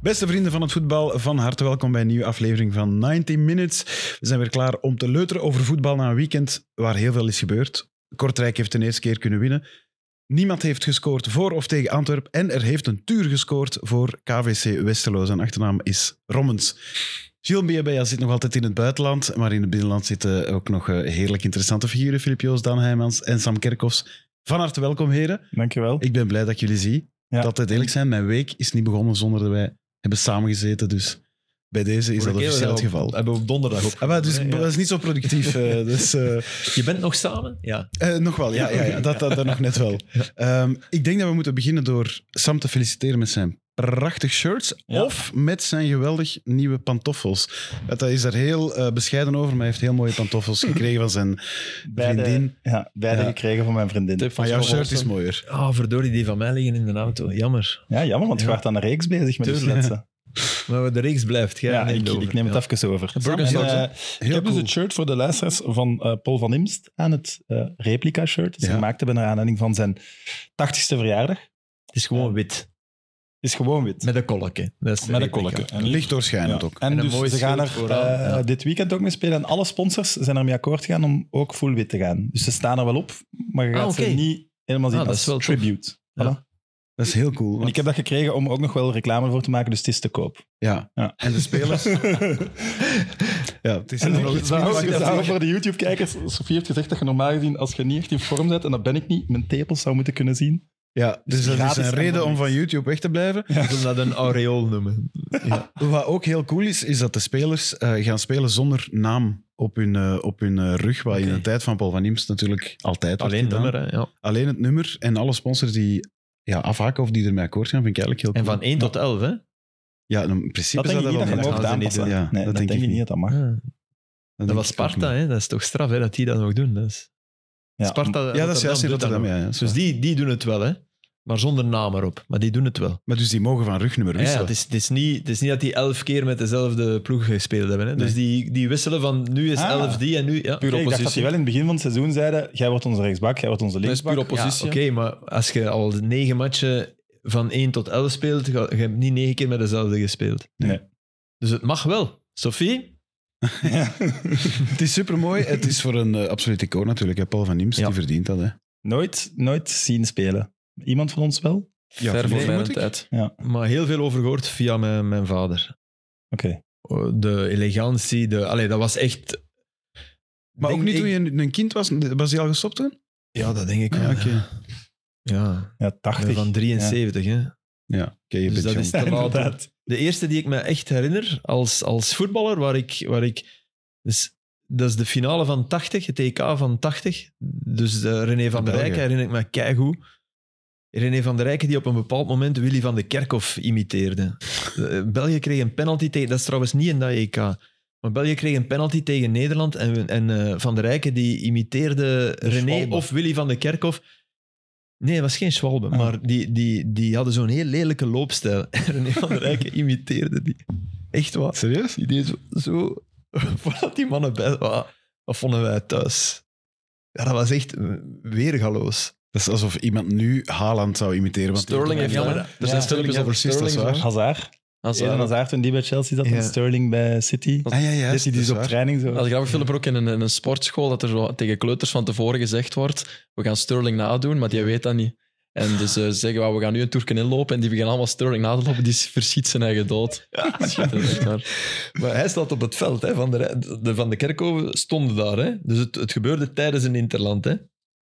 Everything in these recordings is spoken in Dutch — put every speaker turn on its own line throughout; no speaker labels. Beste vrienden van het voetbal, van harte welkom bij een nieuwe aflevering van 90 Minutes. We zijn weer klaar om te leuteren over voetbal na een weekend waar heel veel is gebeurd. Kortrijk heeft de eerste keer kunnen winnen. Niemand heeft gescoord voor of tegen Antwerpen. En er heeft een tuur gescoord voor KVC Westerlo. Zijn achternaam is Rommens. Gilles Biabea zit nog altijd in het buitenland. Maar in het binnenland zitten ook nog eh, heerlijk interessante figuren. Filip Joos, Dan Heijmans en Sam Kerkhoffs. Van harte welkom, heren.
Dankjewel.
Ik ben blij dat ik jullie zie.
Ja.
Dat het eerlijk zijn, mijn week is niet begonnen zonder dat wij hebben samengezeten. Dus bij deze is dat officieel het geval.
Hebben we op donderdag op.
Ah, maar dus,
Ja.
dat is niet zo productief. eh, dus, eh,
Je bent nog samen? Ja.
eh, nog wel, ja, ja, ja dat, dat, dat nog net wel. Ehm, ik denk dat we moeten beginnen door Sam te feliciteren met zijn prachtig shirts
Ja.
of met zijn geweldig nieuwe pantoffels. Want Hij is daar heel eh, bescheiden over, maar hij heeft heel mooie pantoffels gekregen van zijn vriendin.
ja, beide
Ja.
gekregen van mijn vriendin.
Maar jouw shirt is mooier.
Ah, verdorie, die van mij liggen in de auto. Jammer.
Ja, jammer, want je
Ja.
werd aan de reeks bezig met de
Tuurlijk.
sletsen.
Maar de reeks blijft. Jij
Ja,
neemt
ik,
over.
ik neem
Ja.
het even over.
Burger
En,
Shot,
eh,
hè?
ik
Heel
heb
cool.
dus het shirt voor de luisteraars van eh, Paul van Imst aan het eh, Dus replica-shirt. Dat ze
Ja.
gemaakt hebben naar aanleiding van zijn 80ste verjaardag.
Het is gewoon wit.
Is gewoon wit.
Met een kolletje. Dat is eh, de
Met een
replica.
kolletje. En
Licht
ja.
doorschijnend ook.
En,
En een mooi
dus ze gaan
schild
er
vooraan,
eh,
ja.
dit weekend ook mee spelen. En alle sponsors zijn ermee akkoord gegaan om ook full wit te gaan. Dus ze staan er wel op, maar je
Ah,
gaat ze
oké.
niet helemaal zien
Ah, dat
als
is wel tof.
tribute.
Ja.
Voilà.
Dat is heel cool.
En ik heb dat gekregen om ook nog wel reclame voor te maken, dus het is te koop.
Ja.
Ja.
En de spelers? ja, het is
En
nog
ik
iets
zou-
minder
ik
dan
zou
dat.
voor de YouTube-kijkers, Sofie heeft gezegd dat je normaal gezien, als je niet echt in vorm bent, en dat ben ik niet, mijn tepels zou moeten kunnen zien.
Ja, dus dat is
gratis
een
en
reden om
niks.
van YouTube weg te blijven.
Ik wil dat een aureool noemen.
Wat ook heel cool is, is dat de spelers eh, gaan spelen zonder naam op hun, eh, op hun eh, rug. Wat in
Oké.
de tijd van Paul van Imst natuurlijk altijd werd
Alleen
gedaan.
nummer, hè. Ja.
Alleen het nummer en alle sponsors die ja, afhaken of die ermee akkoord gaan, vind ik eigenlijk heel
En
cool.
van 1 tot 11, hè.
Ja, nou, in principe
Dat denk ik
zou
niet
dat
dat
wel
je
dat
mag
meegaan.
gaan ze niet
aanpassen.
doen. Ja,
nee, dat denk ik niet dat dat mag.
Ah,
Dat
Dat
denk
was
ik ook
Sparta,
niet.
hè. Dat is toch straf, hè, dat die dat nog doen. Dat is...
Ja.
Sparta,
Ja, dat is juist in
doet dat
Rotterdam.
nog.
Ja, ja,
Dus
zo.
die, die doen het wel, hè. Maar zonder naam erop. Maar die doen het wel.
Maar dus die mogen van rugnummer
Ja, ja,
wisselen.
het, is, het, is niet, het is niet dat die elf keer met dezelfde ploeg gespeeld hebben. Hè? Dus die, die wisselen van nu is
Ah.
elf die en nu... Ja,
Puur
Kijk,
ik dacht dat die wel in het begin van het seizoen zeiden, jij wordt onze rechtsbak, jij wordt onze
Dat is
linksbak.
puur oppositie.
Ja, Oké, maar als je al negen matchen van 1 tot 11 speelt, ga- je hebt niet negen keer met dezelfde gespeeld.
Nee.
Dus het mag wel. Sophie?
Ja.
Het is supermooi. Het is voor een eh, absoluut icoon natuurlijk. hè. Paul van Imst,
Ja.
die verdient dat. Hè.
nooit, nooit zien spelen. Iemand van ons wel? Oké.
Ja,
Ver voor
vermoed
mijn
ik.
tijd.
Maar heel veel over gehoord via mijn, mijn vader. De elegantie, de... Allee, dat was echt...
Maar
Denk
ook niet
ik-
toen je een een kind was? Was die al gestopt toen?
Ja, dat denk ik wel.
Ja, Ah, oké.
Ja,
Ja,
ik
80.
ben van 73, hè.
Ja, oké, je
Dus
bent
dat
jong.
is
Ja,
te laat. om-
inderdaad.
de eerste die ik me echt herinner als, als voetballer, waar ik, waar ik dus, dat is de finale van 80, het EK van 80. Dus eh, René van der
België.
Rijken herinner ik me keigoed. René van der Rijken die op een bepaald moment Willy van de Kerkhof imiteerde. Eh, België kreeg een penalty tegen... Dat is trouwens niet in dat EK. Maar België kreeg een penalty tegen Nederland en, en eh, Van der Rijken die imiteerde René
Schwalbe.
of Willy van de Kerkhof. Nee, het was geen Schwalbe,
Ah.
maar die, die, die hadden zo'n heel lelijke loopstijl. En René van der Rijken imiteerde die. Echt waar.
Serieus?
Die deed zo- zo... Voordat die mannen bij waren, dat vonden wij thuis. Ja, dat was echt eh, weergaloos.
Dat is alsof iemand nu Haaland zou imiteren. Want
Sterling heeft
Ja, maar
dat.
dat-
hè?
Er
Ja,
zijn Sterling is
Sterling
al
is-
precies, dat is
Sterling
waar.
is
Hazard.
eh,
Eden
Hazard.
Hazard toen die bij Chelsea zat,
Ja.
en Sterling bij City.
Ah, ja, ja.
Dit die is op training zo.
Dat is grappig, Philip, ook in een, in een sportschool dat er zo tegen kleuters van tevoren gezegd wordt we gaan Sterling nadoen, maar die weet dat niet. En dus eh, ze zeggen we, we gaan nu een toerken inlopen en die beginnen allemaal Sterling na te lopen, die verschiet zijn eigen dood. Schitterend, echt waar.
Maar hij staat op het veld, hè, van, de, Rij- de Van de Kerkhoven stonden daar. Hè. Dus het, het gebeurde tijdens een interland. Hè.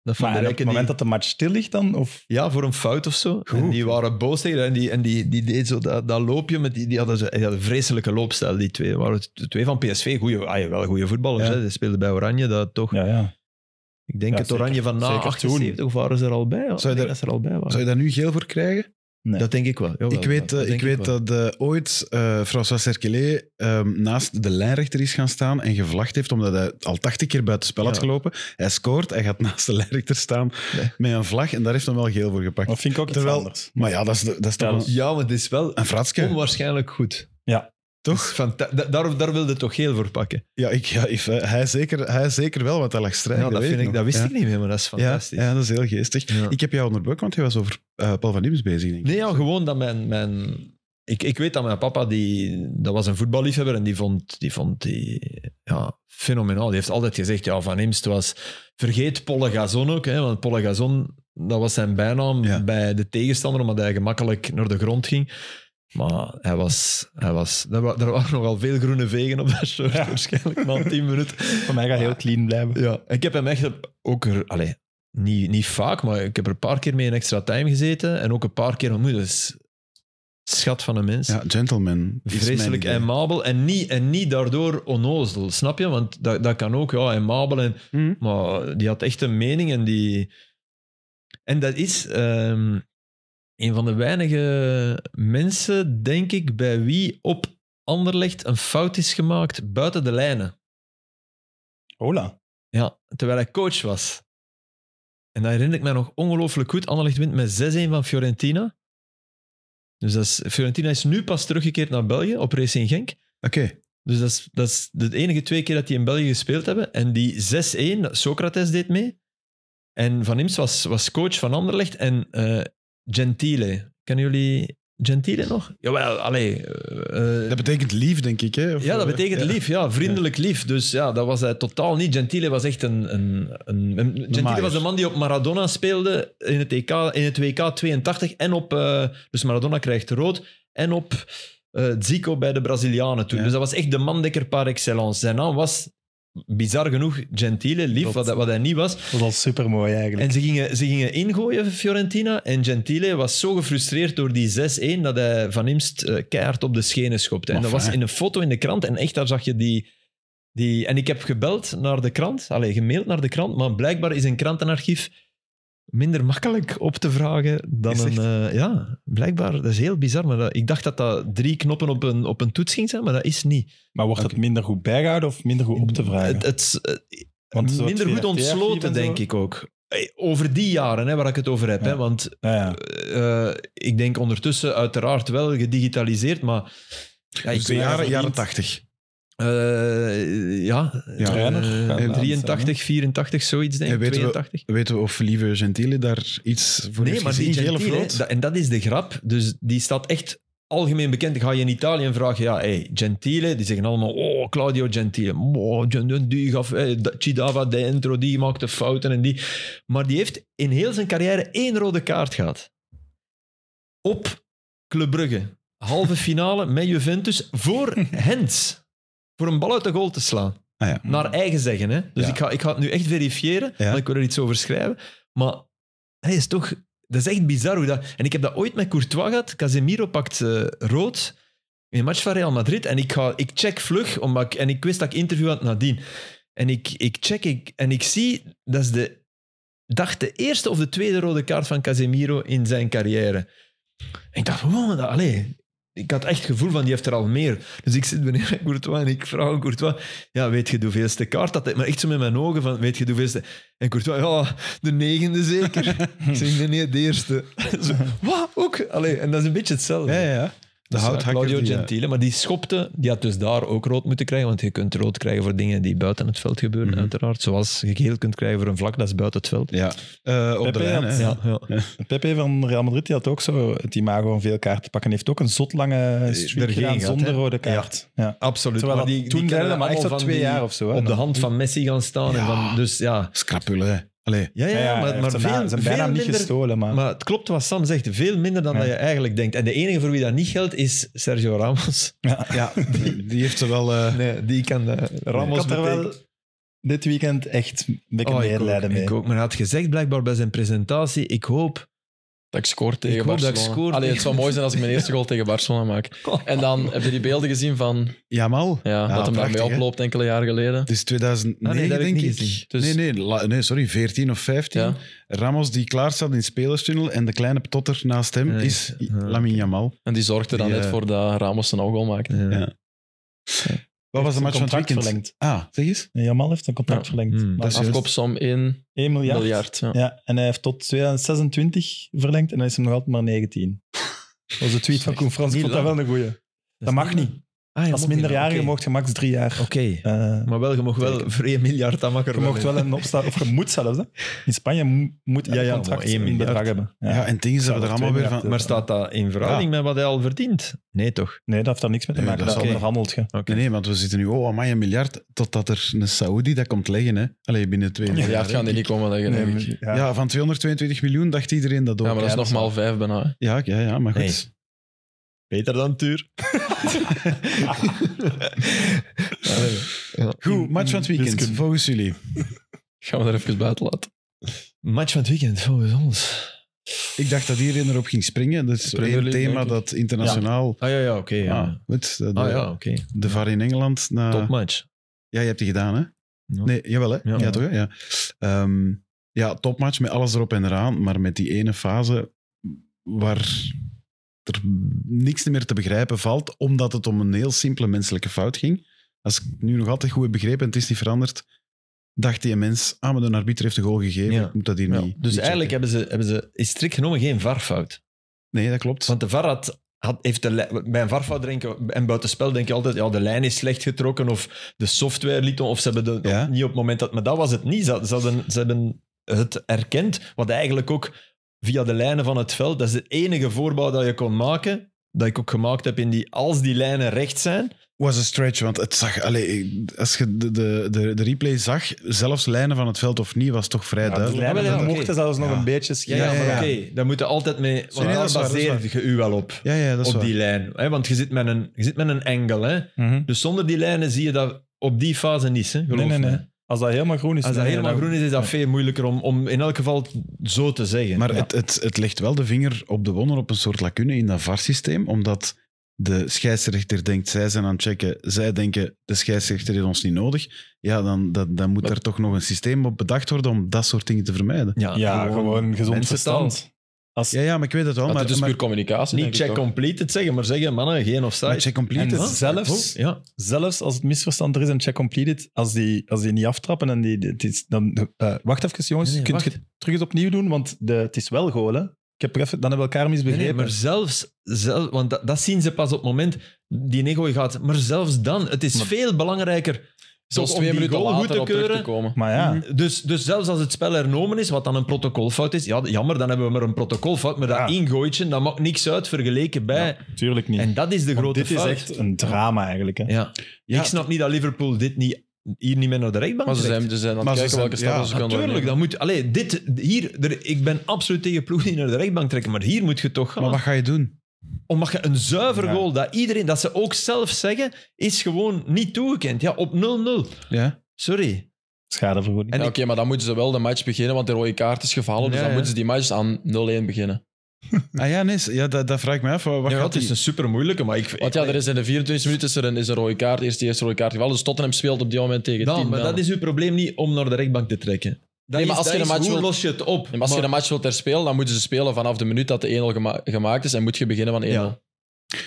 Dat van
Maar en
de
op
Rijken
het moment
die-
dat de match stil ligt dan? Of...
Ja, voor een fout of zo. En die waren boos tegen haar en die, en die, die deed zo dat, dat loopje. Met die, die, hadden zo, die hadden een vreselijke loopstijl, die twee. Waren t- twee van PSV, goeie, ah, ja, wel goede voetballers.
Ja.
Hè. Die speelden bij Oranje, dat toch.
Ja, ja.
Ik denk
Ja,
het
zeker.
Oranje van na
Zeker
78 of waren ze er al bij? Ja, Ik
Zou je
denk
daar-
dat ze er al bij waren.
Zou je daar nu geel voor krijgen?
Nee.
Dat denk ik wel. jawel,
ik weet,
dat
eh,
denk
ik weet
wel.
dat eh, ooit eh, François Cerquelet ehm, naast de lijnrechter is gaan staan en gevlacht heeft omdat hij al 80 keer buiten spel had
Ja.
gelopen. Hij scoort, hij gaat naast de lijnrechter staan
Nee.
met een vlag en daar heeft hij wel geel voor gepakt.
Dat vind ik ook iets
Terwijl-
anders.
Maar ja, dat is, dat is toch
Ja,
een,
Ja, maar het is wel
een fratske,
onwaarschijnlijk goed.
Ah, toch?
Fanta- da- daar, daar wilde toch geel voor pakken.
Ja, ik, ja if, eh, hij, zeker, hij zeker wel, want hij lag strijden.
Ja, dat,
weet
vind ik,
nog.
dat wist
Ja.
ik niet meer, maar dat
Ja,
is fantastisch.
ja, dat is heel geestig.
Ja.
Ik heb jou onderbroken, want je was over eh, Paul van Imst bezig, denk ik.
Nee, ja, gewoon dat mijn, mijn ik, ik weet dat mijn papa, die, dat was een voetballiefhebber en die vond die, vond die ja, fenomenaal. Die heeft altijd gezegd, ja, Van Imst was... Vergeet Polle Gazon ook, hè, want Polle Gazon, dat was zijn bijnaam
Ja.
bij de tegenstander, omdat hij gemakkelijk naar de grond ging. Maar hij was... Hij was er, wa- er waren nogal veel groene vegen op dat shirt,
Ja.
waarschijnlijk, na tien minuten.
Voor mij gaat heel clean blijven.
Ja, ik heb hem echt ook... er- Allee, niet, niet vaak, maar ik heb er een paar keer mee in extra time gezeten en ook een paar keer ontmoet. Dus schat van een mens.
Ja, gentleman. is mijn
Vreselijk
idee.
aimabel en niet, en niet daardoor onnozel, snap je? Want dat, dat kan ook, ja, aimabel. En,
Mhm.
maar die had echt een mening en die... En dat is ehm, een van de weinige mensen, denk ik, bij wie op Anderlecht een fout is gemaakt buiten de lijnen.
Hola.
Ja, terwijl hij coach was. En dat herinner ik mij nog ongelooflijk goed. Anderlecht wint met 6-1 van Fiorentina. Dus dat is, Fiorentina is nu pas teruggekeerd naar België op Racing Genk.
Oké,
Dus dat is, dat is de enige twee keer dat die in België gespeeld hebben. En die 6-1, Socrates deed mee. En Van Imst was, was coach van Anderlecht. En eh, Gentile. Kennen jullie Gentile nog? Jawel, allee. eh, eh,
dat betekent lief, denk ik. Hè? Of,
ja, dat
eh,
betekent
ja.
lief. Ja, vriendelijk lief. Dus ja, dat was hij totaal niet. Gentile was echt een... een, een, een- Gentile
maaier.
was de man die op Maradona speelde in het, EK, in het WK 82. En op... eh, dus Maradona krijgt rood. En op eh, Zico bij de Brazilianen toen.
Ja.
Dus dat was echt de mandekker par excellence. Zijn naam was, bizar genoeg, Gentile. Lief,
Klopt.
wat, hij- wat hij niet was.
Dat is al super mooi eigenlijk.
En ze gingen, ze gingen ingooien, Fiorentina. En Gentile was zo gefrustreerd door die 6-1 dat hij Van Imst eh, keihard op de schenen schopte. En
Maar
dat was
fijn.
in een foto in de krant. En echt, daar zag je die... die en ik heb gebeld naar de krant, alleen gemaild naar de krant, maar blijkbaar is een krantenarchief minder makkelijk op te vragen dan
Is
een...
echt?
eh, ja, blijkbaar. Dat is heel bizar. Maar dat- ik dacht dat dat drie knoppen op een, op een toets ging zijn, maar dat is niet.
Maar wordt het minder goed bijgehouden of minder goed op te vragen?
Het, het, eh,
Want zo het
minder goed
VRT -archief
ontsloten,
en zo.
denk ik ook. Hey, Over die jaren hè, waar ik het over heb.
Ja.
Hè, want
Nou ja.
eh, ik denk ondertussen uiteraard wel gedigitaliseerd, maar... Ja, ik
Dus de
weet-
jaren,
verdient.
jaren 80.
eh, ja,
Ja.
Trainer?
eh,
Ja,
83, 84, zoiets denk
En
ik,
weten we-
82.
Weten we of Lieve Gentile daar iets voor
Nee,
heeft
maar
gezien?
die
Geel of
Gentile,
rood?
hè, dat- en dat is de grap, dus die staat echt algemeen bekend. Ga je in Italië vragen, ja, hey, Gentile, die zeggen allemaal, oh, Claudio Gentile, oh, Gen- die gaf, hey, da- ci dava dentro, die maakte fouten en die... Maar die heeft in heel zijn carrière één rode kaart gehad. Op Club Brugge. Halve finale met Juventus voor Hens. Voor een bal uit de goal te slaan.
Ah ja.
Naar eigen zeggen. Hè? Dus
Ja.
ik, ga, ik ga het nu echt verifiëren.
Ja.
Want ik wil er iets over schrijven. Maar hij is toch... Dat is echt bizar hoe dat... En ik heb dat ooit met Courtois gehad. Casemiro pakt eh, rood in een match van Real Madrid. En ik, ga, ik check vlug, omdat ik, en ik wist dat ik interview had nadien. En ik, ik check ik, en ik zie, dat is de, dacht de eerste of de tweede rode kaart van Casemiro in zijn carrière. En ik dacht, wow, dat, allee. Ik had echt het gevoel van, die heeft er al meer. Dus ik zit beneden Courtois en ik vraag aan Courtois, ja, weet je de hoeveelste kaart dat hij... Maar echt zo met mijn ogen van, weet je de hoeveelste... En Courtois, ja, de negende zeker. ik zeg, nee, nee, de eerste. zo, wat? Ook? Allee, en dat is een beetje hetzelfde.
Ja, ja, ja. De
Dus, ja,
houthakker.
Claudio
die, eh,
Gentile, maar die schopte, die had dus daar ook rood moeten krijgen, want je kunt rood krijgen voor dingen die buiten het veld gebeuren,
Mhm.
uiteraard. Zoals je geel kunt krijgen voor een vlak, dat is buiten het veld.
Ja, Eh, op de
Pepe
lijn.
had-
hè.
Ja, ja.
Pepe van Real Madrid die had ook zo het imago van veel kaarten pakken. Hij heeft ook een zot lange streak
Er ging
gedaan
gaat,
zonder
hè?
rode kaart. Ja.
absoluut.
Terwijl dat toen
kennen
deden, maar echt
allemaal
zo
van
twee
die-
jaar of zo, hè,
Op de
dan.
hand van Messi gaan staan. En van, dus ja.
Scrapule, hè. Allee.
Ja, ja,
Ja, ja,
maar,
hij heeft
maar veel,
zijn naam- zijn
veel
bijnaam
minder,
niet gestolen, maar,
Maar het klopt wat Sam zegt, veel minder dan
Ja.
dat je eigenlijk denkt. En de enige voor wie dat niet geldt is Sergio Ramos.
Ja, die, die heeft er wel... eh,
Nee, die kan eh, Ramos
ik had er wel
betekent-
dit weekend echt een beetje
Oh, ik, ook,
medelijden mee.
ik ook. Maar hij had gezegd blijkbaar bij zijn presentatie, ik hoop
Dat ik scoor tegen
Ik hoop dat ik
Barcelona.
scoor
Allee,
tegen-
het zou mooi zijn als ik mijn eerste goal tegen Barcelona maak. En dan heb je die beelden gezien van
Jamal?
ja, dat hem
prachtig,
daarmee
hè.
oploopt enkele jaren geleden.
Het is 2009,
Ah, nee, dat heb ik
denk
niet
ik.
gezien.
Dus-
Nee, nee, la- nee, sorry, 14 of 15.
Ja.
Ramos die klaar staat in het spelerstunnel en de kleine totter naast hem
Nee.
is
Ja,
Lamin Jamal.
En die zorgde dan
Die,
net
eh,
voor dat Ramos zijn goal maakte.
Ja. Wat was de
Heeft
match van het
zijn contract
weekend?
verlengd.
Ah, zeg eens.
En Jamal heeft zijn contract
Ja.
verlengd.
Hmm,
Maar
dat is juist.
Afkoopsom 1
1 miljard.
miljard. Ja.
Ja, en hij heeft tot 2026 verlengd en dan is hem nog altijd maar 19. Dat was de tweet van Koen Frans. Ik
Niet
vond dat wel een goeie. Dat mag niet.
Ah, je
Als
mocht niet-
minderjarige
oké. Oh.
mocht je max drie jaar.
Oké,
eh,
maar wel, je mocht wel voor 1 miljard, dat mag er
je mocht wel een opstaan, of je moet zelfs. Hè. In Spanje mo- moet
Ja,
je
ja,
contract
maar één
een
miljard.
bedrag hebben.
Ja,
Ja.
en het ding is dat we er
Zou
allemaal
twee
weer van...
miljard,
Maar
Maar staat dat in verhouding met wat hij al verdient? Nee, toch?
Nee, dat heeft daar niks mee te
Nee,
maken.
dat
dat
is
is
oké.
onderhandeld. Je.
Oké.
Nee, nee, want we zitten nu, oh amai, een miljard, totdat er een Saoedi dat komt leggen. Hè. Allee, binnen twee
Ja,
jaar.
het gaan die niet komen leggen,
Nee,
denk
maar-
ik. Ja,
Ja, van 222 miljoen dacht iedereen dat ook.
maar dat is nog
Ja,
maal vijf bijna. hè.
Ja, ja, ja, maar goed.
Nee. Beter dan Tuur.
Goed, match van het weekend,
Wiskunde.
volgens jullie.
Gaan we er even buiten laten.
Match van het weekend, volgens ons.
Ik dacht dat iedereen erop ging springen. Dat is
Premier
één
League,
thema
denk ik.
dat internationaal...
Ah ja, ja, oké. ja.
Ah, goed, de,
Ah ja, oké.
de VAR in Engeland. Na,
Topmatch.
Ja, je hebt die gedaan, hè?
Ja.
Nee, jawel, hè? Ja,
Ja.
toch? hè? Ja. Ehm, ja, topmatch met alles erop en eraan. Maar met die ene fase waar er niks meer te begrijpen valt, omdat het om een heel simpele menselijke fout ging. Als ik het nu nog altijd goed heb begrepen en het is niet veranderd, dacht die mens, ah, maar de arbiter heeft de goal gegeven,
Ja.
ik moet dat hier
Ja.
niet... niet
Dus
checken.
eigenlijk hebben ze, hebben ze, is strikt genomen geen varfout.
Nee, dat klopt.
Want de VAR had, had, heeft de, lij- bij een varfout denken, en buitenspel denk je altijd, ja, de lijn is slecht getrokken of de software liet om, of ze hebben de,
Ja.
niet op het moment dat... Maar dat was het niet. Ze, ze hadden, ze hebben het erkend, wat eigenlijk ook via de lijnen van het veld, dat is het enige voorbouw dat je kon maken, dat ik ook gemaakt heb in die, als die lijnen recht zijn,
was een stretch, want het zag... Allee, als je de, de, de, de replay zag, zelfs lijnen van het veld of niet, was het toch vrij
Ja,
duidelijk.
de lijnen
Ja, dus wel, ja,
mochten
oké.
zelfs nog
Ja.
een beetje schieten.
Ja,
Ja, ja,
ja,
maar
ja.
oké, daar moet je altijd mee.
nee,
Want
dat
daar
is waar, dat is
baseer je u wel op.
Ja, ja, dat is
Op
waar.
die lijn. Hè, want je zit met een, je zit met een engel. Hè?
Mhm.
Dus zonder die lijnen zie je dat op die fase niet. Hè? Geloof
Nee, nee,
me.
nee. Als dat helemaal groen is.
Als dat
nee,
helemaal
dan-
groen is, is dat
Ja.
veel moeilijker om, om in elk geval zo te zeggen.
Maar
Ja.
het, het, het legt wel de vinger op de wonder op een soort lacune in dat VAR-systeem, omdat de scheidsrechter denkt, zij zijn aan het checken, zij denken, de scheidsrechter heeft ons niet nodig. Ja, dan, dat, dan moet
Maar-
er toch nog een systeem op bedacht worden om dat soort dingen te vermijden.
ja,
Ja, gewoon, gezond
mensentaal.
verstand. Als,
Ja, ja, maar ik weet het wel.
Maar het
dus
Maar,
is puur
maar,
communicatie.
Niet
denk ik
check
toch.
completed zeggen, maar zeggen, mannen, geen
maar
offside.
check Oh, complete
En
is-
zelfs-
Ja.
zelfs als het misverstand er is en check completed, als die, als die niet aftrappen en die, die- die- dan... eh, wacht even, jongens.
Nee, nee,
Kunt
wacht.
je het terug eens opnieuw doen? Want de, het is wel goal, hè? Ik heb er even, dan hebben we elkaar
Nee,
misbegrepen.
nee, maar zelfs, zelf, want dat, dat zien ze pas op het moment die Nego gaat. Maar zelfs dan, het is
Maar-
veel belangrijker.
Zelfs
om
twee
die
minuten
goal goed
later
te
op terug te
keuren.
komen.
Maar ja,
Dus, dus zelfs als het spel hernomen is, wat dan een protocolfout is, ja, jammer, dan hebben we maar een protocolfout. Maar dat
Ja.
ingooitje, dat maakt niks uit vergeleken bij...
tuurlijk niet.
En dat is de
Want
grote
dit
fout.
is echt een drama eigenlijk. Hè?
Ja.
Ja.
Ik snap niet dat Liverpool dit niet, hier niet meer naar de rechtbank
Maar ze
trekt.
zijn, ze zijn aan
Maar
het
ze
kijken
zijn-
welke stappen
ja,
ze kunnen
Natuurlijk, dat moet... Allee, dit, hier, er- ik ben absoluut tegen ploegen die naar de rechtbank trekken, maar hier moet je toch gaan.
maar wat ga je doen?
Omdat je een zuiver
Ja.
goal, dat iedereen, dat ze ook zelf zeggen, is gewoon niet toegekend. Ja, op 0-0.
Ja.
Sorry.
Schadevergoeding.
En
Ja,
ik-
Oké, maar dan moeten ze wel de match beginnen, want de rode kaart is gevallen. dus
Ja,
dan
ja.
moeten ze die match aan 0-1 beginnen.
Ah ja, nee, ja, dat, dat vraag ik me af. Wat
Ja,
gaat
het
die-
is dus- een super moeilijke, maar ik...
Want ja, er is in de 24 minuten is er een, is een rode kaart, eerst die eerste rode kaart gevallen. Dus Tottenham speelt op die moment tegen
Dan,
10.
Nou, maar
dan.
dat is uw probleem niet om naar de rechtbank te trekken. Dat
maar
is-
als
dat
je een
is
match
hoe
wilt-
los je het op?
En als je
Maar-
de match wilt herspelen, dan moeten ze spelen vanaf de minuut dat de 1-0 gema- gemaakt is. En moet je beginnen van 1-0.
Ja.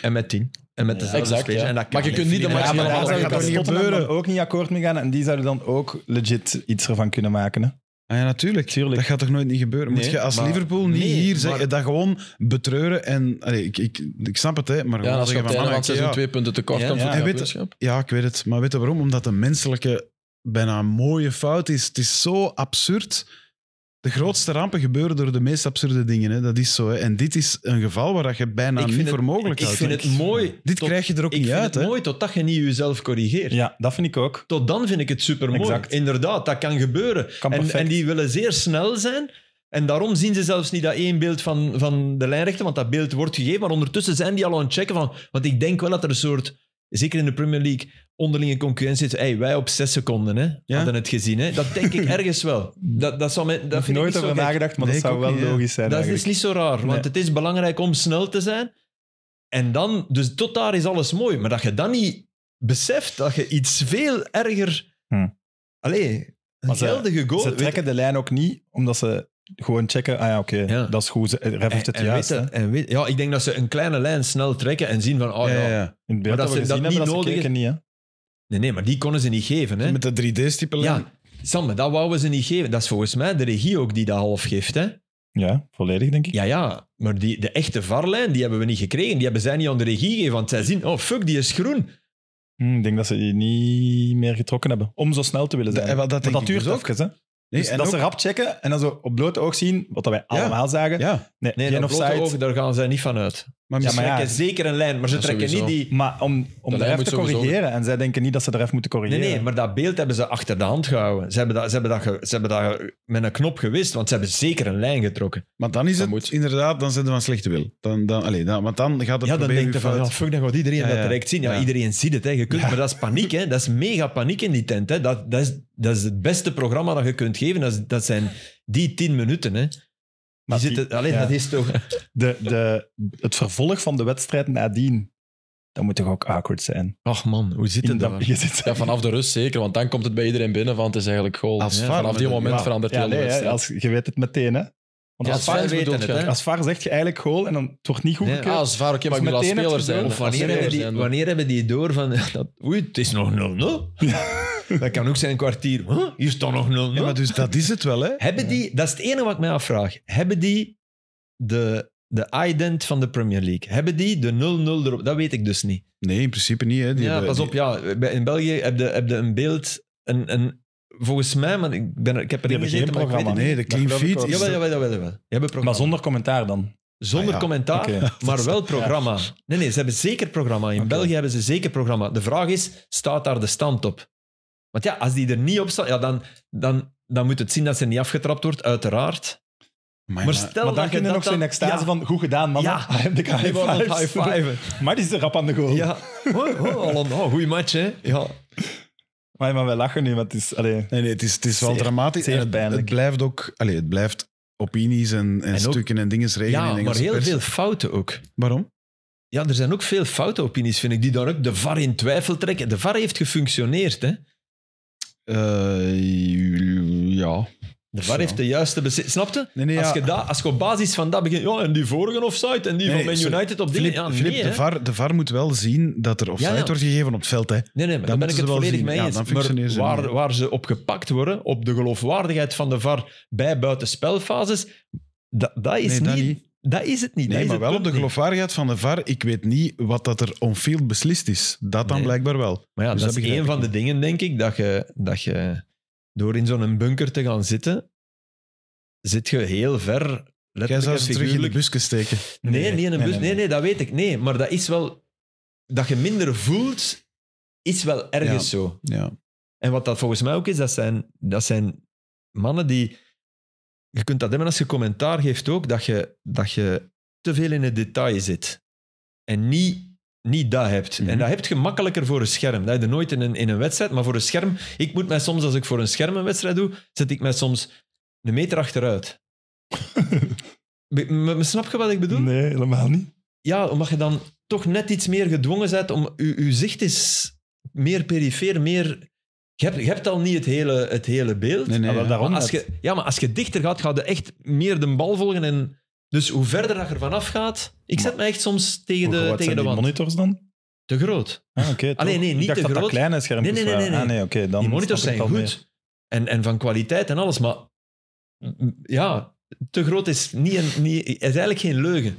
En met tien. En met dezelfde
Exact,
spelers.
ja.
En dat
Maar je
kan
kunt niet de match
ja, maar daar
helemaal
zou
dat
ik
gaat
als
toch niet
Tottenham dan
gebeuren?
ook niet akkoord mee gaan. En die zouden dan ook legit iets ervan kunnen maken. Hè?
Ah ja, natuurlijk.
Tuurlijk.
Dat gaat toch nooit niet gebeuren? Moet
Nee,
je als
maar-
Liverpool niet
nee,
hier
maar-
zeggen, dat gewoon betreuren en... Allee, ik, ik, ik snap het, hè, maar
Ja,
gewoon
en als je op
zeggen van...
het einde van
man,
het seizoen
oké, ja.
twee punten tekort
Ja,
komt
ja.
voor het
En weet-
kampioenschap.
Ja, ik weet het. Maar weet je waarom? Omdat de menselijke bijna mooie fout is. Het is zo absurd. De grootste rampen gebeuren door de meest absurde dingen. Hè. Dat is zo. Hè. En dit is een geval waar dat je bijna
Ik
niet
vind het-
voor mogelijk
Ik
houdt.
vind het mooi.
dit
tot-
krijg je er ook
Ik
niet
vind
uit.
het
Hè.
mooi totdat je niet jezelf corrigeert.
Ja, dat vind ik ook.
Tot dan vind ik het supermooi.
Exact.
Inderdaad, dat kan gebeuren.
Kan
en,
perfect.
en die willen zeer snel zijn. En daarom zien ze zelfs niet dat één beeld van, van de lijnrechten, want dat beeld wordt gegeven. Maar ondertussen zijn die al aan het checken van... Want ik denk wel dat er een soort, zeker in de Premier League, onderlinge concurrentie is. Hey, wij op zes seconden hè, hadden het gezien. Hè. Dat denk ik ergens wel. Dat, dat, zou mij, dat
Daar heb
vind
ik nooit
ik niet
over
zo gek.
nagedacht, maar
Nee,
dat
ik
zou
ook
wel
niet, hè.
logisch zijn.
Dat is
eigenlijk.
dus niet zo raar, want
Nee.
het is belangrijk om snel te zijn. En dan, dus tot daar is alles mooi. Maar dat je dan niet beseft dat je iets veel erger.
Hm.
Allee, een
Maar ze-
geldige goal.
Ze
weet-
trekken de lijn ook niet, omdat ze gewoon checken, ah ja, oké,
Ja.
dat is goed, ze- eh, Ref heeft het
en
juist.
weten-
hè.
en weet- ja, ik denk dat ze een kleine lijn snel trekken en zien van, oh ja.
Ja, ja, ja.
In het
Maar
beeld
dat
dat we
ze dat
gezien hebben,
niet
dat ze
nodig
keken niet, hè.
Nee, nee, maar die konden ze niet geven. Hè?
Met de 3D-stippelen.
Ja, Sam, maar dat wouden ze niet geven. Dat is volgens mij de regie ook die dat half geeft. Hè?
Ja, volledig, denk ik.
Ja, ja, maar die, de echte varlijn, die hebben we niet gekregen. Die hebben zij niet aan de regie gegeven, want zij zien, oh fuck, die is groen.
Hm, ik denk dat ze die niet meer getrokken hebben. Om zo snel te willen
Dat-
zijn.
eh, wel, dat
Want
denk
dat
ik
duurt
dus ook.
ook. Even, hè.
Nee,
dus
en
dat
ook-
ze rap checken en dan zo op blote oog zien, wat dat wij allemaal zagen.
ja,
Nee,
Nee,
geen
dat blote
offside.
oog, daar gaan zij niet van uit.
maar
Ze
misschien-
maar ja.
trekken zeker een lijn, maar ze
Ja,
trekken
sowieso.
niet die...
Maar om, om
lijn
de ref
moet
te
sowieso-
corrigeren. En zij denken niet dat ze de ref moeten
Nee,
corrigeren.
nee, maar dat beeld hebben ze achter de hand gehouden. Ze hebben dat, ze hebben dat, ge- ze hebben dat ge- met een knop gewist, want ze hebben zeker een lijn getrokken.
Maar dan is
Dat
het
moet.
inderdaad, dan zijn ze van slechte wil. Dan, dan, allee, dan, want dan gaat het
ja, dan
proberen
denk je
uw
van,
fout-
ja, fuck, dan gaat iedereen
Ja,
dat
ja.
direct zien. Ja,
Ja.
iedereen ziet het, hè. Je kunt, maar dat is paniek, hè. Dat is mega paniek in die tent, hè. Dat, dat, is, dat is het beste programma dat je kunt geven. Dat, is- dat zijn die tien minuten, hè. Die
Maar die-
zitten, alleen
ja.
dat is toch...
de, de, het vervolg van de wedstrijd nadien, dat moet toch ook awkward zijn?
Ach man, hoe zit het
In dat-
daar?
je zit-
Ja, vanaf de rust zeker, want dan komt het bij iedereen binnen van het is eigenlijk goal.
Als
Ja,
Ah,
VAR,
vanaf die
maar-
moment
ja.
verandert
ja,
heel de
nee, hè,
wedstrijd.
als, je weet het meteen, hè. Want als,
Ja, als
VAR,
fans
weten
bedoelt
het,
je.
hè.
als VAR zegt je eigenlijk goal en dan wordt niet
Nee,
goedgekeurd.
Ah, als VAR, oké, maar ik
Dus
bedoel als
meteen heb
speler
je
zijn.
door.
Als
Of wanneer
speler
hebben, die,
zijn.
wanneer hebben die door van... ja, dat, oei, het is nog 0-0. Dat kan ook zijn een kwartier. Huh? Hier staat nog 0-0.
Ja, maar dus dat is het wel, hè?
Hebben die, dat is het enige wat ik mij afvraag. Hebben die de, de ident van de Premier League? Hebben die de 0-0 erop? Dat weet ik dus niet.
Nee, in principe niet, hè? Die
ja,
hebben-
pas op. Ja, bij- in België heb je, heb je een beeld. Een, een, volgens mij, maar ik, ben, er- ik heb er
Die
niet
hebben
gezeten,
geen
maar ik weet
programma,
het
Nee, de clean
geloof ik
feed
wel.
niet.
is...
Jawel, jawel, jawel, jawel. Je hebt een programma.
Maar zonder commentaar dan.
Zonder
Ah, ja.
commentaar,
Oké.
maar wel programma. Nee, nee, ze hebben zeker programma. In
Oké.
België hebben ze zeker programma. De vraag is, staat daar de stand op? Want ja, als die er niet op staat, ja, dan, dan, dan moet het zien dat ze niet afgetrapt wordt, uiteraard.
Amai,
Maar
maar-
stel
maar dan
dat je
kun je
dat
nog zo'n
dan-
extase
ja.
van goed gedaan, man.
Ja.
de
Die worden aan het
high five.
high-fiven.
Maar die is er rap aan de goal.
Ja. Oh, oh, Holland, oh, goeie match, hè. Ja.
Maar, maar wij lachen nu, want het is... Allee,
Nee, nee, het is, het is wel
Zeer-
dramatisch.
zeer
En het,
pijnlijk.
het blijft ook... Allee, het blijft opinies en, en,
En ook-
stukken en dingen regelen
ja,
in
maar
Engelse
heel
pers.
veel fouten ook.
Waarom?
Ja, er zijn ook veel foute opinies, vind ik, die dan ook de VAR in twijfel trekken. De VAR heeft gefunctioneerd, hè. Eh,
ja.
De VAR
Zo.
heeft de juiste beslissing. Snapte?
Nee, nee,
Als,
ja.
je dat, als je op basis van dat begint, ja, en die vorige offside en die
Nee,
van Man
sorry.
United op dit...
Filip,
ja, nee,
Filip,
hè.
de, VAR, de VAR moet wel zien dat er offside
Ja, ja.
wordt gegeven op het veld, hè?
Nee, nee, maar
Dan
daar
moeten
ben ik het
ze wel
volledig
zien.
mee
Ja,
eens.
dan functioneren
maar
ze
waar,
niet.
waar ze op gepakt worden, op de geloofwaardigheid van de VAR bij buitenspelfases, dat, dat is
Nee, dat
niet,
niet.
Dat is het niet. Dat
Nee,
is
maar
het
wel op
punt
de
niet.
geloofwaardigheid van de VAR. Ik weet niet wat dat er on-field beslist is. Dat dan
Nee.
blijkbaar wel.
Maar ja,
Dus
dat,
dat
is
begrijp
een
ik
van de dingen, denk ik, dat je, dat je door in zo'n bunker te gaan zitten, zit je heel ver...
Jij zou
letterlijk
ze
en
terug in de
figuurlijk,
busken steken.
Nee, nee, niet in een
nee,
bus. Nee,
nee,
nee, dat weet ik. Nee, maar dat is wel... Dat je minder voelt, is wel ergens zo.
Ja.
En wat dat volgens mij ook is, dat zijn, dat zijn mannen die... Je kunt dat hebben als je commentaar geeft ook, dat je, dat je te veel in het detail zit. En niet, niet dat hebt.
Mhm.
En dat heb je makkelijker voor een scherm. Dat heb je nooit in een, in een wedstrijd, maar voor een scherm... Ik moet mij soms, als ik voor een scherm een wedstrijd doe, zet ik mij soms een meter achteruit. Be- me- me- Snap je wat ik bedoel?
nee, helemaal niet.
ja, omdat je dan toch net iets meer gedwongen bent om... Je, je zicht is meer perifeer, meer... Je hebt, je hebt al niet het hele, het hele beeld.
Nee, nee,
Ah, wel,
ja.
daarom
Maar als
net.
je, ja, maar als je dichter gaat, ga je echt meer de bal volgen. En, dus hoe verder dat je ervan afgaat... Ik zet me echt soms tegen
Hoe groot
de,
zijn
tegen de
die
wand.
monitors dan?
Te groot.
Ah, oké, toch.
Allee, nee, niet
ik dacht
te
dat
groot.
dat kleine schermpjes
Nee, nee, nee,
waren.
nee, nee.
Ah, nee, oké, dan
Die monitors
snap ik
zijn
het al meer.
goed. En, en van kwaliteit en alles. Maar m- ja, te groot is, niet een, niet, is eigenlijk geen leugen.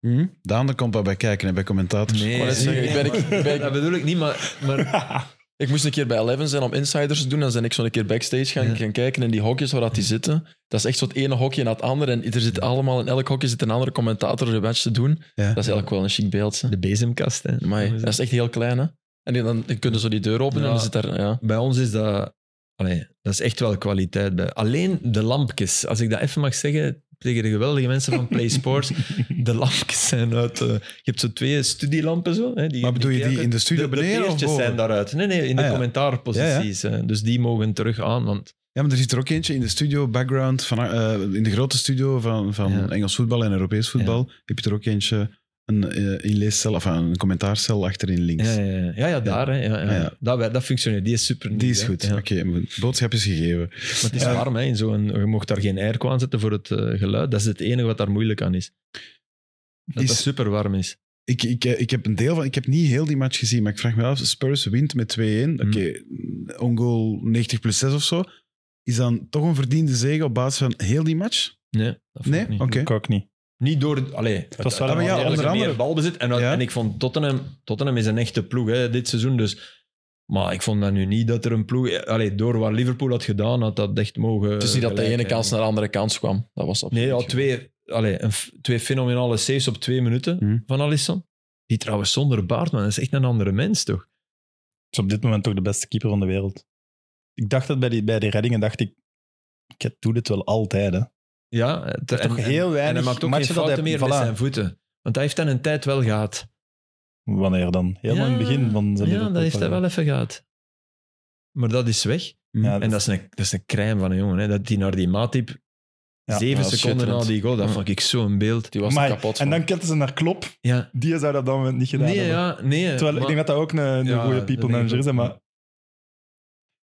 Hm? Daan, er komt wel bij kijken hè, bij commentators.
Nee,
wou net zeggen, ik ben- ik ben-
dat bedoel ik niet, maar... maar
Ik moest een keer bij Eleven zijn om insiders te doen. Dan ben ik zo een keer backstage gaan,
Ja.
gaan kijken in die hokjes waar dat die zitten. Dat is echt zo'n ene hokje na het andere. En er zit allemaal, in elk hokje zit een andere commentator de match te doen.
Ja.
Dat is eigenlijk wel een chic beeld. Hè.
de bezemkast, hè.
Amai, dat is echt heel klein, hè? En die- dan, dan kunnen ze die deur openen en
Ja.
dan zit daar... Ja.
bij ons is dat... Allee, dat is echt wel kwaliteit. Bij. Alleen de lampjes. Als ik dat even mag zeggen tegen de geweldige mensen van Play Sports. de lampjes zijn uit... eh, je hebt zo twee studielampen zo. Hè, die
Maar bedoel je die in de studio beneden
De
of
peertjes
boven?
zijn daaruit. Nee, nee, in de
Ah, ja.
commentaarposities. hè. dus die mogen terug aan, want...
Ja, maar er zit er ook eentje in de studio, background, van, eh, in de grote studio van, van
Ja.
Engels voetbal en Europees voetbal. Heb je er ook eentje een eh, inleescel, of een commentaarcel achterin links.
Ja, ja, ja, ja, ja, daar. Hè, ja, ja.
Ah, ja.
Dat, wer- dat functioneert. Die is super.
Die
nieuw,
is
hè.
goed.
Ja.
Oké, mijn boodschap is gegeven.
Maar het is
Ja.
warm, hè? In zo'n, je mocht daar geen airco aan zetten voor het eh, geluid. Dat is het enige wat daar moeilijk aan is. Dat
Is-
het super warm is.
Ik, ik, eh, ik heb een deel van... Ik heb niet heel die match gezien, maar ik vraag me af, Spurs wint met 2-1.
Mhm.
Oké, ongoal 90 plus 6 of zo. Is dan toch een verdiende zege op basis van heel die match?
Nee, dat vond
Nee?
ik niet.
Oké.
Ik ook niet.
Niet door... Allee,
Het was wel
maar ja,
een-
onder andere-
meer balbezit. En, dat-
Ja.
en ik vond Tottenham... Tottenham is een echte ploeg hè, dit seizoen, dus... Maar ik vond dat nu niet dat er een ploeg... eh, Allee, door wat Liverpool had gedaan, had dat echt mogen...
Het is niet dat de
gelijk
ene
krijgen.
kans naar de andere kans kwam. Dat was
Nee, ja,
absoluut
twee, allee, een f- twee fenomenale saves op twee minuten
Hm.
Hmm.
van Alisson. Die trouwens zonder baard, man, dat is echt een andere mens, toch?
is op dit moment toch de beste keeper van de wereld. Ik dacht dat bij die, bij die reddingen, dacht ik, ik doe dit wel altijd. Hè.
Ja, het- en,
toch
en-
heel
en hij
weinig
maakt ook geen
matchen dat
fouten
hij-
meer
voilà.
met zijn voeten. Want hij heeft dan een tijd wel gehad.
Wanneer dan? Helemaal in het begin van zijn
Ja,
Liverpool
dat heeft hij
periode.
wel even gehad. Maar dat is weg.
Ja,
En dat is een, dat is een crème van een jongen. Hè. Dat die naar die Matip,
ja. Mm.
zeven
ja,
seconden na
schitterend.
die goal, dat
Ja.
vond ik zo'n beeld.
Die was er
Amai.
kapot van.
En dan ketten ze naar Klop.
Ja.
Die zou dat op dat moment niet gedaan
Nee,
hebben.
ja, nee.
Terwijl ik
maar-
denk dat dat ook een, een
Ja,
goede
dat
people
denk ik
manager is, hè,
ook.
maar die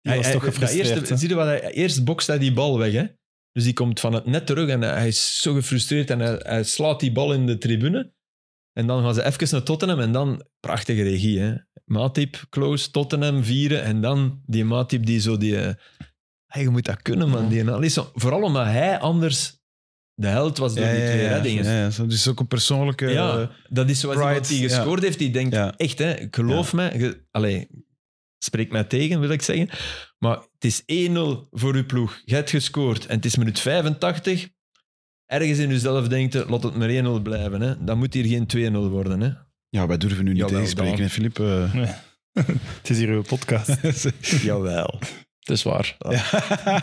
was toch
dat
gefrustreerd.
Eerste,
hè.
zie je wat hij, eerst bokst hij die bal weg. Hè? Dus die komt van het net terug en hij is zo gefrustreerd en hij, hij slaat die bal in de tribune. En dan gaan ze even naar Tottenham en dan prachtige regie. Hè? Matip, close, Tottenham vieren en dan die Matip die zo die... eh, hey, je moet dat kunnen, man. Die analyse. Vooral omdat hij anders de held was door
Ja,
die
ja,
twee
ja,
reddingen.
ja, ja. Zo, Dus ook een persoonlijke... eh,
Ja, dat is zoals
Pride,
iemand die
ja.
gescoord heeft, die denkt,
Ja.
echt hè, ik geloof mij. ge- allee, spreek mij tegen, wil ik zeggen. Maar het is 1-0 voor uw ploeg. Je hebt gescoord en het is minuut 85. Ergens in uzelf denkt, eh, laat het maar 1-0 blijven. Hè. Dan moet hier geen 2-0 worden. Hè.
ja, wij durven nu niet
Jawel,
tegenspreken,
dan.
hè, Filip. eh.
Het is hier uw podcast.
Jawel.
Het is waar.
ja.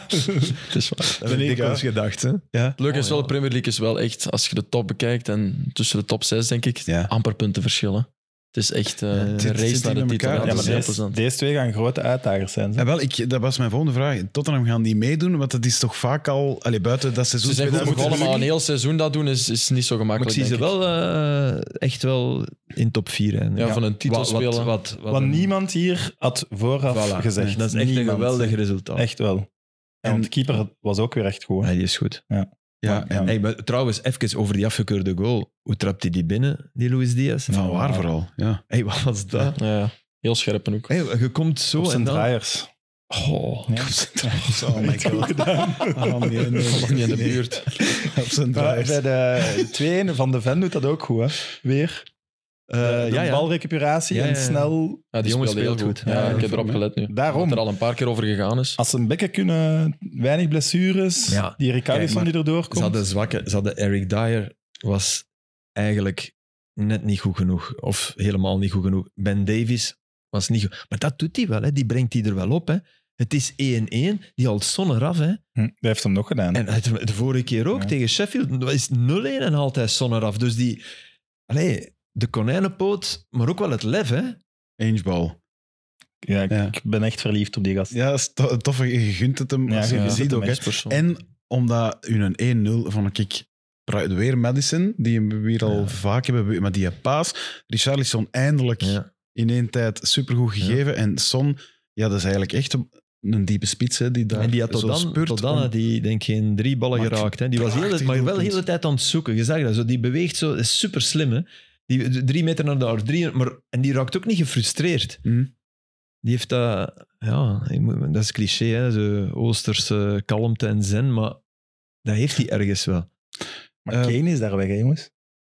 Het is waar.
Dat heb ik
ik,
dikwijls gedacht. Hè.
Het leuke is wel, de Premier League is wel echt, als je de top bekijkt en tussen de top 6, denk ik,
Ja.
amper punten verschillen. Het is echt eh,
Ja, het
een
zit-
race
zit
naar de
in
titel.
elkaar.
Ja,
Ja, maar
dat is heel
deze,
plezant.
deze twee gaan grote uitdagers zijn. Ze.
Ja, wel, ik, dat was mijn volgende vraag. Tottenham gaan die meedoen, want dat is toch vaak al... Allee, buiten dat seizoen...
Ze zijn goed
2000
begonnen, maar een heel seizoen dat doen is, is niet
Maar
zo
ik
gemakkelijk.
zie ze
denk ik.
wel eh, echt wel in top 4.
Ja, van een titel
wat, Wat,
spelen.
wat, wat
Wat
een-
niemand hier had vooraf
Voilà.
gezegd.
Dat is echt een
Niemand.
geweldig resultaat.
Echt wel. En,
En-
want de keeper was ook weer echt goed. hè.
Ja, die is goed.
Ja,
Ja.
en
Hey, maar trouwens, even over die afgekeurde goal. Hoe trapt hij die binnen, die Luis Diaz?
van waar vooral, ja.
Hey, wat was dat?
Ja, ja. heel scherp en ook.
Hey, je komt zo
Op zijn
en dan...
draaiers.
Oh,
Nee.
Oh my
Goed
god.
gedaan.
Oh, nee, nee,
Dat was niet in de
nee.
buurt.
Op zijn
Maar
draaiers.
bij de 2-1 van de Ven doet dat ook goed, hè? Weer. Eh de
ja, ja.
balrecuperatie
Ja,
en
ja, ja.
snel.
Ja, die
jongen
speelde heel
speelt
goed.
goed.
Ja,
Ja,
ik heb
daarom,
erop
hè.
gelet nu.
Daarom.
Dat er al een paar keer over gegaan is.
Als ze een bekken kunnen, weinig blessures.
Ja.
Die Ricardison
Kijk,
die erdoor
ze
komt.
hadden zwakke... Ze hadden Eric Dyer was eigenlijk net niet goed genoeg. Of helemaal niet goed genoeg. Ben Davies was niet goed. Maar dat doet hij wel, hè. die brengt hij er wel op. Hè. Het is 1-1, die haalt zon eraf. Hè.
Hm, dat heeft hem nog gedaan.
En het- de vorige keer ook
Ja.
tegen Sheffield dat is 0-1 en haalt hij zon eraf. Dus die... Allee, de konijnenpoot, maar ook wel het lef, hè.
Angebal.
ja, ik,
Ja.
ik ben echt verliefd op die gast.
Ja, dat is to- tof. Je gunt het hem.
Ja,
als
je
je
gunt
ziet
het hem
ook, hè.
echt.
Eh,
En omdat hun een 1-0 vond ik pra- weer Madison, die we hier al
Ja.
vaak hebben, be- maar die paas. Richarlison eindelijk
Ja.
in één tijd supergoed gegeven. En Son, ja, dat is eigenlijk echt een, een diepe spits hè, die daar
En die had tot
zo
dan,
spurt.
tot dan
om-
had hij denk ik geen drie ballen
Maar
geraakt. Hè. Die was heel,
prachtig
maar wel de
doelpunt.
hele tijd aan het zoeken. Je zag dat. Zo, die beweegt zo, is super slim. Hè. Die, d- drie meter naar daar. Drie, maar, en die raakt ook niet gefrustreerd.
Hm.
Die heeft dat... Ja, je moet- dat is cliché, hè. Zo Oosterse kalmte en zen. Maar dat heeft hij ergens wel.
Maar
Eh,
Kane is daar weg, hè, jongens.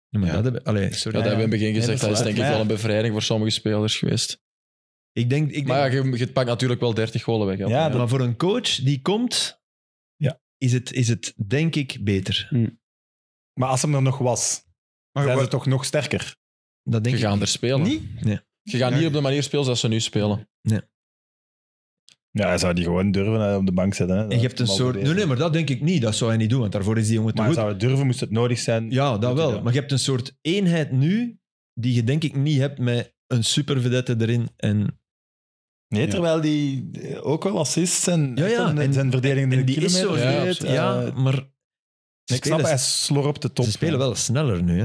Ja, maar
Ja.
Dat heb, allee, sorry.
Ja, dat hebben we in het begin
Nee,
gezegd.
dat
Dat
is
is denk ik
waar.
wel een bevrijding voor sommige spelers geweest.
Ik denk... Ik denk
Maar ja, je, je pakt natuurlijk wel 30 golen weg.
Ja,
altijd,
Ja, maar voor een coach die komt,
Ja.
is, het, is het denk ik beter.
Maar als hem er nog was,
Maar
zijn
wa-
ze toch nog sterker.
Dat denk
Je
ik.
gaat er spelen.
Niet? Nee.
Je gaat niet op de manier spelen zoals ze nu spelen.
Ja, hij zou die gewoon durven eh, op de bank zetten. Hè.
En je hebt een
Bal
soort... Nee,
bewegen.
nee, maar dat denk ik niet. Dat zou hij niet doen, want daarvoor is die jongen te
Maar
goed.
zou het durven, moest het nodig zijn.
Ja, dat
Doet hij
wel.
dat.
Maar je hebt een soort eenheid nu die je denk ik niet hebt met een supervedette erin. En,
Nee,
Ja.
terwijl die eh, ook wel assists en,
Ja, ja,
en,
en-
zijn verdedigende
en die is
kilometer
zo
ja,
reed,
breed.
eh,
Ja, maar ze,
ik snap,
spelen,
hij slorpt de top.
ze spelen wel sneller nu. Hè?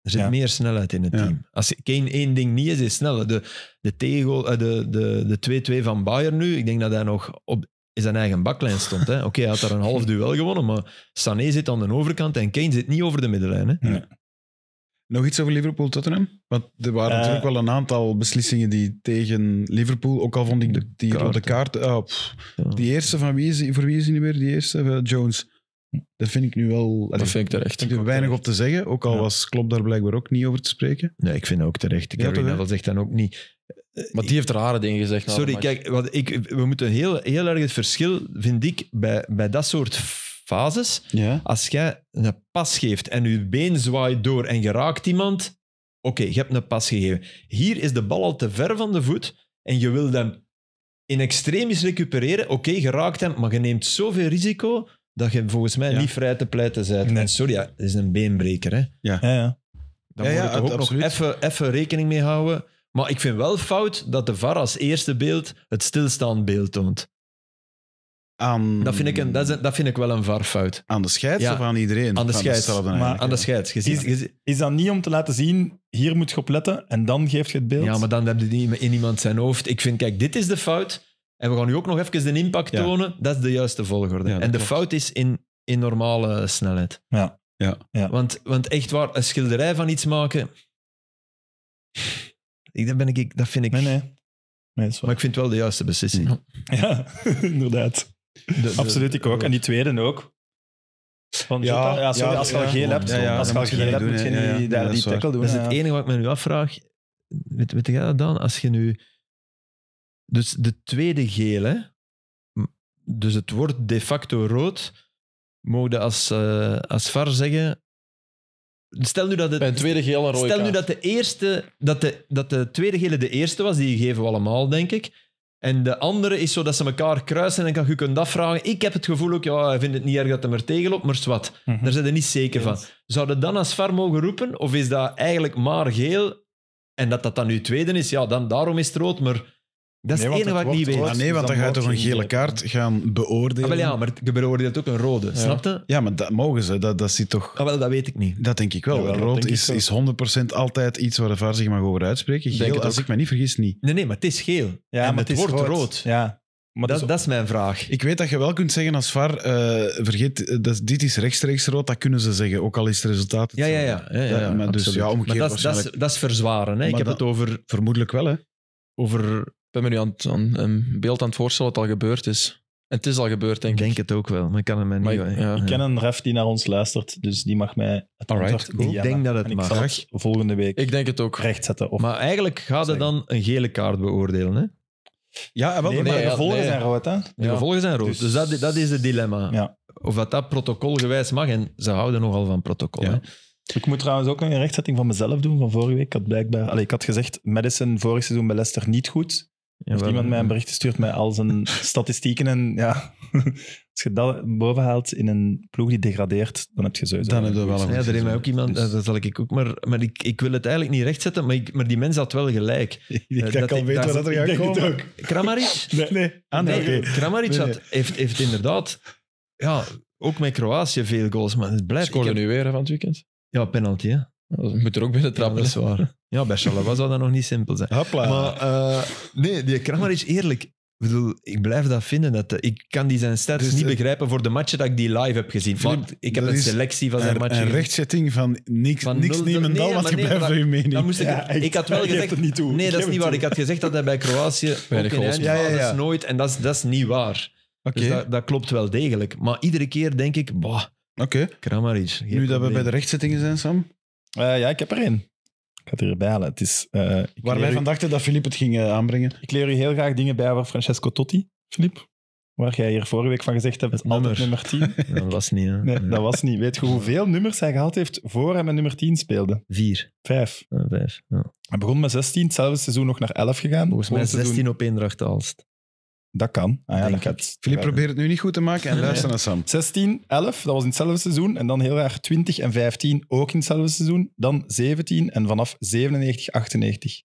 Er zit
Ja.
meer snelheid in het
Ja.
team. Als Kane één ding niet is, is sneller. De, de, tegel, eh, de, de, de 2-2 van Bayern nu, ik denk dat hij nog op in zijn eigen baklijn stond. hè. Oké, hij had daar een half duel gewonnen, maar Sané zit aan de overkant en Kane zit niet over de middenlijn. Hè?
Nog iets over Liverpool-Tottenham? Want er waren
Eh.
natuurlijk wel een aantal beslissingen die tegen Liverpool, ook al vond ik de, die
Kaarten.
rode kaart... ah, pff.
Ja.
die eerste van wie is die, voor wie is die nu weer? Die eerste? Eh, Jones. Dat vind ik nu wel... allee,
Dat vind ik terecht.
er weinig op te zeggen, ook al
Ja.
was Klopp daar blijkbaar ook niet over te spreken.
Nee, ik vind dat ook terecht.
Ja,
Gary
toch, hè?
Neville zegt dan ook niet. eh,
Maar die heeft rare dingen gezegd. na de
Sorry,
match.
kijk, wat ik, we moeten heel, heel erg het verschil, vind ik, bij, bij dat soort fases.
Ja.
Als jij een pas geeft en je been zwaait door en je raakt iemand, oké, je hebt een pas gegeven. Hier is de bal al te ver van de voet en je wil hem in extremis recupereren. Oké, je raakt hem, maar je neemt zoveel risico dat je volgens mij
Ja.
niet vrij te pleiten bent.
Nee.
En sorry, ja, dat is een beenbreker. Hè.
Ja, ja.
Daar
Ja,
moet
ja,
je toch
ab-
ook
absoluut.
nog even, even rekening mee houden. Maar ik vind wel fout dat de VAR als eerste beeld het stilstaand beeld toont.
Aan,
Dat vind ik, een, dat is een- dat vind ik wel een VAR-fout.
aan de scheids
Ja.
of aan iedereen?
Aan de scheids.
hetzelfde
Maar-
eigenlijk.
Aan de scheids. Je ziet- je ziet-
Is dat niet om te laten zien, hier moet je op letten en dan geeft je het beeld?
Ja, maar dan heb je die in iemand zijn hoofd. Ik vind, kijk, dit is de fout. En we gaan nu ook nog even de impact
Ja.
tonen. Dat is de juiste volgorde.
Ja, dat
en de
klopt.
fout is in, in normale snelheid.
Ja.
Ja.
Ja.
Want, want echt waar, een schilderij van iets maken... Ik, dat, ben ik, dat vind ik...
Nee, nee. Nee, dat is
Maar
waar.
ik vind wel de juiste beslissing.
Ja, inderdaad.
De- de-
Absoluut, ik ook. En die tweede ook. Van
Ja,
Jota. ja, sorry,
ja,
als je
ja,
al geel
gewoon.
hebt,
Ja, ja,
als
dat
je al
moet je
geel
niet
hebt,
doen,
moet je
hè. Ja,
niet
ja,
daar
dat
die
is waar.
tackle doen.
Dat is
ja.
het enige wat ik me nu afvraag. Weet, weet jij dat dan? Als je nu... Dus de tweede gele, dus het wordt de facto rood, mogen als, eh, als VAR zeggen... Stel nu dat, het,
Bij een tweede geel een rode
stel nu
kaart.
dat, de, eerste, dat, de, dat de tweede gele de eerste was, die geven we allemaal, denk ik. En de andere is zo dat ze elkaar kruisen en dan kan je kunt afvragen. Ik heb het gevoel ook, ja, ik vind het niet erg dat hem er tegenloopt, maar zwart.
Mhm.
Daar zijn we niet zeker van. Zouden dan als VAR mogen roepen? Of is dat eigenlijk maar geel? En dat dat dan nu tweede is, ja, dan daarom is het rood. Maar dat is
Nee, want het
het enige wat ik
wordt
niet weet.
rood.
Ah, nee, want dan
Dus
ga je
dan
toch een
wordt
gele
geen-
kaart gaan
Ah,
beoordelen.
wel ja, maar je beoordeelt ook een rode, snap je?
Ja, maar dat mogen ze. Dat, dat zit toch...
Ah, wel, dat weet ik niet.
Dat denk ik wel.
Jawel, dat
Rood
denk ik
is,
wel.
is 100% altijd iets waar de VAR zich mag over uitspreken.
Denk
Geel,
het
als
ook.
ik me niet vergis, niet.
Nee, nee, maar het is geel.
Ja,
en
maar
het,
het is
wordt rood.
Ja. Maar
Dat,
dus-
dat is mijn vraag.
Ik weet dat je wel kunt zeggen als VAR, eh, vergeet, eh, dat, dit is rechtstreeks rood, dat kunnen ze zeggen, ook al is het resultaat
Ja, ja,
hetzelfde.
ja. ja, ja,
Ja, maar dus,
absoluut.
ja, omgekeerd
Maar dat, is- dat, is,
waarschijnlijk.
dat is verzwaren. Hè? Ik
Maar
heb
dan-
het over...
Vermoedelijk wel, hè.
over
Ik ben me nu aan, het- aan een beeld aan het voorstellen wat al gebeurd is. En het is al gebeurd, denk
ik
ik.
denk het ook wel, maar ik kan het mij
Maar
niet...
ik-
ja.
ja.
Ik ken een ref die naar ons luistert, dus die mag mij het
Alright,
antwoord
cool.
niet
Ik
hebben.
denk dat het
En ik
mag.
zal het volgende week
Ik denk het ook.
recht zetten. Of...
Maar eigenlijk gaat het dan een gele kaart beoordelen. Hè?
Ja, wel,
nee,
maar-
maar
nee,
de
ja,
volgende
nee.
zijn rood, hè?
De
Ja.
gevolgen zijn rood. Dus,
Dus-
dat, dat is het dilemma.
Ja.
Of dat dat protocolgewijs mag. En ze houden nogal van protocol.
Ja.
hè.
Ik moet trouwens ook nog een rechtzetting van mezelf doen van vorige week. Ik had, blijkbaar, allee, ik had gezegd, Madison vorig seizoen bij Leicester niet goed. Heeft
Jawel.
iemand mij een bericht gestuurd met al zijn statistieken. En ja, als je dat boven haalt in een ploeg die degradeert, dan heb je sowieso...
Dan heb je wel een
Ja, er heeft mij ook iemand, eh,
Dus-
dat zal ik ook maar, maar ik, ik wil het eigenlijk niet rechtzetten, maar, ik, maar die mens had wel gelijk.
Ik
Eh,
denk
dat
al
ik-
weet
dat-
waar
ik
gaat
denk het
komen.
Kramaric?
Nee, nee.
Ah, nee,
Nee,
oké.
Kramaric
Nee, nee.
Had, heeft, heeft inderdaad, ja, ook met Kroatië veel goals, maar het blijft...
Scoorde
ik heb-
nu weer hè, van het weekend.
Ja, penalty, hè. Ja,
Dat moet er ook binnen trappen.
dat is
hè.
waar. Ja, bij Chalaba zou dat nog niet simpel zijn.
Hopla.
Maar eh, nee, die Kramaric, eerlijk. Ik bedoel, ik blijf dat vinden. Dat, eh, ik kan die zijn stats
Dus,
niet
eh,
begrijpen voor de matchen dat ik die live heb gezien.
Filip,
Maar ik heb
dat
een
is
selectie van zijn
een,
matchen
een
gezien.
rechtzetting van niks,
Van
niks
nul-
niemendal,
nee,
want
maar
je
nee,
blijft
maar
bij je mening.
Dan moest ik,
Ja, echt.
ik had wel
Hij geeft
gezegd...
het niet toe.
Nee, dat
Geef
is niet
het
waar.
toe.
Ik had gezegd dat hij bij Kroatië
Weinig
ook in
goals
ja,
maakt.
ja,
Ja, ja, ja.
nooit... En dat is, dat is niet waar.
Oké,
Dus dat, dat klopt wel degelijk. Maar iedere keer denk ik... Bah,
oké.
Kramaric. geen
nu dat we
probleem.
bij de rechtzettingen zijn, Sam.
Eh, ja, ik heb er één. Ik ga het hierbij halen. Het is, eh, ik,
Waar wij
leer u,
van dachten dat Filip het ging eh, aanbrengen.
ik leer u heel graag dingen bij over Francesco Totti, Filip. Waar jij hier vorige week van gezegd hebt,
Het
altijd
nummer.
nummer 10.
Ja, Dat was niet, hè.
Nee,
Ja.
dat was niet. Weet je hoeveel nummers hij gehad heeft voor hij met nummer 10 speelde?
Vier,
Vijf.
eh, vijf. Ja.
Hij begon met 16, hetzelfde seizoen nog naar 11 gegaan.
Volgens mij
Volgend seizoen-
16 op Eendracht Aalst.
Dat kan. Ah, ja,
Denk
dat
ik.
gaat.
Filip probeert het nu niet goed te maken en luister naar Sam.
16, 11, dat was in hetzelfde seizoen. En dan heel raar 20 en 15, ook in hetzelfde seizoen. Dan 17 en vanaf 97, 98.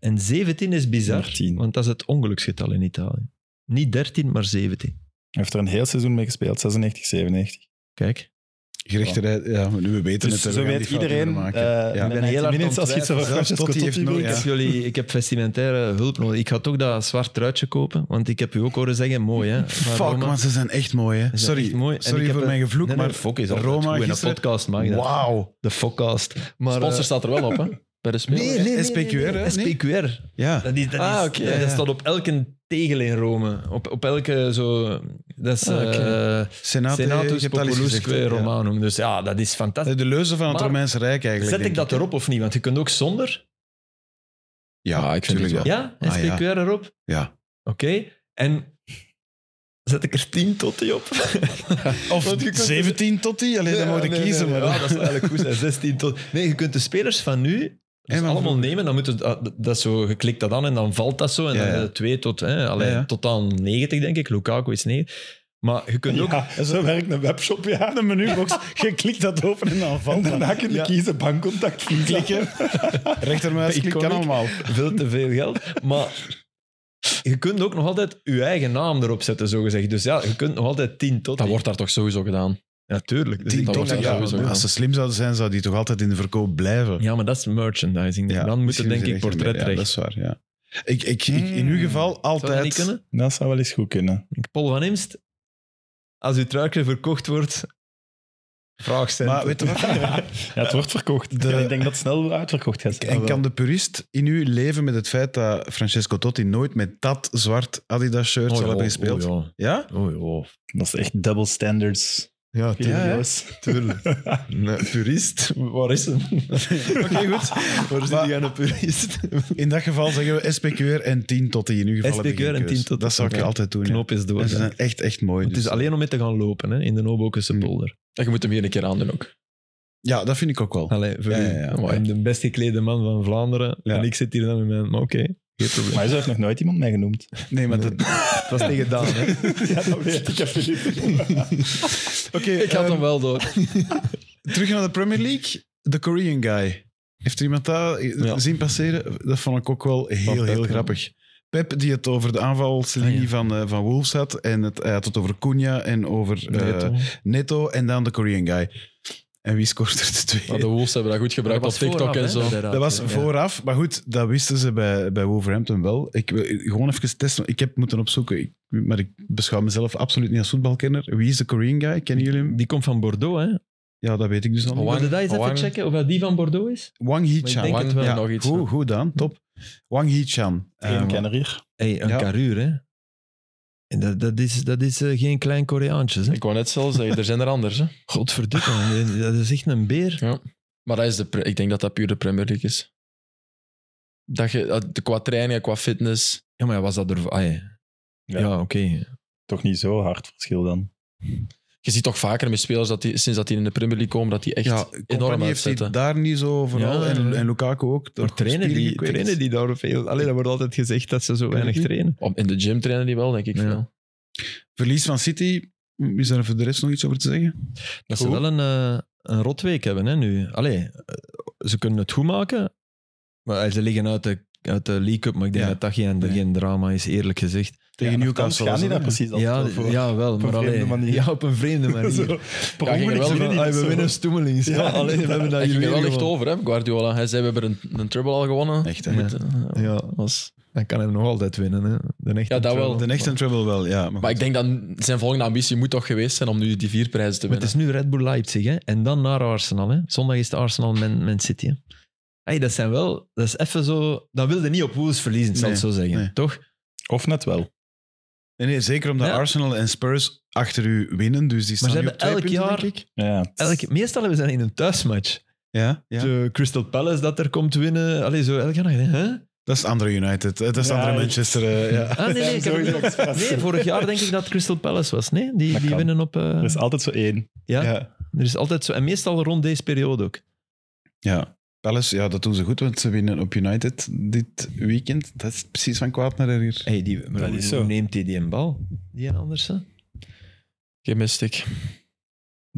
En 17 is bizar,
13.
want dat is het ongeluksgetal in Italië. Niet 13, maar 17.
Hij heeft er een heel seizoen mee gespeeld, 96, 97.
Kijk,
Gerechtigheid, ja, nu we weten
Dus
het.
zo
we gaan
weet
die fout niet
iedereen.
meer maken.
eh,
Ja.
in
Ik ben
90
heel hard
minutes
aan
als
het
je iets over
twijfelen. Zelfs
Francesco
Totti heeft
Totti
nooit-
weet.
Ja.
ik, heb jullie, ik heb vestimentaire hulp nodig. Ik ga toch dat zwart truitje kopen, want ik heb u ook horen zeggen, mooi hè.
Fuck,
van Roma.
maar ze zijn echt mooi, hè.
Ze zijn
Sorry,
echt mooi. En ik
sorry
heb
voor
een-
mijn gevloek,
Nee, nee,
maar
fok is altijd
Roma
goed. En
gisteren-
een podcast mag dat.
wauw.
De fokcast. Maar,
Sponsor
eh,
staat er wel op, hè? Bij de spelers.
Nee, SPQR, hè?
SPQR.
Ja,
Dat, is, dat,
Ah,
is-
oké,
dat
ja.
staat op elke tegel in Rome. Op, op elke zo... Dat is
Ah, oké.
eh,
Senate,
Senatus Populusque
Roman.
Romanum. Dus ja, dat is fantastisch.
De leuze van het
Maar
Romeinse Rijk eigenlijk.
Zet ik
denk
dat erop of niet? Want je kunt ook zonder.
Ja,
Ah,
ik
ik vind
tuurlijk
het
wel.
Ja,
Ah,
SPQR erop. Oké.
Ja.
En zet ik er 10 totti op?
Of
Want je kunt-
17 tot die, alleen dan moet ik kiezen.
Nee,
maar
ja, dat is eigenlijk goed. zijn. 16 tot. Nee, je kunt de spelers van nu dus
maar
allemaal nemen. Dan moeten dat, dat zo, je klikt dat aan en dan valt dat zo. En
Ja, ja.
dan eh, 2 tot, hè, alleen,
Ja, ja.
tot aan 90, denk ik. Lukaku is 9. Maar je kunt ook.
Ja, zo werkt een webshop, ja.
de menubox, je klikt dat open en dan
En
valt dat.
daarna kun je
Ja.
kiezen bankcontact klikken.
Rechtermuisklik kan
Iconic.
allemaal.
veel te veel geld. Maar je kunt ook nog altijd je eigen naam erop zetten, zogezegd. Dus ja, je kunt nog altijd 10 tot.
Dat wordt daar toch sowieso gedaan.
natuurlijk.
Die
dat
toch-
wordt
ja,
sowieso
want
gedaan.
als ze slim zouden zijn, zou die toch altijd in de verkoop blijven.
Ja, maar dat is merchandising.
Ja,
dan moet
misschien
het denk
is
ik
er echt
portretrecht.
meer. Ja, dat is waar, ja. Ik, ik, ik- in uw geval
Zou dat niet
altijd...
kunnen?
Dat zou wel eens goed kunnen.
Ik, Paul van Imst, als uw truikje verkocht wordt, vraagcent.
maar weet je wat?
Ja, het wordt verkocht.
De-
Ja, ik denk dat het snel uitverkocht gaat
Ah,
zijn.
En kan de purist in u leven met het feit dat Francesco Totti nooit met dat zwart Adidas-shirt zal hebben gespeeld?
Oh
ja.
ja, oh,
Dat is echt double standards.
Ja,
Serieus.
tuurlijk. Een purist, waar is hem?
Oké, goed.
Waar zit
Maar-
hij aan een purist?
In dat geval zeggen we SPQR en 10 Totti. In uw geval heb ik
SPQR
geen
en 10
keus.
Totti.
Dat zou ik
Ja.
altijd doen. ja.
Knop is door.
En ze zijn Mm. echt, echt mooi.
Het is
dus.
alleen om mee te gaan lopen hè, in de Nobokense polder.
En je moet hem hier een keer aandoen ook.
Ja, dat vind ik ook wel.
Allee, voor
Ja, ja,
u,
ja,
ik
mooi.
ben de best geklede man van Vlaanderen.
Ja.
En ik zit hier dan met mijn... Maar oké, geen probleem.
Maar zo heeft nog nooit iemand mij genoemd.
Nee, maar dat...
Het was tegen Daan, hè.
ja, dat weet ik, Filip.
Oké,
Ik had
ehm,
hem wel door.
terug naar de Premier League. De Korean guy. Heeft er iemand dat
Ja.
zien passeren? Dat vond ik ook wel heel,
Van Pep,
heel
ja.
grappig. Pep, die het over de aanvalslinie
Ah, ja.
van, eh, van Wolves had. En het, hij had het over Cunha en over eh, Neto. En dan de Korean guy. En wie scoort er de twee?
Maar de Wolves hebben dat goed gebruikt op TikTok en zo.
Dat was vooraf, maar goed, dat wisten ze bij, bij Wolverhampton wel. Ik wil gewoon even testen. Ik heb moeten opzoeken, ik, maar ik beschouw mezelf absoluut niet als voetbalkenner. Wie is de Korean guy? Kennen jullie hem?
Die komt van Bordeaux, hè?
Ja, dat weet ik dus al. niet.
Wang-
Moet je dat eens even
Wang-
checken of dat die van Bordeaux is?
Wang
Maar ik
Hee-chan.
denk het
wel.
Ja,
Nog iets,
goed,
ja.
goed dan, top. Wang Hee-chan.
Geen
Ehm,
kenner hier.
Hey, een
Ja.
karuur, hè? En dat, dat is, dat is eh, geen klein Koreaantje. Hè?
Ik wou net zelf zeggen, er zijn er anders. Hè.
Godverdikke, dat is echt een beer.
Maar dat is de, pre- ik denk dat dat puur de Premier League is. Dat je, dat- qua training, qua fitness.
Ja, maar was dat er. Ah, ja,
Ja.
ja. oké.
Toch niet zo hard verschil dan.
Je ziet toch vaker met spelers dat die, sinds dat die in de Premier League komen, dat die echt
ja,
enorm
Company heeft hij
uitzetten.
daar niet zo vooral.
Ja, ja, ja.
En, en Lukaku ook.
Maar trainen
spieren
die,
gekweekt.
trainen die daar veel? Alleen dat wordt altijd gezegd dat ze zo weinig
niet.
trainen.
Om- In de gym trainen die wel, denk ik
Ja.
veel.
Verlies van City. hm, Is daar voor de rest nog iets over te zeggen? Goed.
Dat ze wel een, eh, een rotweek hebben, hè, nu. Allee, eh, ze kunnen het goed maken, maar eh, ze liggen uit de, uit de League Cup, maar ik denk
Ja.
dat dat geen,
Nee.
geen drama is, eerlijk gezegd.
Tegen
Ja,
Newcastle.
nogthans gaan
was
die daar
het, hè?
precies al
ja,
voor.
ja, wel,
een
maar
vreemde
alleen...
manier.
Ja, op een vreemde
Zo,
manier.
per
Ja, ging er
ongeluk
wel
zie je
van,
niet
Ah,
dat
we
zo.
winnen stoemelings. Ja, alleen we hebben dat
Hij ging er
juweel
wel echt
gewonnen.
over, hè, Guardiola. Hij zei, we hebben een, een treble al gewonnen.
Echt, hè?
Met,
Ja.
eh,
Ja,
was-
dan kan hij nog altijd winnen. Hè. De echte
Ja, dat wel.
trouwens.
De echte trouble wel, ja. Maar,
Maar ik denk dat zijn volgende ambitie moet toch geweest zijn om nu die vier prijzen te
Maar het
winnen.
is nu Red Bull Leipzig hè? en dan naar Arsenal. Hè? Zondag is het Arsenal Man, Man City. Hè? Hey, dat zijn wel, dat is even zo. Dat wilde niet op Wolves verliezen, zal ik
Nee,
zo zeggen.
nee.
Toch?
Of net wel.
Nee, nee, zeker omdat
Ja.
Arsenal en Spurs achter u winnen. Dus die staan
Maar
nu
ze hebben
op twee
elk
punten,
jaar.
denk ik.
Ja, het-
Elk, meestal hebben ze dat in een thuismatch.
Ja, ja.
Zo Crystal Palace dat er komt winnen. Allee, zo elk jaar. denk je, Hè? Ah,
Dat is andere United. eh, Dat is
Ja,
andere
ik-
Manchester. eh, ja.
Ah, nee, nee,
Ja,
ik heb het
sowieso
niet-
expres.
nee, vorig jaar denk ik dat Crystal Palace was. Nee, die,
Dat
die
kan.
winnen op. eh,
Er is altijd zo één.
ja,
Ja.
er is altijd zo. En meestal rond deze periode ook.
ja. Palace, ja, dat doen ze goed, want ze winnen op United dit weekend. Dat is precies van kwaad naar erger.
Hey, die, maar
Dat
hoe,
is zo.
hoe neemt hij die een Ah, bal? Die en Andersen?
Gemist ik.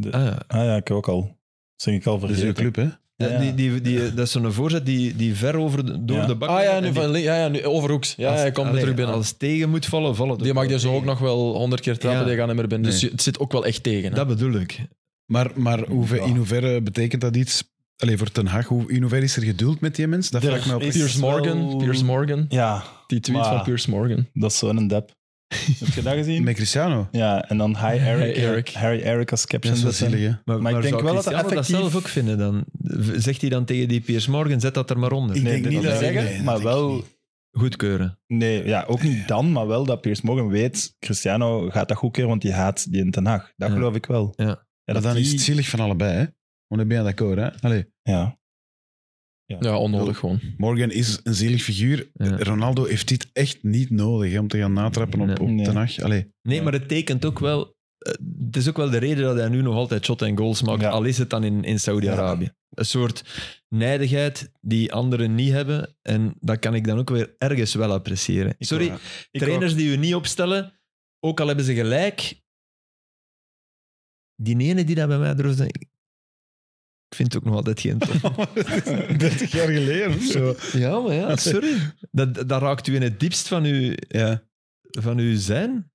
Ah, ja.
Ah ja, ik ook al. Dat zeg ik al
Dat is
vergeten.
uw club, hè?
Ja,
Ja.
Die, die, die, dat is zo'n voorzet die, die ver over de- door
Ja.
de bak
Ah ja,
en
nu
die-
van link- ja, ja, nu overhoeks. Ja,
als-
hij komt er
allee,
terug binnen.
Als tegen moet vallen, vallen.
Die mag je zo ook nog wel honderd keer trappen,
Ja.
die gaan niet meer binnen. Dus
Nee.
je- het zit ook wel echt tegen. Hè?
Dat bedoel ik.
Maar, maar hoeve-
Ja.
in hoeverre betekent dat iets? Allee, voor Ten Hag, hoe, in hoeverre is er geduld met die mens? Dat
Er
vraag ik me op.
is-
Piers Morgan,
wel-
Piers Morgan.
Ja,
Die tweet
Maar-
van Piers Morgan.
dat is zo'n dep. Heb je dat gezien?
Met Cristiano.
Ja, en dan Hi Eric. eh,
Hi, Eric.
Harry Eric als caption.
Dat is wel
zetten.
zielig, hè?
Maar,
ik denk
zou
wel dat
Cristiano
effectief-
dat zelf ook vinden dan. V- Zegt hij dan tegen die Piers Morgan, zet dat er maar onder.
Ik
Nee,
denk
dat
niet
wil
dat-
zeggen,
nee, dat
maar
denk ik
wel
niet.
goedkeuren.
Nee, ja, ook niet dan, maar wel dat Piers Morgan weet, Cristiano gaat dat goedkeuren, want die haat die in Ten Haag. Dat
Ja.
geloof ik wel.
Ja.
Maar dan
die-
is het zielig van allebei, hè? Want dan ben je akkoord, hè? Allee.
Ja.
Ja, onnodig gewoon.
Morgan is een zielig figuur.
Ja.
Ronaldo heeft dit echt niet nodig hè, om te gaan natrappen op,
Nee.
op
Nee.
Ten Hag. Allee.
Nee,
Ja.
maar het tekent ook wel... eh, Het is ook wel de reden dat hij nu nog altijd shot en goals maakt,
Ja.
al is het dan in, in Saudi-Arabië. Een soort nijdigheid die anderen niet hebben. En dat kan ik dan ook weer ergens wel appreciëren.
Ik
Sorry,
ook. Ik
trainers die u niet opstellen, ook al hebben ze gelijk. Die ene die dat bij mij durfde... Ik vind het ook nog altijd geen top.
30 jaar geleden of zo.
Ja, maar
Ah,
ja, sorry. Dat, dat raakt u in het diepst van uw,
Ja.
van uw zijn.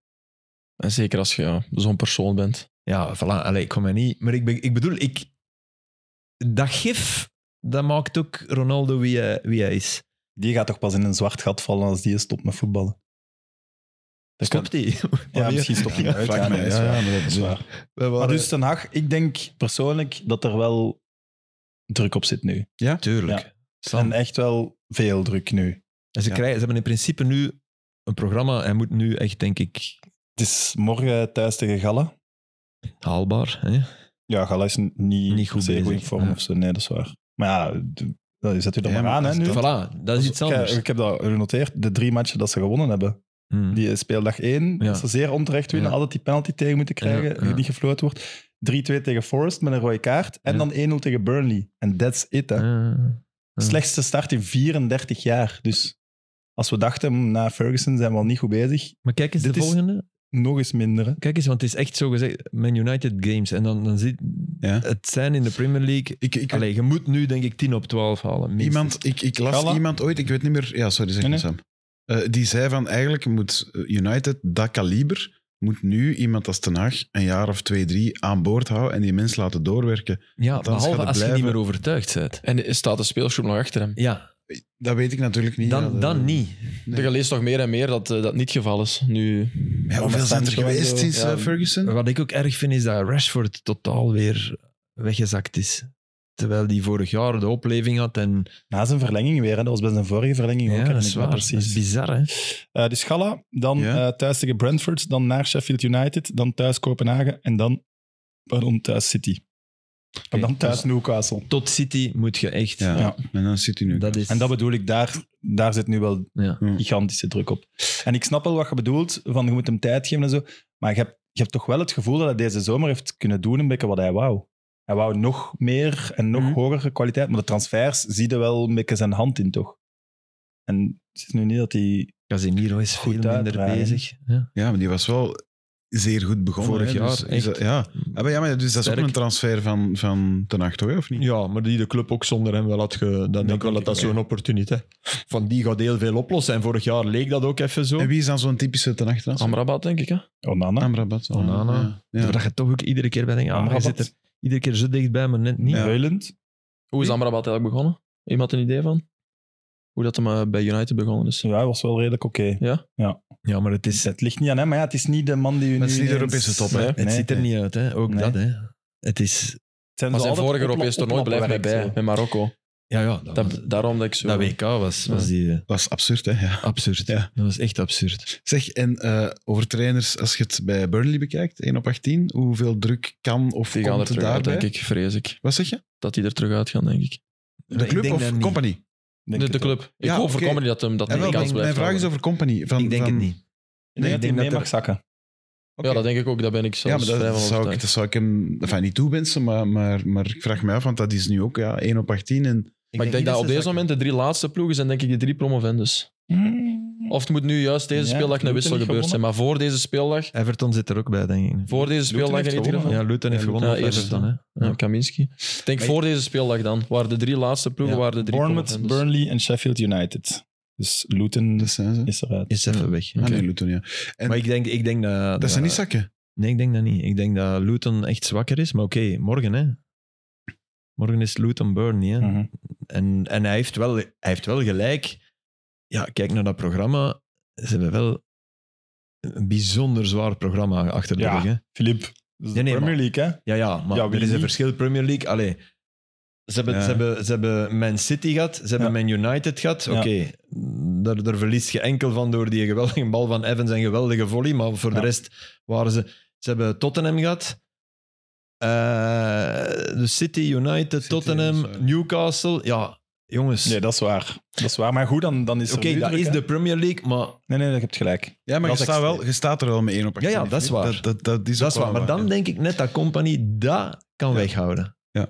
En zeker als je ja, zo'n persoon bent.
Ja, voilà. Allee, ik kom er niet... Maar ik, be- ik bedoel, ik, dat gif, dat maakt ook Ronaldo wie hij, wie hij is.
Die gaat toch pas in een zwart gat vallen als die stopt met voetballen. Dat kan-
Stopt hij?
Ja, misschien stopt hij uit.
Vraag
Ja,
mij.
nee, dat is
Ja, ja, maar dat is
waar. Dat is
waar.
waar. Maar dus Ten Hag, ik denk persoonlijk dat er wel druk op zit nu.
Tuurlijk.
Ja. En echt wel veel druk nu.
En ze,
Ja.
krijgen, ze hebben in principe nu een programma. Hij moet nu echt, denk ik,
Het is morgen thuis tegen Galla.
haalbaar. Hè?
Ja, Galla is n- niet,
Niet goed
zeer goed in
bezig,
vorm
ja.
of zo. Nee, dat is waar. Maar ja, d- dat- zet u dat
Ja,
maar
maar
aan, hè,
als
nu.
dat-
Voilà, dat is iets
Ik-
anders.
Ik heb dat genoteerd. De drie matchen dat ze gewonnen hebben.
Hmm.
Die speeldag 1,
Ja.
dat ze zeer onterecht winnen.
Ja.
Altijd die penalty tegen moeten krijgen,
Ja,
die
ja.
niet gefloten wordt. 3-2 tegen Forest met een rode kaart. En
Ja.
dan 1-0 tegen Burnley. En that's it, hè.
Eh, Ja.
Slechtste start in 34 jaar. Dus als we dachten, "Hm, na Ferguson zijn we al niet goed bezig.
maar kijk eens
Dit
de
is-
volgende.
Nog eens minder, hè.
Kijk eens, want het is echt zo gezegd, Man United games. En dan, dan zit
Ja.
het zijn in de Premier League.
Ik, ik,
Allee, je moet nu denk ik 10 op 12 halen. minstens.
iemand, ik, ik las
Gala?
iemand ooit, ik weet niet meer. Ja, sorry, zeg
Nee,
maar Sam. Eh, die zei van eigenlijk moet eh, United dat kaliber. Moet nu iemand als Ten Hag een jaar of twee, drie aan boord houden en die mens laten doorwerken.
Ja,
Althans, gaat
behalve
het
als je
blijven.
niet meer overtuigd bent.
En is- staat de speelsgroep nog achter hem?
Ja,
Dat weet ik natuurlijk niet. Ja,
dan,
dat-
dan niet.
Nee.
Je leest nog meer en meer dat eh, dat niet het geval is. Nu,
Ja, hoeveel
maar
zijn er
Sancho en
geweest
zo.
sinds
Ja,
eh, Ferguson?
Wat ik ook erg vind is dat Rashford totaal weer weggezakt is. Terwijl die vorig jaar de opleving had. En,
Na zijn verlenging weer, hè. dat was bij zijn vorige verlenging ook.
ja,
hè.
dat is
Ik weet
waar. Dat
precies.
is bizar, hè?
Eh, dus Gala, dan
Ja.
eh, thuis tegen Brentford, dan naar Sheffield United, dan thuis Kopenhagen en dan, pardon, thuis City. en dan thuis Newcastle.
Tot City moet je echt...
Ja.
Ja.
En dan zit hij nu.
Dat is...
En dat bedoel ik, daar, daar zit nu wel
Ja.
gigantische druk op. En ik snap wel wat je bedoelt, van je moet hem tijd geven en zo, maar je hebt, je hebt toch wel het gevoel dat hij deze zomer heeft kunnen doen een beetje wat hij wou. Hij wou nog meer en nog
Mhm.
hogere kwaliteit, maar de transfers zie je wel een beetje zijn hand in, toch? En het is nu niet dat hij...
Casemiro is
Goed
veel minder
uitdraaien.
bezig. Ja.
Ja, maar die was wel zeer goed begonnen.
Vorig
hè,
jaar,
dus is dat-
echt.
ja. Ah, maar ja, maar dus dat is ook
Sterk.
een transfer van, van ten acht, hoor, of niet?
Ja, maar die de club ook zonder hem wel had ge... Dan denk ik wel dat
denk
dat
eh,
ik ook,
zo'n opportuniteit... Van die gaat heel veel oplossen. En vorig jaar leek dat ook even zo.
En wie is dan zo'n typische ten acht? transfer?
Amrabat, denk ik. Hè?
Onana?
Amrabat.
Onana.
Ja. Ja.
Dat je toch ook iedere keer bij denkt, ah, hij zit er
Amrabat?
iedere keer zo dichtbij, maar net niet.
Ja. Heuland?
Hoe is Amrabat eigenlijk begonnen? Iemand een idee van? Hoe dat hem eh, bij United begonnen is?
Ja, hij was wel redelijk oké.
Ja, maar het,
Dus
is,
Het ligt niet aan hem, maar ja, het is niet de man die u nu...
Dat is niet de
ineens-
Europese top, hè?
Nee,
het
nee.
ziet er niet uit, hè? ook
Nee.
dat. Hè? Het is...
zijn
Maar
zo
zijn
altijd
vorige
opla-
Europees toernooi blijft mij bij,
oplappenwerk zo.
met Marokko.
Ja, ja, dat,
Dat,
was-
daarom dat ik zo...
dat WK was, was die, eh,
Dat is absurd, hè? Ja.
absurd.
Ja.
Dat was echt absurd.
Zeg, en eh, over trainers, als je het bij Burnley bekijkt, 1 op 18, hoeveel druk kan of
Die gaan er
komt
terug
daarbij?
uit, denk ik. Vrees ik.
Wat zeg je?
Dat die er terug uit gaan, denk ik.
De club
denk dat
of
niet.
company?
Denk
de,
het
de
ook.
club. Ik
Ja,
hoop
oké.
voor Comedy dat hem dat
Ja,
hij
wel,
een kans
mijn mijn
blijft
vraag is
houden.
over company. Van,
ik denk
van,
het niet.
Ik denk dat hij
denk
mee
dat
mag
er-
zakken.
Oké.
Ja, dat denk ik ook. Daar ben ik
Ja,
zelfs
maar
vrij
dat
van
zou, ik,
overtuigd.
dat zou ik hem enfin, niet toewensen, maar, maar, maar ik vraag me af, want dat is nu ook ja, 1 op 18. En,
Maar ik denk dat op deze moment de drie laatste ploegen zijn denk ik de drie promovendus.
Mm.
Of het moet nu juist deze
Ja,
speeldag een
Luton
wissel
heeft
gebeurd zijn. Maar voor deze speeldag,
Everton zit er ook bij, denk ik.
voor deze speeldag
heeft
in ieder geval.
gewonnen.
Ja, Luton heeft
Ja,
gewonnen.
ja,
op
eerst
Everton,
dan.
hè.
Ja, Kaminski. Ik denk voor deze speeldag dan. Waar de drie laatste ploegen
Ja.
waren de drie
Bournemouth,
promovendus.
Burnley en Sheffield United. Dus Luton
dat zijn ze.
is eruit.
Is even weg.
Ah,
Oké.
nee, Luton, ja. En
Maar ik denk, ik denk dat...
dat zijn niet zakken.
Nee, ik denk dat niet. Ik denk dat Luton echt zwakker is. Maar oké, morgen hè. Morgen is Luton Burnley. Hè.
Mhm.
En, en hij, heeft wel, hij heeft wel gelijk. Ja, kijk naar dat programma. Ze hebben wel een bijzonder zwaar programma achter de
Ja.
rug. Hè.
Filip, dat is de
Nee, nee,
Premier League, hè?
Ja, ja, maar
Ja,
er
wie
is een
niet?
verschil. Premier League, allee, Ze hebben,
Ja.
ze, hebben, ze hebben Man City gehad, ze hebben
Ja.
Man United gehad.
Ja.
Oké, daar, daar verlies je enkel van door die geweldige bal van Evans en geweldige volley. Maar voor
Ja.
de rest waren ze... Ze hebben Tottenham gehad. Eh, dus City, United, Tottenham,
dus, ja.
Newcastle. Ja, jongens.
Nee, dat is waar. Dat is waar. Maar goed, dan, dan is
Oké,
er nu
dat
druk,
is
hè.
de Premier League, maar
Nee, nee, je hebt gelijk.
Ja, maar je
Dat is
staat,
extreem.
wel, je staat er wel mee één op
Ja, ja,
actief,
dat is
hè.
waar.
Dat, dat, dat is,
dat
ook
is waar.
wel
Maar dan denk ik net dat Company dat kan
Ja.
weghouden.
Ja.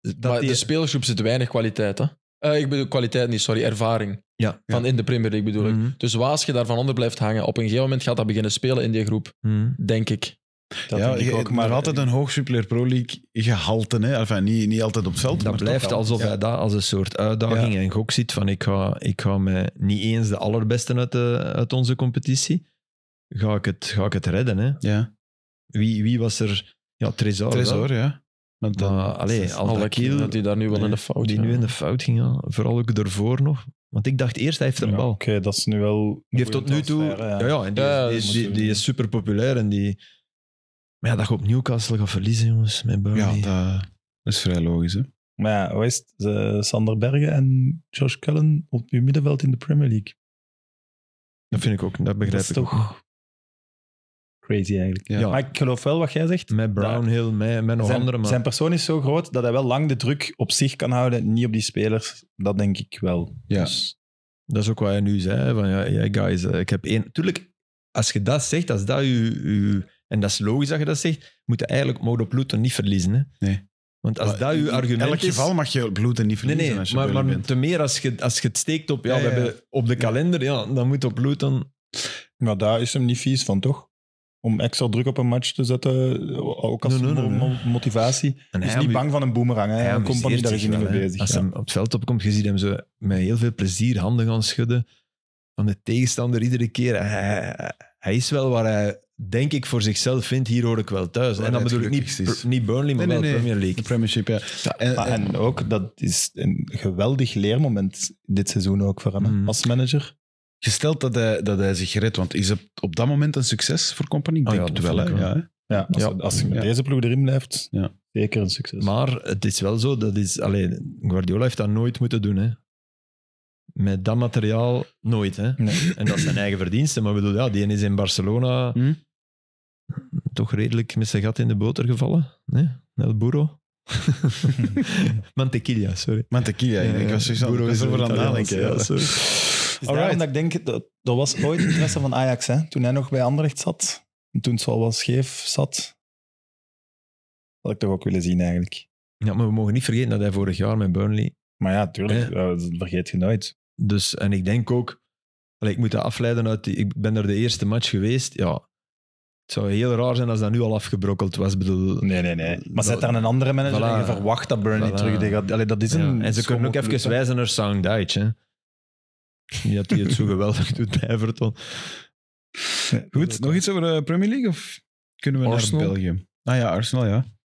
Dat
maar
die-
de spelersgroep zit weinig kwaliteit. Hè? Eh, ik bedoel, kwaliteit niet, sorry, ervaring.
Ja.
Van in de Premier League bedoel ik.
Mhm.
Dus waar je daarvan onder blijft hangen, op een gegeven moment gaat dat beginnen spelen in die groep,
Mhm.
denk ik.
Dat
ja,
denk ik
je-
ook.
er
Maar
is altijd een hoog Super Pro League gehalte. Hè? Enfin, niet, niet altijd op het veld.
Dat
maar
blijft
toch wel.
alsof
Ja.
hij dat als een soort uitdaging en gok ziet van ik ga, ik ga me niet eens de allerbeste uit, de, uit onze competitie, ga ik het, ga ik het redden. Hè?
Ja,
Wie, wie was er? Ja, Trezor.
Tresor, ja. Maar
wel.
dan-
Maar Ah, allee,
Al dat
Al-Dakil,
dat hij daar nu wel
Nee,
in de fout
die
gaat.
nu in de fout ging, ja. vooral ook ervoor nog. Want ik dacht eerst, hij heeft een
Ja,
bal.
Oké, dat is nu wel... een
Die heeft tot
goede
nu toe...
transfer,
Ja,
ja.
ja, en die, is,
Ja,
die,
dat
is,
moeten
die,
we
die
doen.
is super populair en die... Maar ja, dat je op Newcastle gaat verliezen, jongens, met
ja,
Burnley.
dat is vrij logisch. Hè?
Maar ja, hoe is het? Eh, Sander Bergen en Josh Cullen op je middenveld in de Premier League.
Dat vind ik ook, dat
dat
begrijp
is
ik ook.
toch crazy eigenlijk.
Ja.
Ja.
Maar ik geloof wel wat jij zegt.
Met Brownhill, met, met nog
zijn,
andere, maar...
zijn persoon is zo groot dat hij wel lang de druk op zich kan houden, niet op die spelers. Dat denk ik wel.
Ja.
Dus,
Dat is ook wat je nu zei. Van ja, ja guys, eh, ik heb één. Tuurlijk, als je dat zegt, als dat je, En dat is logisch dat je dat zegt. Moet je eigenlijk Modo Pluto niet verliezen. Hè?
Nee.
Want als
Maar
dat
in-
je
in
argument
elk
is.
geval mag je bloed en niet
Nee,
verliezen
nee,
als je
maar,
Burnley
maar
bent.
te meer als je, als je het steekt op, ja,
Ja,
we
ja, ja.
hebben op de kalender, ja, dan moet op Pluton.
maar daar is hem niet vies van, toch? Om extra druk op een match te zetten, ook als
Nee, nee, nee,
mo- motivatie.
En
Hij is niet bang van een boemerang. Hij
dus
een compagnie, daar is hij niet mee bezig.
Als
ja.
hij op het veld opkomt, je ziet hem zo met heel veel plezier handen gaan schudden. Van de tegenstander iedere keer. Hij, hij- hij is wel waar hij, denk ik, voor zichzelf vindt. Hier hoor ik wel thuis.
Waar
En dan
hij het
bedoel ik niet,
gelukkigst is.
pr- niet Burnley, maar
Nee, nee,
wel
nee.
Premier League.
De Premiership, ja. En- eh,
Maar, en ook, dat is een geweldig leermoment dit seizoen ook voor hem hè,
Mhm.
als manager.
Gesteld dat hij, dat hij zich redt, want is het op dat moment een succes voor Company? Ik
Ah,
denk
ja,
het
dat
wel.
vind
hè.
ik wel.
Ja, hè.
Ja, als,
Ja.
als je met
Ja.
deze ploeg erin blijft,
Ja.
zeker een succes.
Maar het is wel zo, dat is, allee, Guardiola heeft dat nooit moeten doen. Hè. Met dat materiaal nooit. Hè.
Nee.
En dat is zijn eigen verdiensten. Maar ik bedoel, ja, die is in Barcelona
Hm?
toch redelijk met zijn gat in de boter gevallen. Nee? El Burro. Mantequilla, sorry.
Maar tequila,
Ja,
ik
ja,
was zoiets aan-
Burro
ik was
is
erover aan
een
het
Italiaans,
nadenken.
ja,
ja.
sorry.
All right. ik denk, dat, dat was ooit interesse van Ajax, hè? toen hij nog bij Anderlecht zat. En toen het al wel scheef zat. Dat had ik toch ook willen zien eigenlijk.
Ja, maar we mogen niet vergeten dat hij vorig jaar met Burnley
Maar ja, tuurlijk, eh, dat vergeet je nooit.
Dus, en ik denk ook, allee, ik moet dat afleiden uit, die- ik ben er de eerste match geweest, ja. Het zou heel raar zijn als dat nu al afgebrokkeld was, bedoel.
Nee, nee, nee. Maar
Dat-
zet daar een andere manager
Voilà.
en je verwacht dat Burnley
Voilà.
terug degradeert. Allee, dat is een
Ja, En ze kunnen ook even
schommelploeg, hè.
wijzen naar Sound Dike, hè. Niet dat hij het zo geweldig doet bij Everton.
Goed, nog iets over de Premier League? Of kunnen we
Arsenal?
naar België? Ah ja, Arsenal, ja.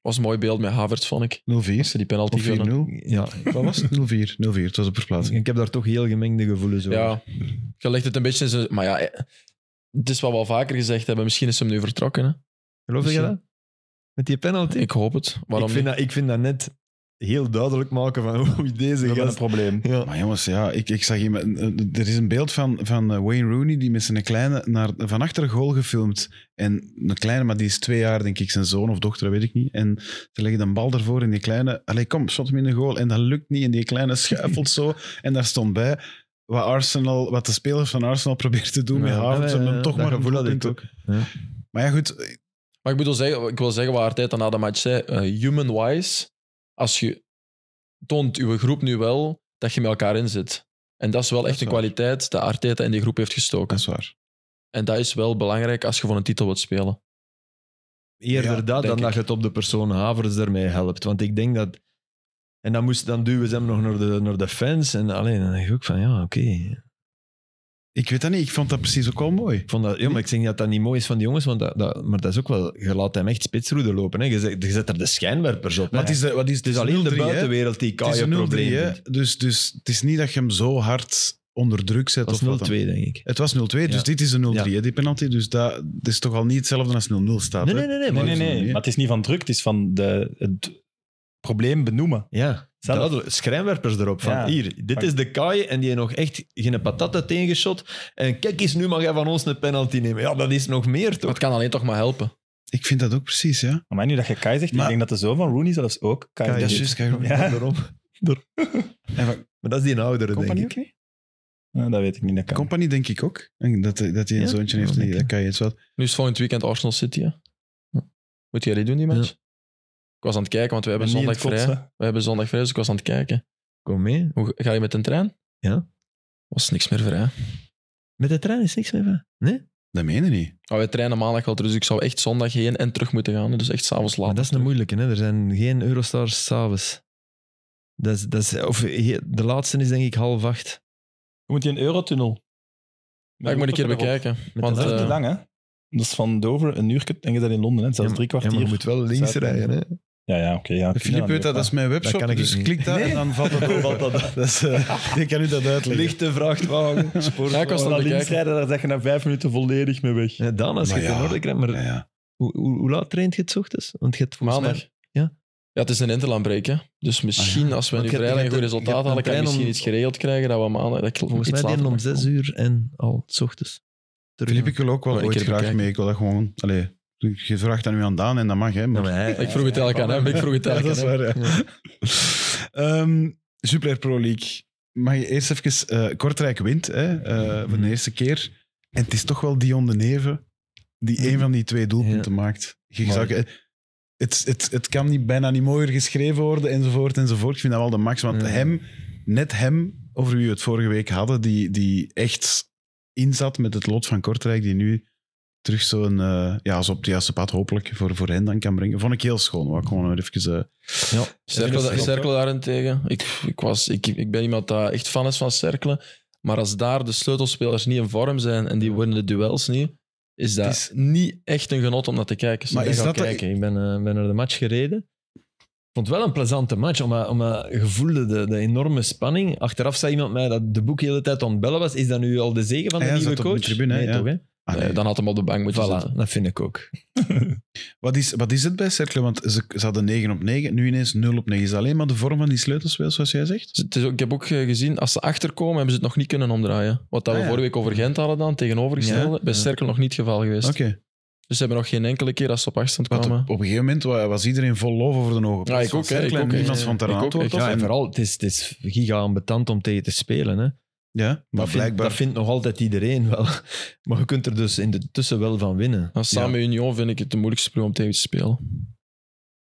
was een mooi beeld met Havertz, vond ik.
0-4.
eh,
Als ze die penalty
Of 4-0.
gunnen.
Ja,
Wat was het? 0-4. 0-4, het was een verplaatsing.
ik heb daar toch heel gemengde gevoelens over.
Ja, je legt het een beetje in zijn... Maar ja, eh, het is wat we al vaker gezegd hebben. Misschien is hem nu vertrokken. Hè?
Geloof je
Misschien.
dat? Met die penalty?
Ik hoop het. Waarom
ik, vind
niet?
dat, ik vind dat net heel duidelijk maken van hoe
We
deze
hebben een
gast...
probleem.
Ja.
Maar jongens, ja, ik, ik zag iemand, eh, er is een beeld van, van eh, Wayne Rooney die met zijn kleine naar, van achter een goal gefilmd. En een kleine, maar die is twee jaar, denk ik, zijn zoon of dochter, dat weet ik niet. En ze leggen een bal ervoor en die kleine, allee, kom, shot hem in de goal. En dat lukt niet en die kleine schuifelt zo. En daar stond bij wat, Arsenal, wat de spelers van Arsenal proberen te doen met Havertz, om hem toch maar een
eh, gevoel had
doelpunt
ik
te...
ook.
Maar ja, goed,
Maar ik, bedoel zeggen, ik wil zeggen wat Arteta na de match zei. eh, human wise, als je toont uw groep nu wel dat je met elkaar in zit. En dat is wel
Dat
echt
is
een
waar.
kwaliteit dat Arteta in die groep heeft gestoken.
dat is waar.
En dat is wel belangrijk als je voor een titel wilt spelen.
Eerder
Ja,
dat
denk
dan dat
ik.
je het op de persoon Havers ermee helpt. Want ik denk dat... En dan, moest, dan duwen ze hem nog naar de, naar de fans. En alleen, dan denk ik ook van, ja, oké.
Ik weet dat niet, ik vond dat precies ook wel mooi.
Ik vond dat... Ja, maar ik zeg niet dat dat niet mooi is van die jongens, want dat, dat, maar dat is ook wel... Je laat hem echt spitsroede lopen. Hè. Je, zet, je zet er de schijnwerpers op.
Maar
hè.
het is, de- wat is,
Het is alleen de
0-3, hè?
buitenwereld die
Het is
kaaie
een 0-3,
probleem
hè.
vindt.
Dus, dus het is niet dat je hem zo hard onder druk zet.
Dat is 0-2,
of wat dan.
denk ik.
Het was 0-2, dus
Ja.
dit is een 0-3,
Ja.
hè, die penalty. Dus dat, dat is toch al niet hetzelfde als 0-0 staat.
Nee,
hè?
nee, nee. nee,
Nee, nee,
maar-
dat is
nee.
niet, hè.
Maar het is niet van druk, het is van de, het probleem benoemen.
Ja,
Zelf.
duidelijk. Schrijnwerpers erop. Van
Ja.
hier, dit
Maar-
is de kaai en die heeft nog echt geen patat uiteengeschot. En kijk eens, nu mag jij van ons een penalty nemen. Ja, dat is nog meer
Maar
toch?
het kan alleen toch maar helpen.
Ik vind dat ook precies, ja.
Maar nu dat je Kai zegt,
Maar-
ik denk dat de zoon van Rooney zelfs ook Kai,
Dat
deed.
is juist, kijk.
Ja.
Daarom.
En van
Maar dat is die oudere,
Company
denk
ook
ik.
niet? Eh, dat weet ik niet. Dat kan.
Company denk ik ook. En Dat, dat hij een
Ja,
zoontje
dat
heeft,
denk
die-
ik.
dat kan je het wel.
Nu is volgend weekend Arsenal City. Hè? Ja. Moet jij die doen, die match? Ik was aan het kijken, want we
Ik ben
hebben
niet in
zondag
het
vrij.
kotsen.
We hebben zondag vrij, dus ik was aan het kijken.
Kom mee.
Hoe, ga je met een trein?
Ja.
Was niks meer vrij.
Met de trein is niks meer van. Nee?
Dat meen je niet.
Oh, wij trainen maandag wel, dus ik zou echt zondag heen en terug moeten gaan. hè. Dus echt s'avonds laat.
Maar dat is een moeilijke. Hè? Er zijn geen Eurostars s'avonds. Dat is, dat is, of, he- de laatste is denk ik half acht.
Moet je een eurotunnel?
Ja, ik moet een keer bekijken.
Met
want
Dat is
eh,
te lang, hè? Dat is van Dover een uur en je bent in Londen, hè?
Ja,
Zelfs
maar-
drie
ja,
kwartier.
maar je moet wel links
Zuid-
rijden. Hè?
Ja, ja, oké. ja, ik vind
Filip weet dat, dat is mijn webshop,
Dat kan ik
dus
niet.
klik daar en dan valt dat
Valt dat
op. Dus, eh, ik kan u dat uitleggen.
Lichte vrachtwagen. sport.
ja, ik was aan
Als
het
je links
bekijken.
rijden, daar zeg je na vijf minuten volledig mee weg.
Ja, dan, als je
Maar
het in
ja.
orde krijgt. Maar
Ja, ja.
hoe, hoe, hoe laat traint je het 's ochtends? Want je hebt volgens mij-
Maandag.
Ja.
Ja, het is een interlandbreek, hè. Dus misschien, als we
Want je
nu
hebt-
vrijdag
je
een goed
hebt een- je
resultaat
hebt een
halen, kan ik
trein
misschien
om-
iets geregeld krijgen dat we maandag... Dat ik
Volgens mij deden om zes
zes
uur en al, s ochtends. Terug
Filip, ik wil ook wel
Maar ik
ooit
heb
graag
bekijken.
mee. Ik wil dat gewoon... Allee, je vraagt dat nu aan Daan en dat mag, hè. Maar...
Ja, maar hij-
Ik vroeg het elke aan hem, ik vroeg het
Ja,
elke
dat is
aan
waar,
hem.
ja. Ehm, Super Pro League. Mag je eerst even... eh, Kortrijk wint, hè, eh, voor
Mhm.
de eerste keer. En het is toch wel Dion de Neve die één van die twee doelpunten maakt. Je
Mooi.
zou- eh, het, het, het kan niet, bijna niet mooier geschreven worden, enzovoort, enzovoort. Ik vind dat wel de max, want
Ja.
hem, net hem, over wie we het vorige week hadden, die, die echt inzat met het lot van Kortrijk, die nu terug zo'n, eh, ja, zo op het juiste pad hopelijk voor, voor hen dan kan brengen. Vond ik heel schoon, wou ik gewoon weer even... eh,
Cerkel, Cerkel daarentegen. Ik, ik, was, ik, ik ben iemand dat echt fan is van Cerkelen. Maar als daar de sleutelspelers niet in vorm zijn en die winnen de duels niet, is dat
Het is-
niet echt een genot om naar te kijken.
Maar
Ik
is
ga
dat de-
kijken.
Kijk, ik ben, eh, ben naar de match gereden. Ik vond het wel een plezante match, omdat, omdat je voelde de, de enorme spanning. Achteraf zei iemand mij dat de boek de hele tijd aan het bellen was. Is dat nu al de zegen van de
Hij
nieuwe
Ah zat op de
coach?
tribune, hè,
nee,
ja.
toch, hè?
ah,
Nee,
nee.
dan had hem op de bank moeten
Voilà,
zitten.
dat vind ik ook.
Wat is, wat is het bij Cercle? Want ze, ze hadden 9 op 9, nu ineens 0 op 9. Is dat alleen maar de vorm van die sleutelspeel, zoals jij zegt?
Dus het is ook- ik heb ook eh, gezien, als ze achterkomen, hebben ze het nog niet kunnen omdraaien. Wat dat
Ah,
we
ja.
vorige week over Gent hadden dan, tegenovergestelde,
Ja,
bij
ja.
Cerkel nog niet het geval geweest.
Oké.
Dus ze hebben nog geen enkele keer dat ze op achterstand
Want
kwamen.
Op, op een gegeven moment wa- was iedereen vol lof over de ogen.
Ja, ik
Van
ook, hè,
Cercle
ik
en
ook, hè.
Niemand vond daar
Ik
een
ook,
antwoord
ik-
op.
Ja, en
En-
vooral, het is, het is giga ambetant om tegen te spelen. Hè?
ja, maar
dat, vindt,
blijkbaar...
dat vindt nog altijd iedereen wel. Maar je kunt er dus in de tussen wel van winnen.
Nou, samen met Union vind ik het de moeilijkste ploeg om tegen te spelen.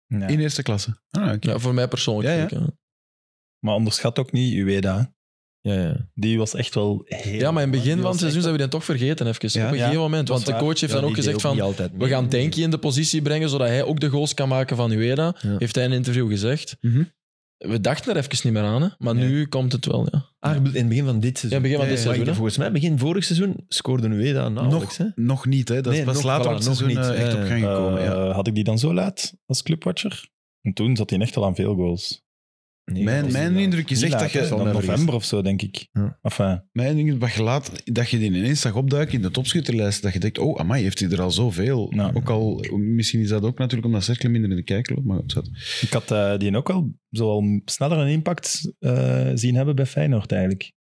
Ja.
In eerste klasse. Ah, oké.
Ja, voor mij persoonlijk.
Ja, ja.
vind ik, hè.
Maar onderschat ook niet Ueda. hè.
Ja, ja.
Die was echt wel heel...
Ja, maar in het begin
Die was
van het seizoen
echt-
zijn we die toch vergeten even.
Ja.
op een
Ja,
gegeven
dat
moment. Want
is
de
waar.
coach heeft
Ja,
dan ook
die
gezegd
deed niet
van...
altijd
We
mee.
gaan Denki in de positie brengen, zodat hij ook de goals kan maken van Ueda.
Ja.
Heeft hij in een interview gezegd.
Mhm.
We dachten er even niet meer aan, hè. maar
Nee.
nu komt het wel. Ja.
Ah, je bedoelt in het begin van dit seizoen.
Ja, begin van dit
Maar
seizoen, hè.
Volgens mij, begin vorig seizoen, scoorde Ueda nauwelijks.
nog,
Hè?
nog niet, hè. Dat is
Nee,
pas
nog-
later
voilà,
op het
nog
seizoen
niet.
eh, echt
Ja,
op
ja.
gang gekomen. ja.
Eh, Had ik die dan zo laat als clubwatcher? En toen zat hij echt al aan veel goals.
Nee, dat
Mijn,
is
mijn
inderdaad.
indruk is
Niet
echt dat
later,
je...
zal
dan
mij
november
vergissen.
of zo, denk ik.
Ja.
Enfin,
Mijn indruk is dat je, laat, dat je die ineens zag opduiken in de topschutterlijst. Dat je denkt, oh, amai, heeft hij er al zoveel.
Ja.
Ook al, misschien is dat ook natuurlijk omdat Cercle minder in de kijker loopt, maar het zat.
ik had eh, die ook al zo al sneller een impact eh, zien hebben bij Feyenoord, eigenlijk.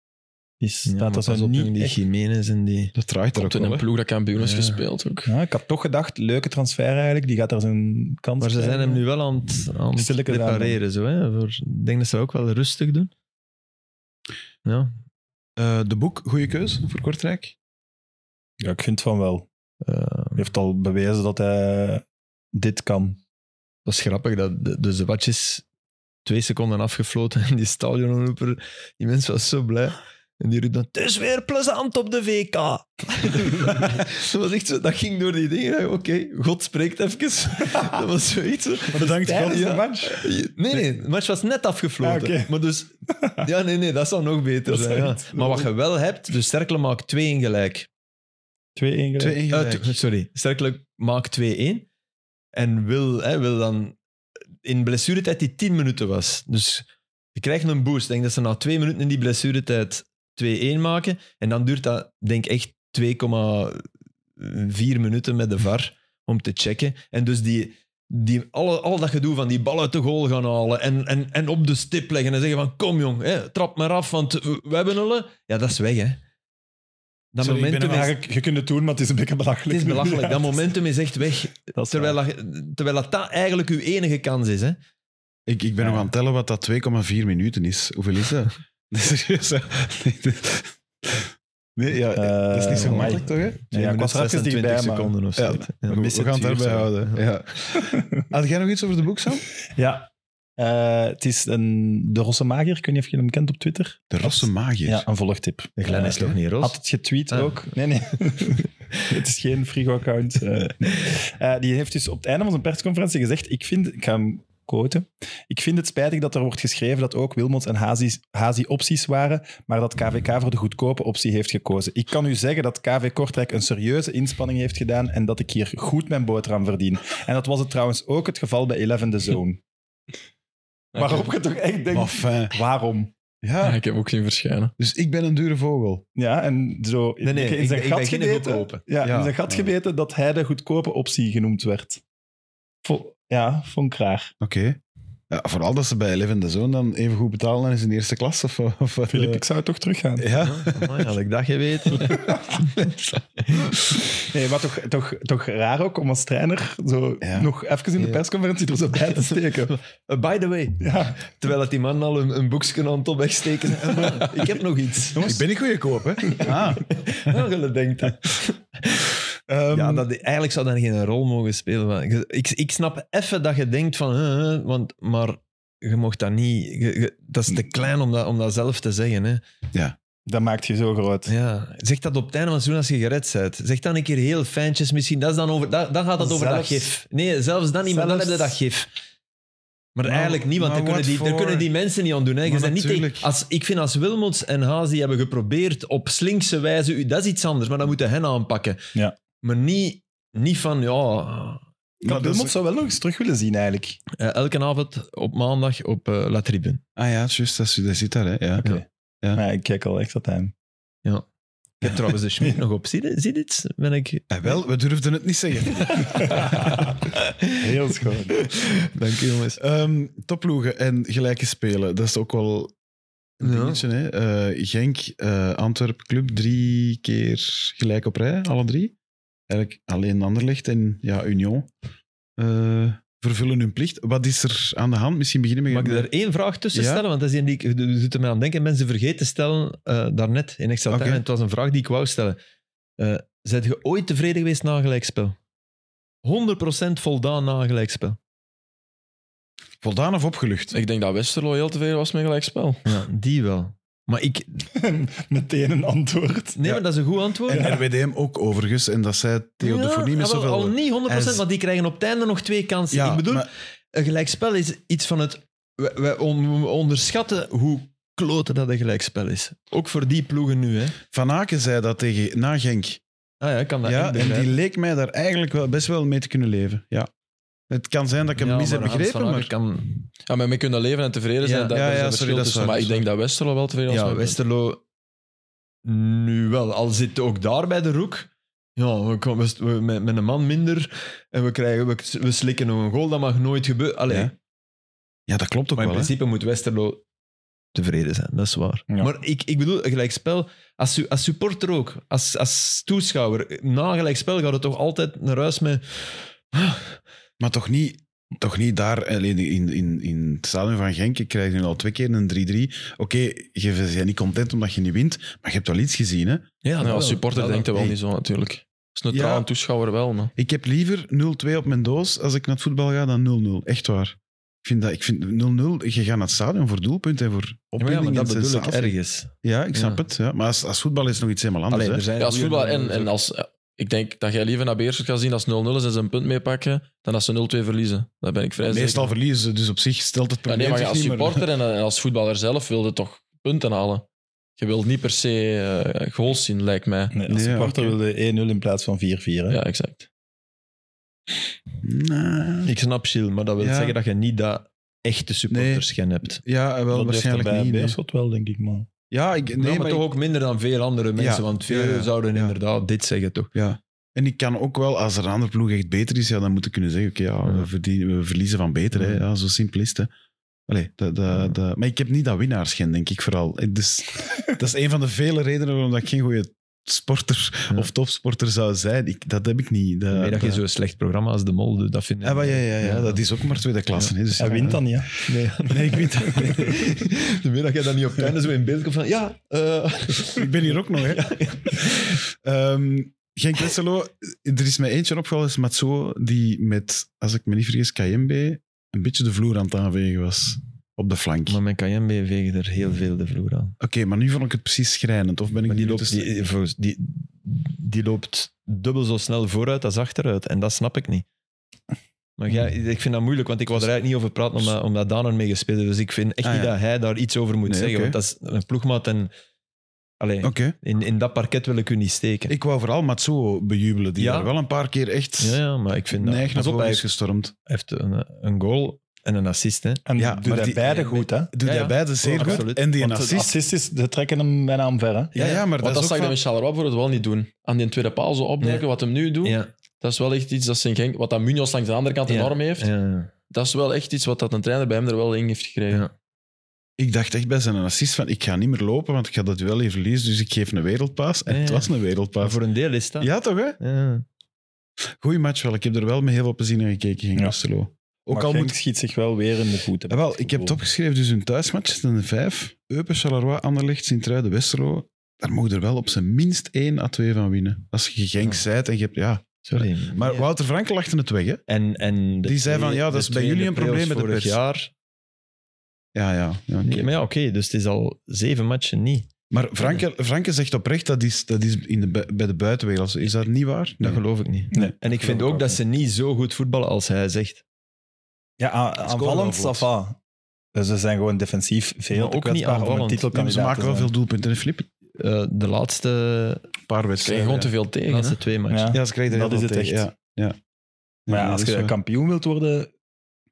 Die
Ja,
staat
maar
dat zo
pas op
niet
jongen, die
echt-
Jiménez en die...
Dat draait er ook
Komt in
wel,
een
hè.
ploeg dat kampioen is
Ja.
gespeeld ook.
Ja, ik had toch gedacht, leuke transfer eigenlijk. Die gaat daar zijn kans
Maar ze
krijgen.
zijn hem nu wel aan het, aan het
Stilletjes aan,
repareren. Zo, hè? Voor, ik denk dat ze dat ook wel rustig doen. Ja.
Eh, de boek, goede keus voor Kortrijk.
Ja, ik vind van wel.
eh,
Hij heeft al bewezen dat hij dit kan.
Dat is grappig. Dat, de- dus de watch is twee seconden afgefloten. En die stadionroeper, die mens was zo blij. En die riep dan, het is weer plezant op de VK. dat, was echt zo, dat ging door die dingen. Ik dacht, Oké, God spreekt even. dat was zoiets. hè.
Bedankt,
Tijdens de
match.
Nee, nee, de match was net afgefloten.
Ah, oké.
Maar dus, ja, nee, nee, dat zou nog beter
Dat
zijn.
zou
ja.
iets-
Maar wat je wel hebt, dus Sterkele maakt 2 in gelijk.
Twee
Twee
ingelijden.
in
Eh,
gelijk.
t- sorry, Sterkelijk maakt 2-1. En wil, hè, wil dan in blessuretijd die 10 minuten was. Dus je krijgt een boost. Ik denk dat ze na 2 minuten in die blessuretijd 2-1 maken. En dan duurt dat, denk ik, echt 2,4 minuten met de VAR om te checken. En dus die, die, alle, al dat gedoe van die bal uit de goal gaan halen en, en, en op de stip leggen en zeggen van kom jong, hè, trap maar af, want we we hebben hulle. Ja, dat is weg, hè. Dat
Sorry, ik ben
momentum
hem
is,
Ja, je, je kunt het doen, maar het is een beetje belachelijk.
het is belachelijk.
Ja,
Dat momentum is echt weg.
dat is
Terwijl
waar.
dat, terwijl dat, dat eigenlijk uw enige kans is, hè.
Ik, ik ben nog aan het tellen wat dat 2,4 minuten is. Hoeveel is dat? Serieus, hè? Nee, dat- Nee, ja, dat is niet zo
Eh,
makkelijk, toch? Hè?
Nee, ja, ik was er even dichtbij, maar-
seconden of
Ja,
zo. Ja.
Goed, we gaan het daarbij houden. Ja. Had jij nog iets over de boek, Sam?
Ja. Eh, het is een, de Rosse Magier. Ik weet niet of je hem kent op Twitter.
De Rosse Magier.
Ja, een volgtip.
De Glenn is
Eh,
nog niet
Had
roos.
het getweet
Ah.
ook. Nee, nee. het is geen frigo-account. Eh, nee. Eh, die heeft dus op het einde van zijn persconferentie gezegd... Ik, vind, ik ga hem quoten. Ik vind het spijtig dat er wordt geschreven dat ook Wilmots en Hazi, Hazi opties waren, maar dat KVK voor de goedkope optie heeft gekozen. Ik kan u zeggen dat KV Kortrijk een serieuze inspanning heeft gedaan en dat ik hier goed mijn boterham verdien. En dat was het trouwens ook het geval bij Eleven The Zone. Waarop je toch echt denkt,
Maar fijn.
waarom?
Ja,
ik heb ook zien verschijnen.
dus ik ben een dure vogel.
Ja, en zo
Nee, nee,
in
ik-
zijn
ik
gat
ben geen
gebeten.
goedkope.
Ja,
Ja.
in zijn gat
Ja.
gebeten dat hij de goedkope optie genoemd werd. Vo- ja, vond ik raar.
Oké. Ja, vooral dat ze bij Eleven de Zoon dan even goed betalen dan is in de eerste klas. Of, of, wat,
Filip,
eh,
ik zou toch teruggaan.
Ja.
Amai, had ik dat geweten. Eh,
Nee, maar toch, toch, toch raar ook om als trainer zo
Ja.
nog even in de
Ja.
persconferentie er zo bij te steken.
Uh, by the way,
Ja,
terwijl dat die man al een, een boekje aan het opwegsteken. en, uh, ik heb nog iets.
Ik ben niet goede koop, hè? Ah.
Angele denkt dat.
Ehm,
Ja, dat, eigenlijk zou dat geen rol mogen spelen. maar ik- ik, ik snap even dat je denkt van... eh, eh, want, maar je mocht dat niet... je- je- dat is te klein om dat, om dat zelf te zeggen. Hè.
dat maakt je zo groot.
Ja. Zeg dat op het einde van het seizoen als je gered bent. Zeg dan een keer heel fijntjes misschien. Dat is dan, over, dat, dan gaat dat over dat
Zelfs-
gif. Nee, zelfs dan niet, maar dan
zelfs-
heb je dat gif. Maar,
Maar-
eigenlijk niet, want
maar
daar kunnen,
wat
die, daar
voor-
kunnen die mensen niet aan doen. Hè. Je
Maar
bent niet tegen-
natuurlijk.
als, ik vind als Wilmots en Haas die hebben geprobeerd op slinkse wijze... u- Dat is iets anders, maar dat moeten hen aanpakken.
Ja.
Maar niet, niet van... ja
Ik had
dat is-
Wilmot zou wel nog eens terug willen zien, eigenlijk.
eh, elke avond op maandag op eh, La Tribune.
Ah ja, juist, dat, is- dat zit daar, hè? Ja. Ja.
Maar ja, ik kijk al echt dat aan.
Ik heb trouwens de schmink nog op. Zie, je- zie dit? Ben ik...
Eh, wel, we durfden het niet zeggen.
Heel schoon.
Dank je, jongens.
Ehm topploegen en gelijke spelen, dat is ook wel een
Ja.
dingetje. Hè? Eh, Genk, eh Antwerp Club, drie keer gelijk op rij, alle drie. Eigenlijk alleen Anderlecht en ja, Union eh, vervullen hun plicht. Wat is er aan de hand? Misschien beginnen we
Mag ik
met-
daar één vraag tussen
Ja?
stellen? Want dat is een die ik je doet er mij aan denken. Mensen vergeten te stellen eh, daarnet in extra time.
Oké.
En het was een vraag die ik wou stellen. Eh zijn je ooit tevreden geweest na een gelijkspel? 100% voldaan na een gelijkspel.
voldaan of opgelucht?
Ik denk dat Westerlo heel tevreden was met gelijkspel.
Ja, die wel. Maar ik...
Meteen een antwoord.
Nee, maar dat is een goed antwoord.
En RWDM ook overigens, en dat zei Theo de Fournier
ja,
met
jawel,
zoveel...
Al niet 100%,
Hij is-
want die krijgen op het einde nog twee kansen.
Ja,
ik bedoel,
maar-
Een gelijkspel is iets van het. We, we on- we onderschatten hoe kloten dat een gelijkspel is. Ook voor die ploegen nu, hè?
Van Aken zei dat tegen, na Genk.
Ah ja, ik kan dat
Ja,
echt
en die
begrijpen.
leek mij daar eigenlijk wel, best wel mee te kunnen leven. Ja. Het kan zijn dat ik hem
Ja,
mis heb
maar Hans
begrepen,
van
maar...
Aken Kan,
Ja, maar mee kunnen leven en tevreden zijn.
Ja.
dat,
Ja,
daar is
ja,
een
sorry,
verschil
dat is waar,
tussen. maar
dat
ik
is
denk dat Westerlo wel tevreden was.
ja,
met-
Westerlo nu wel. Al zit ook daar bij de roek. Ja, we komen we- we- met, met een man minder en we, krijgen, we, we slikken nog een goal. Dat mag nooit gebeuren. Allee,
Ja. Ja, dat klopt ook
Maar in
wel. hè.
principe moet Westerlo tevreden zijn, dat is waar.
Ja.
Maar ik, ik bedoel, een gelijkspel, als, su- als supporter ook, als, als toeschouwer, na een gelijkspel gaat het toch altijd naar huis met...
Maar toch niet, toch niet daar, eh, alleen in, in, in het stadion van Genk, je krijgt nu al twee keer een 3-3. Oké, je bent niet content omdat je niet wint, maar je hebt wel iets gezien. Hè?
Ja,
Nou, als supporter denkt hij wel
Hey.
niet zo natuurlijk. Als neutraal
Ja.
een toeschouwer wel, maar...
Ik heb liever 0-2 op mijn doos als ik naar het voetbal ga dan 0-0. Echt waar. Ik vind, dat, ik vind 0-0, je gaat naar het stadion voor doelpunten en voor
maar ja,
opwinding
maar dat
en
bedoel ik
sensatie.
ergens.
Ja, ik snap
Ja.
het. Ja. Maar als, als voetbal is het nog iets helemaal anders.
Allee,
hè.
er zijn
Ja, als
goeie
voetbal en,
mannen,
en als... eh, Ik denk dat jij liever naar Beerschot gaat zien als 0-0 is en ze een punt meepakken, dan als ze 0-2 verliezen. Daar ben ik vrij zeker.
Meestal verliezen ze, dus op zich stelt het
Ja,
probleem
nee, maar
zich
als
niet meer.
supporter en en als voetballer zelf wil je toch punten halen. Je wilt niet per se eh, goals zien, lijkt mij.
Nee, als
Nee,
supporter
oké.
wilde 1-0 in plaats van 4-4. hè.
Ja, exact.
Nee.
Ik snap, Gilles, maar dat wil
Ja.
zeggen dat je niet dat echte supporters gen hebt.
Ja, eh, wel,
Dat heeft
waarschijnlijk
er bij
niet. nee.
Beerschot wel, denk ik, man.
Ja, ik, nee,
Nee, Nou, maar,
maar ik-
toch ook minder dan veel andere mensen,
Ja.
want veel
Ja, ja.
zouden
Ja.
inderdaad dit zeggen, toch?
Ja. En ik kan ook wel, als er een andere ploeg echt beter is, ja, dan moet ik kunnen zeggen, oké, ja, we, verdienen- we verliezen van beter. Hè. Ja, zo simpel is het. hè. Allee, dat, dat, dat- Maar ik heb niet dat winnaarsgen, denk ik vooral. Dus, dat is een van de vele redenen waarom dat ik geen goede sporter
Ja.
of topsporter zou zijn. Ik, dat heb ik niet. Dat,
Nee, dat je
dat-
zo'n slecht programma als De Mol doet, dat vind ik...
Ah, maar ja, ja, ja, dat is ook maar tweede klasse. Hè, dus
Hij wint dan niet. hè.
Nee, ik wint dat niet.
De meer dat jij dan niet op het einde zo in beeld komt van... Ja, eh,
Ik ben hier ook nog, hè. Ehm, Genk Westerlo, er is mij eentje opgevallen, is Matsuo, die met, als ik me niet vergis, KMB, een beetje de vloer aan het aanvegen was op de flank.
Maar met KMB vegen er heel veel de vloer aan.
Oké, maar nu vond ik het precies schrijnend. Of ben ik
Maar die
nu
loopt,
tussen-
die, volgens- die, die loopt dubbel zo snel vooruit als achteruit. En dat snap ik niet. Maar ja, ik vind dat moeilijk, want ik wou er eigenlijk niet over praten omdat, omdat Daan ermee gespeeld heeft. Dus ik vind echt
Ah,
niet
ja.
dat hij daar iets over moet
Nee,
zeggen.
oké.
Want dat is een ploegmaat en... Allee,
Oké,
in, in dat parket wil ik u niet steken.
ik wou vooral Matsuo bejubelen, die
Ja?
daar wel een paar keer echt
ja, ja, maar ik vind dat...
neig naar
Pas op,
voren
hij
is gestormd.
heeft een, een goal en een assist, hè.
En
Ja,
doet
maar
hij
die-
beide
ja,
goed, hè?
Doe
Ja,
hij
ja.
beide zeer
Oh,
goed
absoluut.
en die een
Want de
assist.
assist is, de trekken hem bijna omver. Hè?
Ja, ja, maar
Want
dat,
dat
is
zag
ook
je
vaak-
met Charleroi voor het wel niet doen. Aan die tweede paal zo opduiken,
Nee.
wat hem nu doet,
Ja,
dat is wel echt iets dat zijn Genk, wat dat Munoz langs de andere kant
Ja.
enorm heeft.
ja.
Dat is wel echt iets wat dat een trainer bij hem er wel in heeft gekregen.
Ja.
Ik dacht echt bij zijn assist van, ik ga niet meer lopen, want ik ga dat wel even verliezen, dus ik geef een wereldpaas. En
Ja,
het
ja.
was een
Maar
wereldpaas.
voor een deel is dat...
Ja, toch hè?
Ja.
Goeie match wel. Ik heb er wel met heel veel plezier naar gekeken, Genk
Ja.
Westerlo. Ook
Maar
al
Genk
moet...
schiet zich wel weer in de voeten.
Ja, wel, ik heb het opgeschreven, dus hun thuismatch is een vijf. Eupen, Charleroi, Anderlecht, Sint-Truiden, Westerlo. Daar mogen er wel op zijn minst één à twee van winnen. Als je Genk
Ja.
zijt en je hebt... Ja.
Sorry.
Maar
Ja.
Wouter Franke lachte het weg, hè?
En, en de
Die zei van,
twee-
ja, dat
de
is bij
twee in
jullie
de
een probleem
playoffs
met de
vorig
pers.
jaar.
Ja, ja. ja oké.
Nee, maar ja, oké, dus het is al zeven matchen niet.
Maar Franke, Franke zegt oprecht, dat is, dat is in de, bu- bij de buitenwereld. Is dat niet waar?
Dat
Nee.
geloof ik niet.
Nee.
En ik vind ook dat ze niet zo goed voetballen als hij zegt.
Ja, a- aanvallend,
wel vlot.
Safa. Dus ze zijn gewoon defensief veel
Maar
te
ook niet
kwetsbaar om een
aanvallend.
Ja, maar
titelkandidaat
ze maken
te
wel
zijn.
veel doelpunten in Flip.
Eh, de laatste,
Een paar
Ze krijgen
wedstrijden.
gewoon te veel tegen. hè.
laatste twee matchen.
Ja.
Ja, ze krijgen er
Dat
heel
is
veel
het
tegen,
echt.
Ja. Ja.
Maar ja,
Ja,
als
dat is
je
waar.
kampioen wilt worden,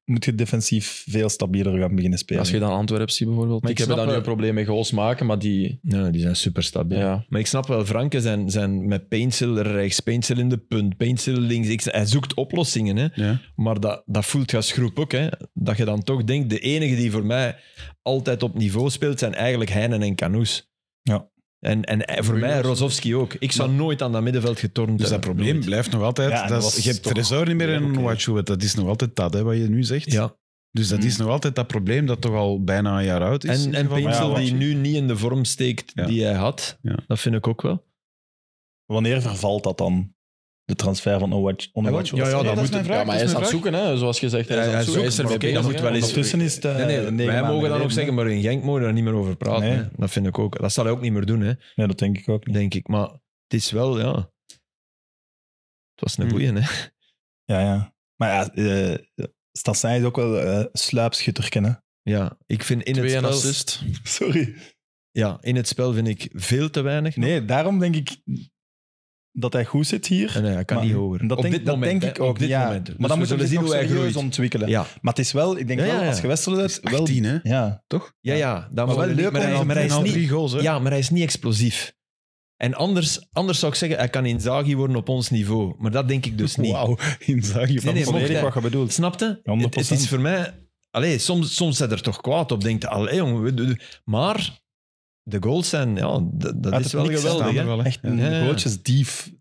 moet je defensief veel stabieler gaan beginnen spelen.
Als je dan Antwerpen ziet bijvoorbeeld.
Maar
ik
ik
heb daar
snap
nu
wel-
een probleem mee goals maken, maar die...
Ja, die zijn super stabiel.
Ja.
Maar ik snap wel, Franke zijn, zijn met Peensel rechts, Peensel in de punt, Peensel links. Ik, hij zoekt oplossingen, hè.
Ja.
maar dat, dat voelt je als groep ook. Hè. Dat je dan toch denkt, de enige die voor mij altijd op niveau speelt, zijn eigenlijk Heinen en Canoes.
Ja.
En, en hij- voor mij Rozovski ook. Ik zou nooit aan dat middenveld getornd
Dus dat
hebben.
probleem
Nooit.
blijft nog altijd.
Ja, en
dat
dat
is,
was
je hebt
toch
Tresor niet meer
weer
in
oké.
een Dat is nog altijd dat, hè, wat je nu zegt.
Ja.
Dus dat is nog altijd dat probleem dat toch al bijna een jaar oud is.
En, en Pinsel
Ja,
die
want-
nu niet in de vorm steekt
Ja.
die hij had,
Ja.
dat vind ik ook wel.
Wanneer vervalt dat dan? De transfer van Onwatch?
ja, ja, dat
dat is
moet-
mijn vraag.
Ja, maar hij is aan het zoeken, hè, zoals gezegd. Hij is
Ja,
aan het
hij
zoeken. Hij is
zoekt,
er
maar
mee
oké,
bezig,
dat moet
hè,
wel eens
want-
Tussen is het... eh, negen
wij
maanden
mogen dat ook
geleden.
zeggen, maar in Genk mogen we daar niet meer over praten.
Nee.
hè. Dat vind ik ook. Dat zal hij ook niet meer doen, hè,
Nee, dat denk ik ook niet.
denk ik. Maar het is wel, ja... Het was een
Hm.
Hmm.
boeien, hè.
Ja, ja. Maar ja, eh Stassin is ook wel eh sluipschutter kennen.
Ja, ik vind in het
Twee en
spel...
assist.
Sorry.
Ja, in het spel vind ik veel te weinig.
Nee, daarom denk ik dat hij goed zit hier.
En, nee, hij kan
Maar
niet hoger.
Dat,
Op
denk,
dit
dat
moment,
denk ik
hè,
ook.
Op dit
ja.
moment. Dus
Maar dan moeten we zien hoe hij serieus
groeit.
ontwikkelen.
Ja,
Maar het is wel, ik denk
Ja, ja,
wel,
ja.
als je Westerlo bent, wel...
18, hè?
Ja.
toch? Ja, ja. Dan
wel
worden-
leuk
maar
om
hij-
te
maar hij
En
is
al
niet...
drie goals, hè?
Ja, maar hij is niet explosief. En anders, anders zou ik zeggen, hij kan Inzaghi worden op ons niveau. Maar dat denk ik dus niet.
Wauw, Inzaghi van
Nee,
Volledig.
mocht hij-
wat je bedoelt.
Snapte? Het,
100%.
het is voor mij... Allee, soms, soms zet er toch kwaad op. Denkt, allee jongen. we- we- we- Maar de goals zijn... Ja, dat, dat
Uit
is
het
wel
niks
geweldig.
staan er
hè.
wel, hè.
Echt een
Ja, ja.
gootjesdief.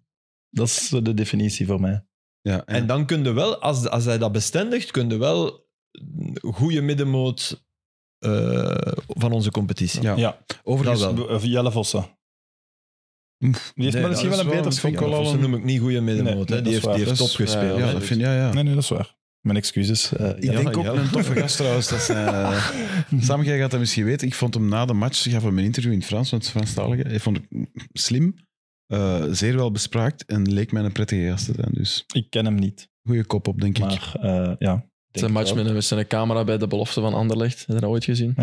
Dat is eh, de definitie voor mij.
Ja, en,
En dan kun je wel, als, als hij dat bestendigt, kun je wel een goede middenmoot eh, van onze competitie.
Ja. overigens...
dat wel.
Of Jelle Vossen. Die heeft
Nee,
maar
dat
misschien wel
is
een
wel
beter
een
schot.
Colin-
Ze noem ik niet goede
Nee,
middenmoot. hè.
dat
die
is
heeft,
waar.
die heeft
Dat is-
topgespeeld.
ja,
Ja,
hè.
dat vind, ja, ja.
Nee, nee, dat is waar. Mijn excuses. eh,
Ik denk ook
ja.
een toffe gast trouwens. Dat zijn, eh, Sam, jij gaat dat misschien weten. Ik vond hem na de match, ik gaf hem een interview in het Frans met Franstaligen. Ik vond hem slim, eh, zeer wel bespraakt en leek mij een prettige gast te zijn. Dus
Ik ken hem niet.
goede kop op, denk ik.
Maar eh, ja. ik denk
Het is een match
wel.
met een, met zijn camera bij de belofte van Anderlecht. Heb je dat ooit gezien?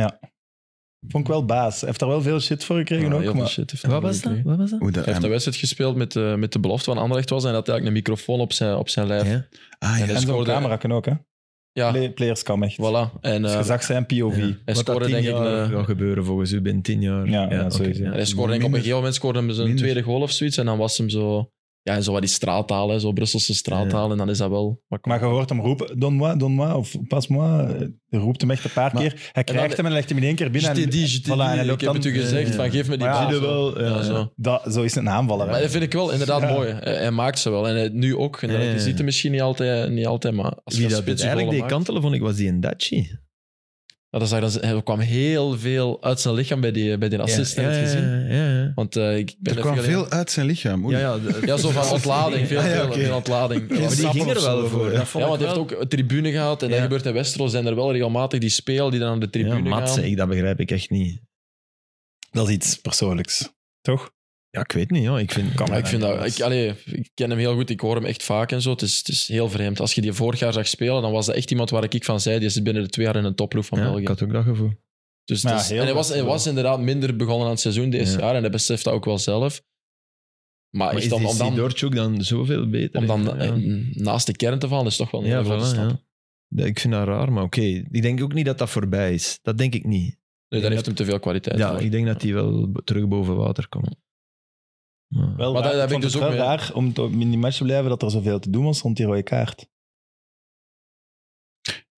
Vond ik wel baas. Hij heeft daar wel veel shit voor gekregen
Ja, heel
ook.
veel
Maar...
shit heeft hij
Wat was dat?
gekregen.
Wat was dat?
Hoe dat,
Hij heeft
en-
een wedstrijd gespeeld met, eh, met de belofte van Anderlecht was en dat eigenlijk een microfoon op zijn, op zijn lijf. Ja,
Ja.
ah, ja.
Hij
En zo'n
scoorde- Ah.
camera kan ook, hè? Play- Players kan echt.
voilà. En
Dus
eh,
je zag zijn POV.
Ja.
hij
Wat dat
scoorde
tien
denk ik...
jaar
een-
gaat gebeuren volgens u binnen tien jaar.
Ja, ja,
oké,
sowieso.
en hij scoorde denk ik op een
Minder.
gegeven moment scoorde hem zijn
Minder.
tweede goal of zoiets en dan was hem zo... Ja, en zo wat die straattaal, hè, zo Brusselse straattaal. En dan is dat wel... Wat
Maar je hoort hem roepen, Don moi, Don moi, of pas moi. Hij roept hem echt een paar keer. Hij krijgt hem en legt hem in één keer binnen.
Je
en-
t'ai dit, je t'ai
voilà, en hij
dit,
loopt
ik heb
dan-
het u gezegd, van geef me die
Maar ja,
bal,
zo.
zo. Ja, zo.
Dat, zo is het een aanvaller. hè.
Maar dat vind ik wel inderdaad mooi. Hij, hij maakt ze wel. En hij- nu ook. En dat-
Ja, ja,
Je
ja.
ziet hem misschien niet altijd, eh, niet altijd maar als
Wie
je
dat eigenlijk
die
deed kantelen, vond ik, was die Ndachi.
dat zag, dat, er kwam heel veel uit zijn lichaam bij die, eh, bij die assist. heb je het gezien?
Ja, ja, ja.
Want eh, ik ben
Er kwam
even-
veel uit zijn lichaam. oei.
ja, ja, de-
Ja, zo van ontlading. Veel,
Ah, ja,
veel,
oké.
veel ontlading.
Geen
Ja,
maar die
sap
ging
of
er wel
zo,
voor.
ja.
Dat vond
ja,
ik
want hij heeft
wel-
ook een tribune gehad. En dat
Ja.
gebeurt in Westerlo. Zijn er wel regelmatig die spelers die dan aan de tribune
Ja,
gaan.
Matze, ik, dat begrijp ik echt niet.
Dat is iets persoonlijks. Toch?
Ja, ik weet niet. Ja. Ik vind,
Kan
Ja, ik, vind dat, ik, allee, ik ken hem heel goed, ik hoor hem echt vaak en zo. Het is, het is heel vreemd. Als je die vorig jaar zag spelen, dan was dat echt iemand waar ik van zei, die zit binnen de twee jaar in een topploeg van
ja,
België.
ik had ook dat gevoel.
Dus
Maar
het
ja,
is-
heel
en hij was,
goed
hij was inderdaad minder begonnen aan het seizoen dit
Ja.
jaar en hij beseft dat ook wel zelf. Maar,
Maar
is
is
dan,
die
om dan,
Sidorchuk dan zoveel beter?
om dan
Ja.
eh, naast de kern te vallen, is toch wel een
Ja,
hele grote
voilà,
stap.
ja. Ja, Ik vind dat raar, maar oké. Ik denk ook niet dat dat voorbij is. Dat denk ik niet.
Nee, daar heeft hem te veel kwaliteit
Ja,
voor.
ik denk dat die wel b- terug boven water komt. Maar-
Wel
Maar
raar.
daar heb
ik
ik
vond
dus
het
ook
wel
mee.
raar om to- in die match te blijven dat er zoveel te doen was rond die rode kaart.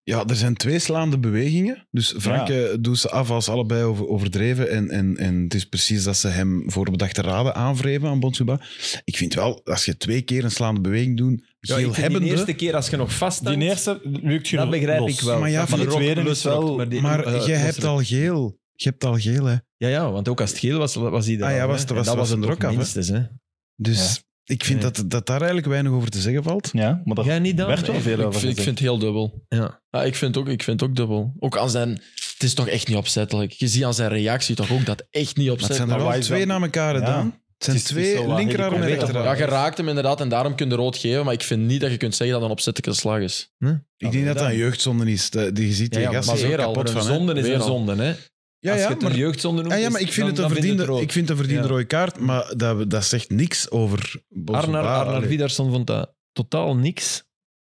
Ja, er zijn twee slaande bewegingen. Dus Franke doet ze af als allebei over, overdreven. En, en, en het is precies dat ze hem voor bedachte raden aanwreven aan Bonsuba. Ik vind wel, als je twee keer een slaande beweging doet, geel
Ja, ik vind die
hebbende...
eerste keer als je nog vast
Die eerste lukt je
dat begrijp
los.
ik wel.
Maar ja,
Dat
van
de
rokt-
tweede is
losrokt,
wel-
die-
Maar
eh,
je hebt
losrokt.
al geel. Je hebt al geel, hè.
Ja, ja, want ook als het geel was, was hij er
Ah ja,
al,
was-
hè.
was-
En dat
was
was
het
een
er ook
druk
af, hè.
minstens. Hè.
Dus ik vind
Nee.
dat, dat daar eigenlijk weinig over te zeggen valt.
Ja, maar daar
Jij niet dan?
werd wel
Nee.
veel
ik,
over
vind, ik
gezegd.
vind het heel dubbel.
Ja.
Ja, ik vind het ook, ik vind het ook dubbel. Ook aan zijn... Het is toch echt niet opzettelijk. Je ziet aan zijn reactie toch ook dat echt niet
Maar het
opzettelijk
zijn er
Maar
wel
wij
twee
zijn-
na elkaar
Ja.
gedaan. Het zijn
Het is- het is
twee
zo wat
linkerarm en
helikopter-
rechterarm.
Ja, je raakt hem inderdaad en daarom kun je rood geven, maar ik vind niet dat je kunt zeggen dat het een opzettelijke slag is.
Ik denk dat dat een jeugdzonde is. De- Die je ziet die
Ja, ja,
gast
maar
is ook
weer al,
kapot
een
van. hè.
Zonde is
Weer
een
al.
zonde, hè.
Ja,
als je
ja,
het
maar ah,
een jeugdzonde noemt,
Ja, ja, maar
is-
ik vind,
dan-
het een
dan vind je
verdiende,
rood.
ik vind het een verdiende
Ja.
rode kaart, maar dat, dat zegt niks over Bolsonaro.
Arnar, Arnar Vidarsson vond dat totaal niks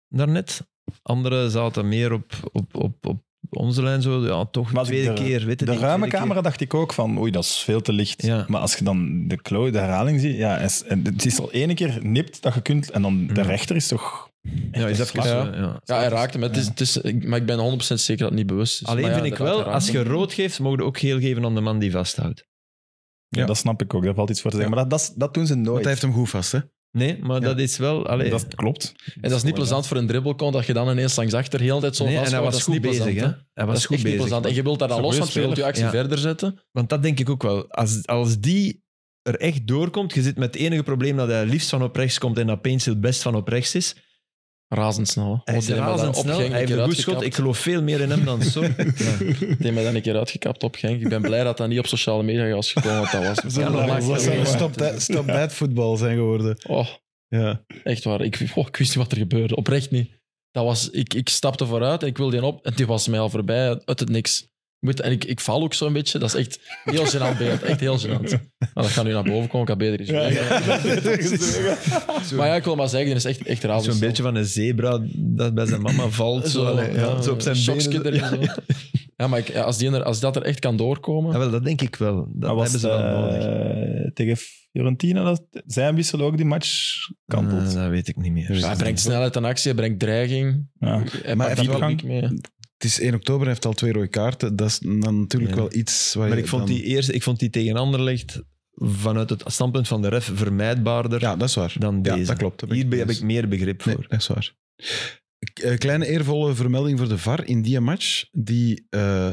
daarnet. Anderen zaten meer op, op, op, op onze lijn. Zo. Ja, toch
Maar als
tweede
ik
keer. Weet het
De
niet,
ruime
tweede keer.
camera dacht ik ook van, oei, dat is veel te licht.
Ja.
Maar als je dan de klo, de herhaling ziet, ja, en s- en het is al ene keer nipt dat je kunt, en dan
Mhm.
de
Ja.
rechter is toch...
Ja, is
een
even,
slag.
ja. Dus, ja.
Ja, hij raakt hem. Het is, het is, ik- maar ik ben 100% zeker dat het niet bewust is.
Alleen
Maar ja,
vind ik
inderdaad,
wel,
hij
als
raakt
je
hem.
rood geeft, mogen we ook geel geven aan de man die vasthoudt.
Ja,
Ja.
dat snap ik ook, daar valt iets voor te zeggen. Maar dat, dat, dat doen ze nooit.
Want hij heeft hem goed vast, hè?
Nee, maar
Ja.
dat is wel... Allee,
Dat klopt.
En dat is niet plezant voor een dribbelkont, dat je dan ineens langs achter heel de tijd zo
nee, en
vasthoudt.
hij
Dat
was goed
is niet plezant,
bezig.
hè.
Hè? Hij
Dat
was
is
goed
echt niet plezant. En
bezig.
je wilt daar dan
Goeie
los, want je wilt je
speler.
actie
Ja.
verder zetten.
Want dat denk ik ook wel. Als, als die er echt doorkomt, je zit met het enige probleem dat hij liefst van op rechts komt en dat Paints het best van op rechts is.
Razendsnel. hè.
Hij is
Want die hebben daar
razendsnel,
op Genk
hij heeft
een
een
keer
goed schot.
uitgekapt.
Ik geloof veel meer in hem dan zo.
Die hebben dan een keer uitgekapt op Genk. Ik ben blij dat dat niet op sociale media was gekomen, want dat was...
Zullen we
dat
dat
maakt-
wel zeggen?
Stop that, stop that voetbal zijn geworden.
Oh,
Ja.
Echt waar. Ik, oh, ik wist niet wat er gebeurde. Oprecht niet. Dat was, ik, ik stapte vooruit en ik wilde die op. En die was mij al voorbij uit het niks. Ik Moet, en ik, ik val ook zo'n beetje. Dat is echt heel gênant beeld. Echt heel gênant. Maar dat gaat nu naar boven komen. Ik had beter iets doen. Maar ja, ik wil maar zeggen, dat is echt, echt raar. dus-
Zo'n beetje van een zebra dat bij zijn mama valt. Zo, allee, ja, zo op zijn
shockske
benen.
erin, zo. Ja, maar ik, ja, als, die, er- als dat er echt kan doorkomen...
Ja, wel, dat denk ik wel. Dat,
Dat was
hebben ze wel nodig.
eh, tegen Fiorentina, dat zijn wissel ook die match kantelt.
Eh, dat weet ik niet meer.
hij brengt snelheid en actie, hij brengt dreiging.
Ja.
Hij
Maar
pakt
even
daar wel
diepgang.
dik mee.
Het is 1 oktober, hij heeft al twee rode kaarten. Dat is dan natuurlijk
Ja.
wel iets waar
Maar
je
ik vond
dan-
die eerste, ik vond die tegen Anderlecht vanuit het standpunt van de ref vermijdbaarder
Ja, dat is waar.
dan
Ja,
deze.
dat klopt. Daar ben
Hierbij heb
het
ik meer begrip
mee eens.
voor.
Nee, dat is waar. K- eh, Kleine eervolle vermelding voor de VAR in die match. Die... eh,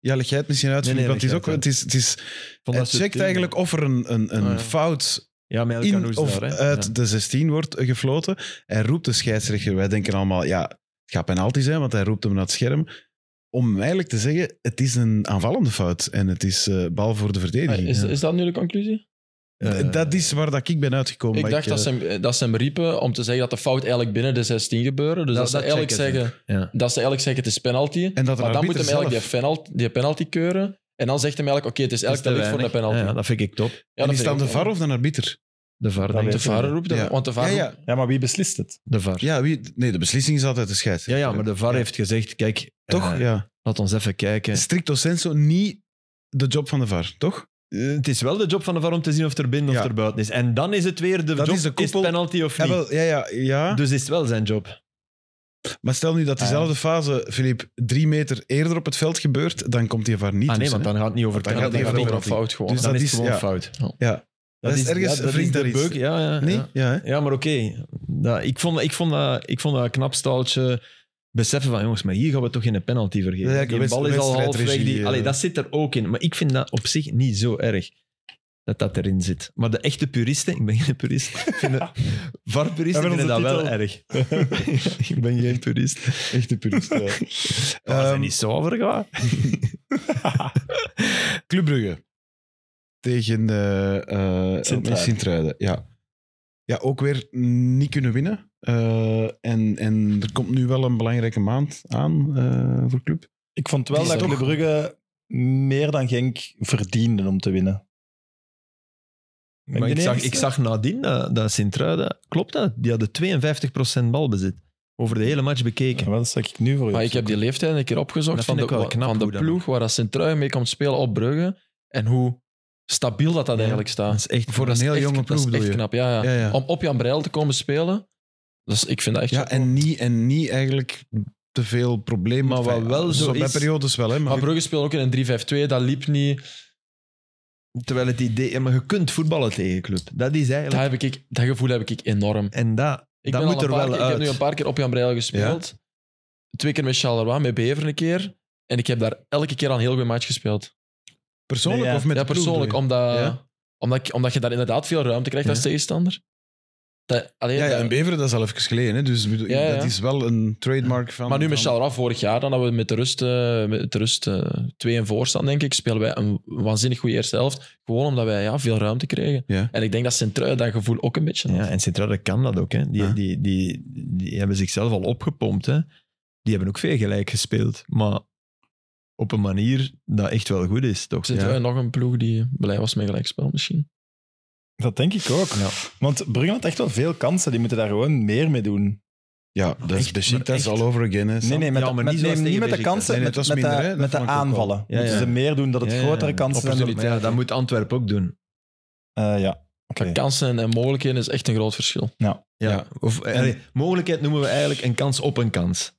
ja, leg jij het misschien uit?
Nee, nee,
want het is
leg
ook...
jij het
Het is, het is, het
Vond dat ze Oh,
checkt
toen-
eigenlijk of er een, een, een
Ah, ja.
fout
ja, met El
in
Khanouz
of
daar, hè.
uit
Ja.
de 16 wordt eh, gefloten. Hij roept de scheidsrechter. Wij denken allemaal, ja, het gaat penalty zijn, want hij roept hem naar het scherm. Om eigenlijk te zeggen, het is een aanvallende fout en het is eh, bal voor de
Maar
verdediging.
Ah, Is, is dat nu de conclusie?
eh,
D- dat is waar dat ik ben uitgekomen.
Ik
maar
dacht dat, ze
eh,
hem, dat ze hem riepen om te zeggen dat de fout eigenlijk binnen de 16 gebeurde. Dus dat,
Dat-
ze
dat
eigenlijk
check ik,
zeggen,
Ja.
dat ze eigenlijk zeggen het is penalty.
En dat de
maar dan moet
arbiter
hem eigenlijk die
zelf-
penalty, die penalty keuren. En dan zegt hem eigenlijk, oké, het is
Dat is te
eigenlijk te licht voor
weinig.
een penalty.
Ja, dat vind ik top.
Ja,
en
dat
is
vind
dan
ik
de
ook
VAR
wel.
of de arbiter?
De VAR,
Dat
denk
weet
De
ik.
ik.
VAR roept hem,
Ja.
want de VAR
Ja, ja.
roept-
Ja, maar wie beslist het?
De VAR.
Ja, wie, nee, de beslissing is altijd de
Ja,
scheidsrechter.
ja, maar de VAR heeft gezegd, kijk,
Toch?
eh,
ja.
laat ons even kijken.
Stricto senso niet de job van de VAR, toch?
eh, het is wel de job van de VAR om te zien of het er binnen
Ja.
of er buiten is. En dan is het weer de
Dat
job,
is
is,
de koepel.
het penalty of
Ja,
niet.
Ah, wel, ja, ja, ja.
Dus is het wel zijn job.
maar stel nu dat
Ah, ja.
diezelfde fase, Filip, drie meter eerder op het veld gebeurt, dan komt die VAR niet
Ah nee,
tussen,
want
hè.
dan gaat het niet over
Want dan
Ja,
gaat
penalty.
die van
dat is een
penalty.
fout gewoon.
Dus
dan
dat
is het
is-
gewoon
ja.
fout.
Dat is ergens wringt
de
daar iets.
beuk- Ja, ja,
Nee?
ja.
Ja, hè?
Ja, maar oké. Dat- Ik, vond, ik, vond dat- ik vond dat een knap staaltje. Beseffen van, jongens, maar hier gaan we toch geen penalty vergeven.
Ja, ja,
die
wedst-
bal is al halfweg.
wedstrijdregie,
Die,
eh.
allee, dat zit er ook in. Maar ik vind dat op zich niet zo erg. Dat dat erin zit. Maar de echte puristen, ik ben geen purist, vinden, VAR-puristen
We hebben
vinden dat
onze
wel erg. ik ben geen purist. Echte purist, ja. we zijn
Ehm,
niet zuiver, ga.
Club Brugge. Tegen eh, eh,
Sint-Truiden.
Sint-Truiden. ja. ja, ook weer niet kunnen winnen. Eh, en, en er komt nu wel een belangrijke maand aan eh, voor Club.
Ik vond wel
Die is
dat
toch-
Club Brugge meer dan Genk verdiende om te winnen. Ben ik
Maar ik
de
zag,
enigste?
ik zag nadien dat, dat Sint-Truiden... Klopt dat? Die hadden 52% balbezit. Over de hele match bekeken.
Ja, wel, dat zag ik nu voor je.
Maar ik heb die leeftijd een keer
Dat
opgezocht van
vind
de,
ik wel knap
van de
hoe dat
ploeg waar dat Sint-Truiden mee komt spelen op Brugge. En hoe stabiel dat dat
Ja.
eigenlijk staat.
Dat is echt
Voor een
Dat is
heel
echt-
jonge ploeg
Dat is
bedoel
echt
je?
knap, ja, ja.
Ja, ja.
Om op Jan Breil te komen spelen, dus ik vind dat echt...
Ja, en niet, en niet eigenlijk te veel problemen.
Maar wat
Enfin,
wel zo
Bij
is-
periodes wel, hè. Maar,
Maar Brugge speelde ook in een 3-5-2, dat liep niet.
Terwijl het idee... ja, maar je kunt voetballen tegen club. Dat is
Dat,
eigenlijk...
heb ik, dat gevoel heb ik enorm.
En dat,
Ik,
dat
ben
moet
al een
er
paar
wel
keer- ik heb
uit.
nu een paar keer op Jan Breidel gespeeld. Twee keer met Charleroi, met Bever een keer. En ik heb daar elke keer aan een heel goede match gespeeld.
persoonlijk
Nee, ja.
of met
ja,
de ploeg,
persoonlijk,
bedoel
omdat,
Ja.
omdat, ik- omdat je daar inderdaad veel ruimte krijgt als
Ja.
tegenstander. Dat,
je?
alleen,
Ja, ja, en Beveren, dat is al even geleden. Hè. Dus ik bedoel,
Ja, ja.
dat is wel een trademark van...
maar nu met
van-
Charleroi vorig jaar, dan dat we met de rust, eh, met de rust eh, twee en voor staan, denk ik, spelen wij een waanzinnig goede eerste helft. Gewoon omdat wij ja, veel ruimte kregen.
Ja.
En ik denk dat Sint-Truiden dat gevoel ook een beetje
Ja,
had.
en Sint-Truiden kan dat ook. Hè. Die,
Ja.
die, die, die hebben zichzelf al opgepompt. Hè. Die hebben ook veel gelijk gespeeld. Maar op een manier dat echt wel goed is, toch?
Sint-Truiden nog een ploeg die blij was met gelijkspel misschien.
Dat denk ik ook.
Ja.
Want Brugge had echt wel veel kansen. Die moeten daar gewoon meer mee doen.
Ja, dat is
Echt, maar
Besiktas
echt.
all over again. Hè, Sam.
Nee, nee, met,
Ja,
de-
maar
met,
niet zoals
nee, niet
tegen
met de
Beşiktaş.
kansen,
Nee, nee,
met,
dat is
met, de,
minder, hè. Dat
met de
vond ik ook wel.
aanvallen.
Ja,
Moeten
ja.
ze meer doen dat het
Ja, ja.
grotere kansen zijn dan die
Opportuniteit. Ja, dat moet Antwerpen ook doen.
Eh, ja. Oké.
Kansen en mogelijkheden is echt een groot verschil.
Ja.
Ja.
Of, eh, allee, mogelijkheid noemen we eigenlijk een kans op een kans.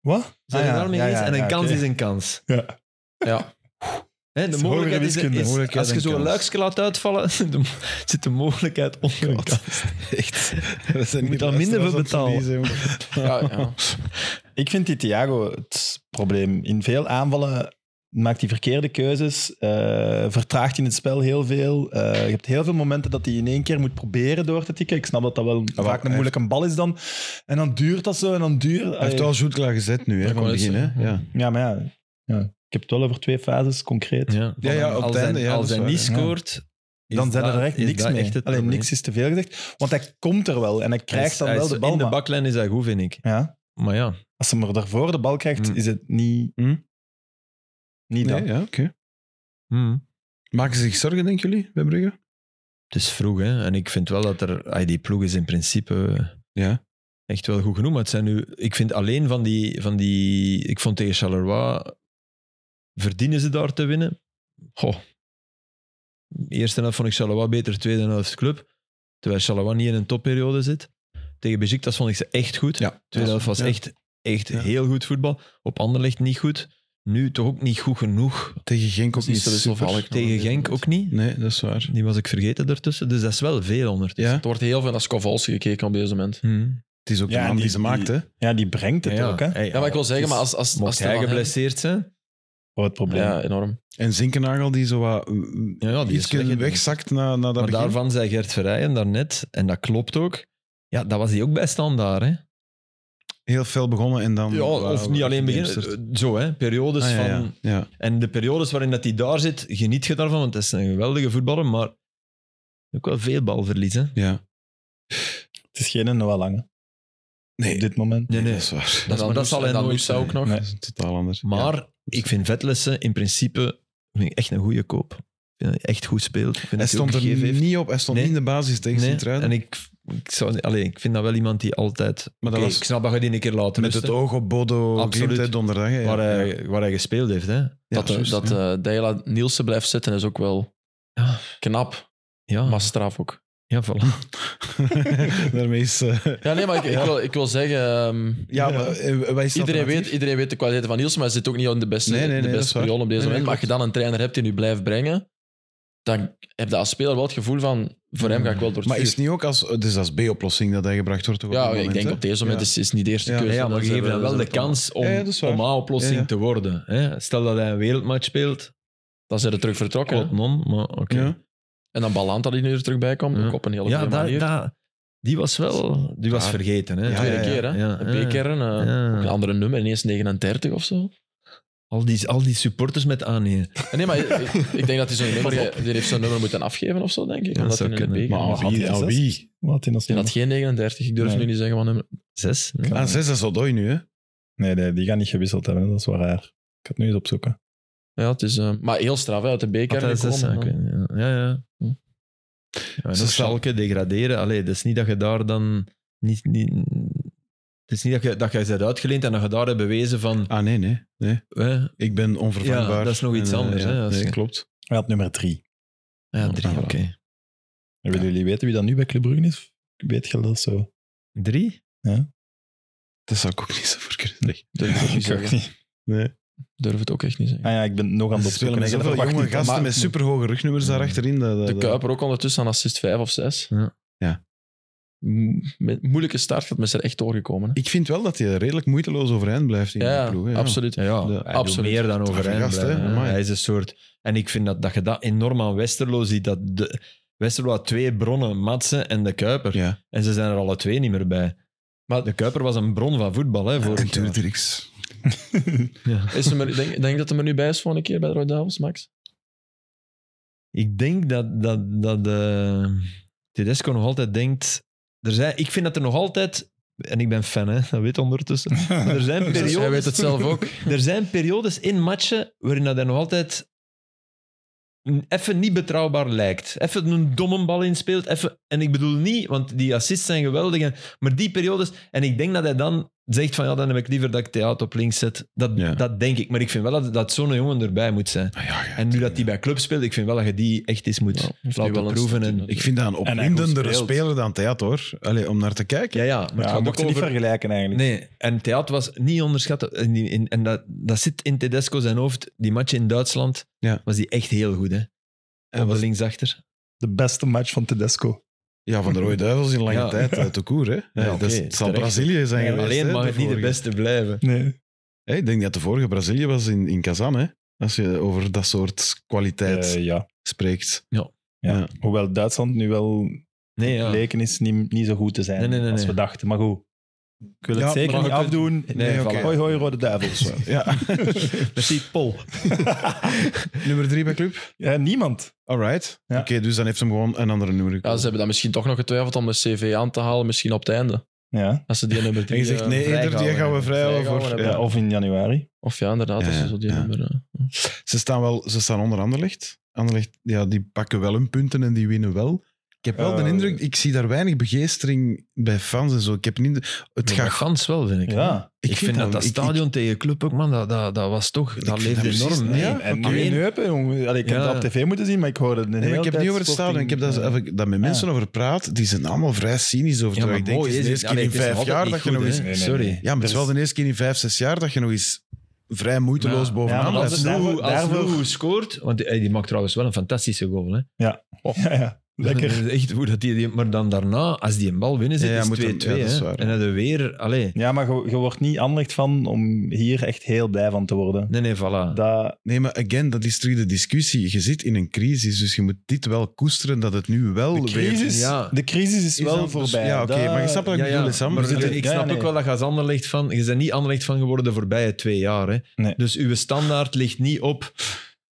Wat?
Zijn we
Ah, ja.
daarmee
Ja,
eens?
ja,
En een
ja,
kans
oké.
is een kans.
Ja.
Ja.
Hè, de
is
mogelijkheid
hogere
is,
wiskunde.
is-
Mogelijkheid
als je
en
zo'n
kans.
luikske laat uitvallen, de- zit de mogelijkheid onder een kans.
Echt. Dat zijn
Je moet
die
daar minder
luisteraars
voor
aan het
betalen.
verliezen, jongen.
Ja, ja.
Ik vind die Thiago het probleem. In veel aanvallen maakt hij verkeerde keuzes, eh, vertraagt in het spel heel veel. Eh, je hebt heel veel momenten dat hij in één keer moet proberen door te tikken. Ik snap dat dat wel
Ah,
vaak een
hij
moeilijke bal is dan. En dan duurt dat zo en dan duurt...
Hij heeft wel zoet klaar gezet nu, hè,
Dat
van het
wou ik
begin. Hè?
zeggen.
Ja.
Ja, maar ja. ja. Ik heb het wel over twee fases, concreet.
Ja,
Ja, ja, op
als
het
hij-
einde, ja, dat
als
is
hij
waar,
niet
ja.
scoort, is
dan zijn
dat-
er echt
is
niks
dat
mee.
echt het
Alleen
probleem.
niks is te veel gezegd. Want hij komt er wel en hij
Hij is-
krijgt dan
hij
wel
is-
de bal.
In de
maar-
baklijn is dat goed, vind ik.
ja.
Maar ja,
Als hij maar daarvoor de bal krijgt,
Mm.
is het niet...
Mm.
Niet dat.
Nee, ja, oké.
hmm,
Maken ze zich zorgen, denken jullie, bij Brugge?
het is vroeg. Hè? En ik vind wel dat er... ah, die ploeg is in principe
Ja.
echt wel goed genoeg. Maar het zijn nu... Ik vind alleen van die... Van die ik vond tegen Charleroi... Verdienen ze daar te winnen? Goh. Eerste helft vond ik Charleroi beter, tweede helft club. Terwijl Charleroi niet in een topperiode zit. Tegen Beşiktaş vond ik ze echt goed.
Ja.
Tweede helft Dus was
Ja.
echt, echt
Ja.
heel goed voetbal. Op Anderlecht niet goed. Nu toch ook niet goed genoeg.
Tegen Genk ook
Dus
niet
is er dus
super.
overvallig.
Tegen Genk ook niet.
Nee, dat is waar.
Die was ik vergeten daartussen. Dus dat is wel veel ondertussen.
Ja,
Er wordt heel veel naar Scovolsi gekeken op deze moment.
Hmm.
het is ook
Ja,
de
en
man die,
die-
ze maakt, hè.
Ja, die brengt het
Ja,
ook, hè.
hey,
Ja, maar ik wil zeggen,
het
maar
is-
als, als,
Mocht
als
hij
er dan-
geblesseerd zijn...
Oh, het probleem.
Ja, enorm.
En Zinkenagel die zo wat mm,
Ja, ja, die is
iets
weg, hè.
wegzakt na, na dat
Maar
begin.
daarvan zei Gert Verrijen daarnet, en dat klopt ook, ja, dat was hij ook bij standaard. Hè?
Heel fel begonnen en dan...
Ja, of
Wauw,
niet alleen
geïnvesteerd.
beginnen. eh, Zo, hè, periodes
Ah, ja, ja.
van...
ja.
En de periodes waarin dat hij daar zit, geniet je daarvan, want dat is een geweldige voetballer, maar ook wel veel balverlies. Hè?
ja.
Het is geen Noah Lange
Nee,
op dit moment.
Nee, nee.
dat is waar.
Dat,
Dan
dat
Moes-
zal hij
en dan dus, eh,
nooit
Moes
zijn.
ook nog.
Nee.
Dat is een totaal anders.
Maar
Ja.
ik vind Vetlessen in principe vind ik echt een goede koop. Ik vind dat hij echt goed speelt. Ik
Hij
vind dat ook
stond er
gegeven heeft.
niet op. Hij stond
Nee.
niet in de basis tegen
Nee,
Sint-Truiden.
En ik ik, zou, allee, ik vind dat wel iemand die altijd...
Maar dat
Oké,
was
Ik snap dat je die een keer laat
met
rusten,
het oog op Bodo
Absoluut. eh,
Glimt, hè, donderdag. hè, ja.
waar, hij, waar hij gespeeld heeft. Hè.
dat eh,
juist,
dat eh, Dayla Nielsen blijft zitten is ook wel
Ja.
knap,
Ja,
Ah.
maar straf ook.
ja voilà.
Daarmee is... eh,
Ja, nee, maar ik, ik, wil, ik wil zeggen, ehm,
ja, maar, eh, wat is het
iedereen, weet,
alternatief?
iedereen weet de kwaliteiten van Nielsen, maar hij zit ook niet in de beste,
Nee, nee, nee,
de
dat is
beste
waar.
periode op deze
Nee, nee,
moment. Maar als je dan een trainer hebt die nu blijft brengen, dan heb je als speler wel het gevoel van, voor hem ga ik wel door het
Mm. Maar
vuur.
is het niet ook als... Dus als B-oplossing dat hij gebracht wordt? toch op
Ja,
dat
ik
moment,
denk
hè?
op deze moment
Ja.
is, is eh, niet de eerste
Ja.
keuze.
Ja, maar
Dan
geef
zijn
hem
we-
wel
zijn
de
we het al.
kans om,
Ja, ja, dat is waar.
om A-oplossing
Ja, ja.
te worden. Hè. Stel dat hij een wereldmatch speelt,
Dan zijn er terug vertrokken.
quote
hè.
non, maar oké.
Ja.
En dan Balanta die nu er terug bij komt,
Ja.
ook op een hele
Ja,
goede
daar,
manier.
daar- die was wel die was
Ja.
vergeten. Hè.
Ja,
Tweede
ja,
keer, hè?
Ja,
Een
ja.
B-kern, eh,
Ja.
ook een andere nummer, ineens 39 of zo.
Al, die, al die supporters met aannemen.
Ah, Nee, maar ik, ik- ik denk dat hij zo'n nummer, die heeft zo'n nummer moeten afgeven of zo, denk ik.
Ja,
omdat
zou
hij in
kunnen.
de
Maar
B-kern
aan
was.
wie?
had
ah,
hij
Aan
zes?
wie?
Wat in als
Die had geen 39, ik durf
Nee.
nu niet zeggen wat nummer.
Zes? Nee.
Aan Ah, zes is Odoi nu, hè?
Nee, nee, die gaan niet gewisseld hebben. Dat is wel raar. Ik ga het nu eens opzoeken.
Ja, het is, eh, maar heel straf, hè, uit de
Had
B-kern
hij zes?
gekomen.
Ja, ik weet niet. Ja, ja. ja. Hm. Ja, en
Ze
ook
staan-
Schalke degraderen. Allee, dat is niet dat je daar dan... Niet, niet, het is niet dat je, dat je bent uitgeleend en dat je daar hebt bewezen van...
Ah, nee, nee. nee.
hè,
Ik ben onvervangbaar.
Ja, dat is nog iets
eh,
anders, hè, als
nee,
je-
klopt.
Hij had nummer drie.
ja, drie,
Ah,
oké.
voilà. En Willen jullie weten wie dat nu bij Club Brugge is? Weet je dat zo?
Drie?
Dat zou ik ook niet zo voor kunnen zeggen.
Durf het ook niet
ook
zeggen.
niet.
Durf het ook echt niet
Ah
zeggen.
ja, ik ben nog aan
Ze
het
spelen
opzoeken.
met
Ik heb
zoveel
dat nog
jonge
wacht niet.
gasten met superhoge rugnummers daar achterin. Dat, dat,
De
dat-
Kuiper ook ondertussen aan assist 5 of 6.
Ja.
Ja.
moeilijke start, dat is er echt doorgekomen. Hè.
Ik vind wel dat hij redelijk moeiteloos overeind blijft in
Ja,
de ploeg. hè, ja.
absoluut.
Ja, ja, hij doet
absoluut.
meer dan
Straffe
overeind
gast, hè,
blijven, hè.
amai.
Hij is een soort... En ik vind dat, dat je dat enorm aan Westerlo ziet. Dat de, Westerlo had twee bronnen, Matsen en de Kuiper.
Ja.
En ze zijn er alle twee niet meer bij. Maar de Kuiper was een bron van voetbal, hè,
En
vorig jaar.
Turdirks.
Is hem er, denk, denk dat hij er nu bij is volgende keer bij de Roy Duivels, Max?
Ik denk dat, dat, dat eh, Tedesco nog altijd denkt... Er zijn, ik vind dat er nog altijd... En ik ben fan, hè, dat weet ondertussen. Maar er zijn periodes...
Hij weet het zelf ook.
Er zijn periodes in matchen waarin dat hij nog altijd n- even niet betrouwbaar lijkt. Even een domme bal inspeelt. Even, en ik bedoel niet, want die assists zijn geweldig. en- maar die periodes... En ik denk dat hij dan zegt van ja, dan heb ik liever dat ik Theater op links zet. Dat,
Ja.
dat denk ik. Maar ik vind wel dat, dat zo'n jongen erbij moet zijn.
Ah, ja, ja.
En nu dat hij bij club speelt, ik vind wel dat je die echt eens moet
Ja, heeft hij
laten
wel een
proeven.
start in
En,
dat-
Ik vind dat een
hij
opwindendere
goed speelt.
speler dan Theater, hoor. Allee, om naar te kijken.
ja, ja, maar het
Ja,
gaat
mocht
ook
je niet
over...
vergelijken eigenlijk.
Nee, en Theat was niet onderschat. En, die- in- en dat, dat zit in Tedesco zijn hoofd. Die match in Duitsland
Ja.
was die echt heel goed. Hè?
En
Op de
was-
linksachter.
De beste match van Tedesco.
Ja, van de Rode Duivels in lange
Ja.
tijd uit de koer. Hè. Ja,
oké,
dat is- het zal
terecht.
Brazilië zijn geweest.
Alleen
hè,
mag
de
het niet de
vorige.
beste blijven.
Nee.
Hè, ik denk dat de vorige Brazilië was in, in Kazan. Hè. Als je over dat soort kwaliteit
Eh, ja.
spreekt.
Ja.
Ja.
Hoewel Duitsland nu wel
Nee, ja.
leken is niet, niet zo goed te zijn
Nee, nee, nee,
als we
nee.
dachten. Maar goed, ik wil
Ja,
het zeker
maar
niet
we
afdoen.
Nee,
voilà.
oké.
Hoi, hoi, Rode Duivels.
Ja.
Merci, Paul.
nummer drie bij club.
ja, Eh, niemand.
Alright.
Ja.
Oké, dus dan heeft hem gewoon een andere nummer
Ja, ze
gekozen.
hebben dan misschien toch nog getwijfeld om de CV aan te halen, misschien op het einde.
Ja.
Als ze die nummer
en
drie...
je zegt,
eh,
nee, eerder, die
vrijgehouden
gaan we
hebben.
vrij
Vrijgehouden
over.
hebben.
Ja.
Of in januari.
Of ja, inderdaad,
Ja,
als
ja,
ze zo die
ja.
nummer... eh,
Ze, staan wel, ze staan onder Anderlecht. Anderlecht, ja, die pakken wel hun punten en die winnen wel. Ik heb wel de
Eh,
indruk, ik zie daar weinig begeestering bij fans en zo. Ik heb niet... de- Het
Het gaat
gaat...
gans wel, vind ik.
Ja.
Ik, vind, dat dat
ik- ik-
stadion tegen club ook, man, dat, dat, dat was toch... Dat
vind
leefde
dat precies-
enorm.
nee,
mee.
ja,
En nu
Alleen-
in Eupen, jongen. Allee, ik heb
Ja.
dat op tv moeten zien, maar ik hoorde het
Nee, maar ik heb het niet over het stadion. Ik heb dat, heb ik dat met mensen over praat. Die zijn allemaal vrij cynisch over.
Ja,
terwijl
maar
ik denk,
mooi
het is de
is
eerste
het-
keer in
Allee, het
vijf
is nog
jaar dat
altijd
je
niet
nog eens...
goed,
Nee, nee,
Sorry.
nee.
Ja, maar het is wel de eerste keer in vijf, zes jaar dat je nog eens vrij moeiteloos
Ja.
bovenaan
Ja, maar dat
blijft.
is
Als
het-
Lou,
daarvoor-
als
daarvoor-
Lou scoort... Want die, die maakt trouwens wel een fantastische goal, hè.
Oh, Ja, ja. Lekker.
Dat is Echt, hoe dat die, die- maar dan daarna, als die een bal winnen zit,
Ja, ja, moet
is
hem-
2-2.
ja, dat is
hè.
waar,
en dat er weer... Allee.
Ja, maar je, je wordt niet aanlegd van om hier echt heel blij van te worden.
Nee, nee, voilà.
Dat,
Nee, maar again, dat is terug de discussie. Je zit in een crisis, dus je moet dit wel koesteren dat het nu wel
de,
weer...
crisis,
ja.
de crisis is, wel
dat-
voorbij.
Ja, oké,
Dat-
maar je snapt wat ik
Ja, ja,
bedoel, hè, Sam.
maar
We zitten-
ik
Ja,
snap
nee.
ook wel dat je als Anderlecht van... Je bent niet Anderlecht van geworden de voorbije twee jaar. Hè.
Nee.
Dus uw standaard ligt niet op...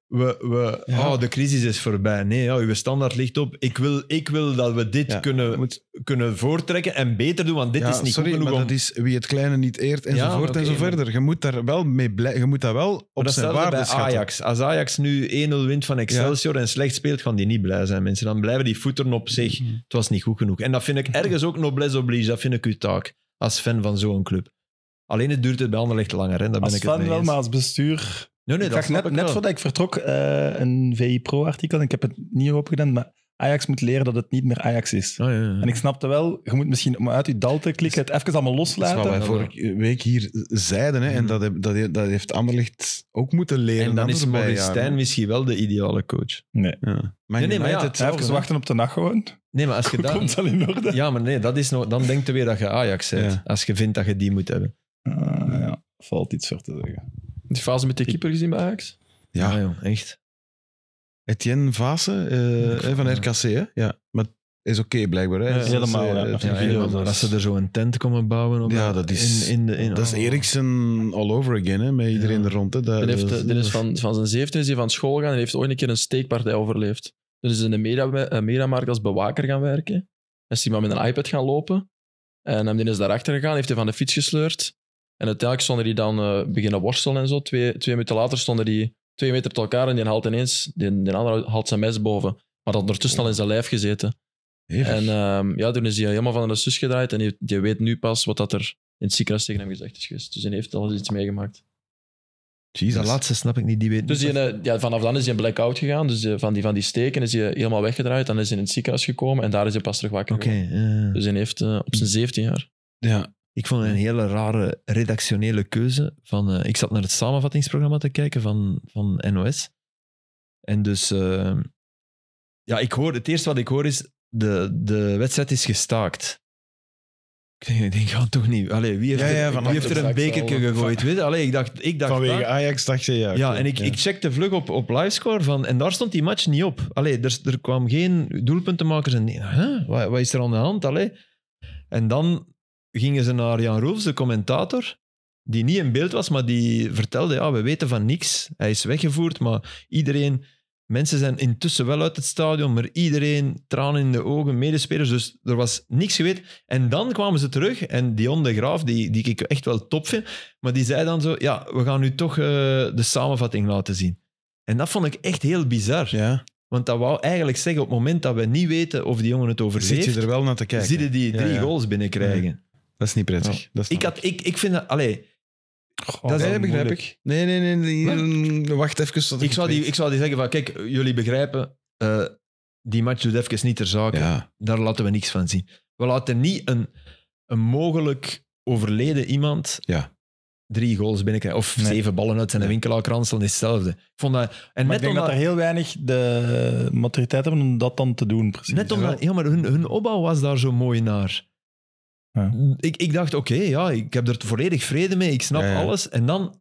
we, we
Ja.
oh, de crisis is voorbij. Nee, ja, uw standaard ligt op. Ik wil, ik wil dat we dit
Ja.
kunnen,
Moet-
kunnen voortrekken en beter doen, want dit
Ja,
is niet
sorry,
goed genoeg
maar
om...
dat is wie het kleine niet eert enzovoort
oké,
en zo
maar-
verder. Je moet daar wel mee blij, je moet dat wel
Maar
op
dat
zijn
stelde
waarde
bij
schatten.
Ajax. Als Ajax nu 1-0 wint van Excelsior en slecht speelt, gaan die niet blij zijn, mensen. Dan blijven die voeten op zich. Het was niet goed genoeg. En dat vind ik ergens ook noblesse oblige. Dat vind ik uw taak als fan van zo'n club. Alleen het duurt het bij Anderlecht langer. Hè? Daar ben
Als
ik het
fan
mee
wel,
eens.
maar als bestuur
Nee, nee,
ik zag
dat snap
net,
ik
net
wel.
voordat ik vertrok eh, een VI Pro-artikel en ik heb het niet opgedaan, maar Ajax moet leren dat het niet meer Ajax is.
Ah, ja, ja.
En ik snapte wel, je moet misschien om uit je dal te klikken, het even allemaal
Dat is wat
loslaten.
wij vorige week hier zeiden. Hè, En
Mhm.
dat, heb- dat, he- dat heeft Anderlicht ook moeten leren.
En dan is
Anders bij
Maurice Stijn
jaren.
misschien wel de ideale coach.
Ja. Man
Nee, nee, maar ja,
United,
Ja, even wachten op de nacht gewoon.
Nee, maar als je dan...
Komt wel in orde.
Ja, maar nee, dat is nog, dan denkt je weer dat je Ajax bent.
Ja.
Als je vindt dat je die moet hebben.
Ah, ja, valt iets voor te zeggen.
Die fase met de keeper gezien bij Ajax?
Ja.
Ah, jong, echt.
Etienne Vase eh, van RKC. Hè? Ja, maar is oké blijkbaar. Hè?
Ja,
Dat is,
helemaal,
eh,
ja.
het-
Ja,
video
en
was-
als ze er zo een tent komen bouwen... Op
Ja, dat is-
In, in de, in,
Dat is
oh.
Eriksen all over again, hè, met iedereen
Ja.
er rond. Hè. Dat,
Die, heeft,
dat-
die is van, van zijn 17 is hij van school gegaan en heeft ooit een keer een steekpartij overleefd. Dus is in de media- eh, mediamarkt als bewaker gaan werken. En is hij maar met een iPad gaan lopen. En hem die is daarachter gegaan, heeft hij van de fiets gesleurd. En uiteindelijk stonden die dan eh, beginnen worstelen en zo. Twee, twee minuten later stonden die twee meter tot elkaar en die haalt ineens, die, die andere haalt zijn mes boven. Maar dat had ondertussen al in zijn lijf gezeten.
Hevig.
En ehm, ja, toen is hij helemaal van de zus gedraaid en die, die weet nu pas wat dat er in het ziekenhuis tegen hem gezegd is geweest. Dus hij heeft al eens iets meegemaakt.
Jezus.
Dat laatste snap ik niet. Die weet
Dus
niet
die, eh, ja, vanaf dan is hij in blackout gegaan. Dus eh, van, die, van die steken is hij helemaal weggedraaid. Dan is hij in het ziekenhuis gekomen en daar is hij pas terug wakker
Oké.
geworden.
ja.
Dus hij heeft eh, op zijn 17 jaar.
Ja.
Ik vond het een hele rare redactionele keuze. Van, eh, ik zat naar het samenvattingsprogramma te kijken van, van NOS. En dus, eh, ja, ik hoor, het eerste wat ik hoor is, de, de wedstrijd is gestaakt. Ik denk, ik denk ja, toch niet. Allee, wie heeft,
Ja, ja,
er,
van
wie heeft er een
achter de
bekertje
zaal.
gegooid? Weet je? Allee, ik dacht, ik dacht dat-
Vanwege Ajax dacht je ja.
ja,
oké.
en ik, ik checkte vlug op, op livescore van, en daar stond die match niet op. Allee, er, er kwam geen doelpuntenmakers en huh, wat, wat is er aan de hand? Allee. En dan gingen ze naar Jan Roels, de commentator, die niet in beeld was, maar die vertelde, ja, we weten van niks. Hij is weggevoerd, maar iedereen... Mensen zijn intussen wel uit het stadion, maar iedereen, tranen in de ogen, medespelers, dus er was niks geweten. En dan kwamen ze terug en Dion de Graaf, die, die ik echt wel top vind, maar die zei dan zo, ja, we gaan nu toch eh, de samenvatting laten zien. En dat vond ik echt heel bizar.
Ja.
Want dat wou eigenlijk zeggen, op het moment dat we niet weten of die jongen het
Zit
overleeft,
je er wel naar te kijken?
zie je die
Ja,
drie
ja.
goals binnenkrijgen.
Dat is niet prettig. Dat snap
Ik, had, ik, ik vind dat... Allee, dat is
nee, begrijp
moeilijk.
ik. Nee, nee, nee. nee. Wacht even. Tot
Ik zou, die, ik zou die zeggen van, kijk, jullie begrijpen, eh, die match doet even niet ter zake.
Ja.
Daar laten we niks van zien. We laten niet een, een mogelijk overleden iemand
Ja.
drie goals binnenkrijgen. Of
Nee.
zeven ballen uit zijn
Nee.
winkelaakransel is hetzelfde. Ik vond dat, en
Maar
net
ik denk
omdat,
dat er heel weinig de maturiteit hebben om dat dan te doen. Precies.
net omdat ja, maar hun, hun opbouw was daar zo mooi naar.
Ja.
Ik, ik dacht, oké, ja, ik heb er volledig vrede mee, ik snap
Ja, ja.
alles. En dan,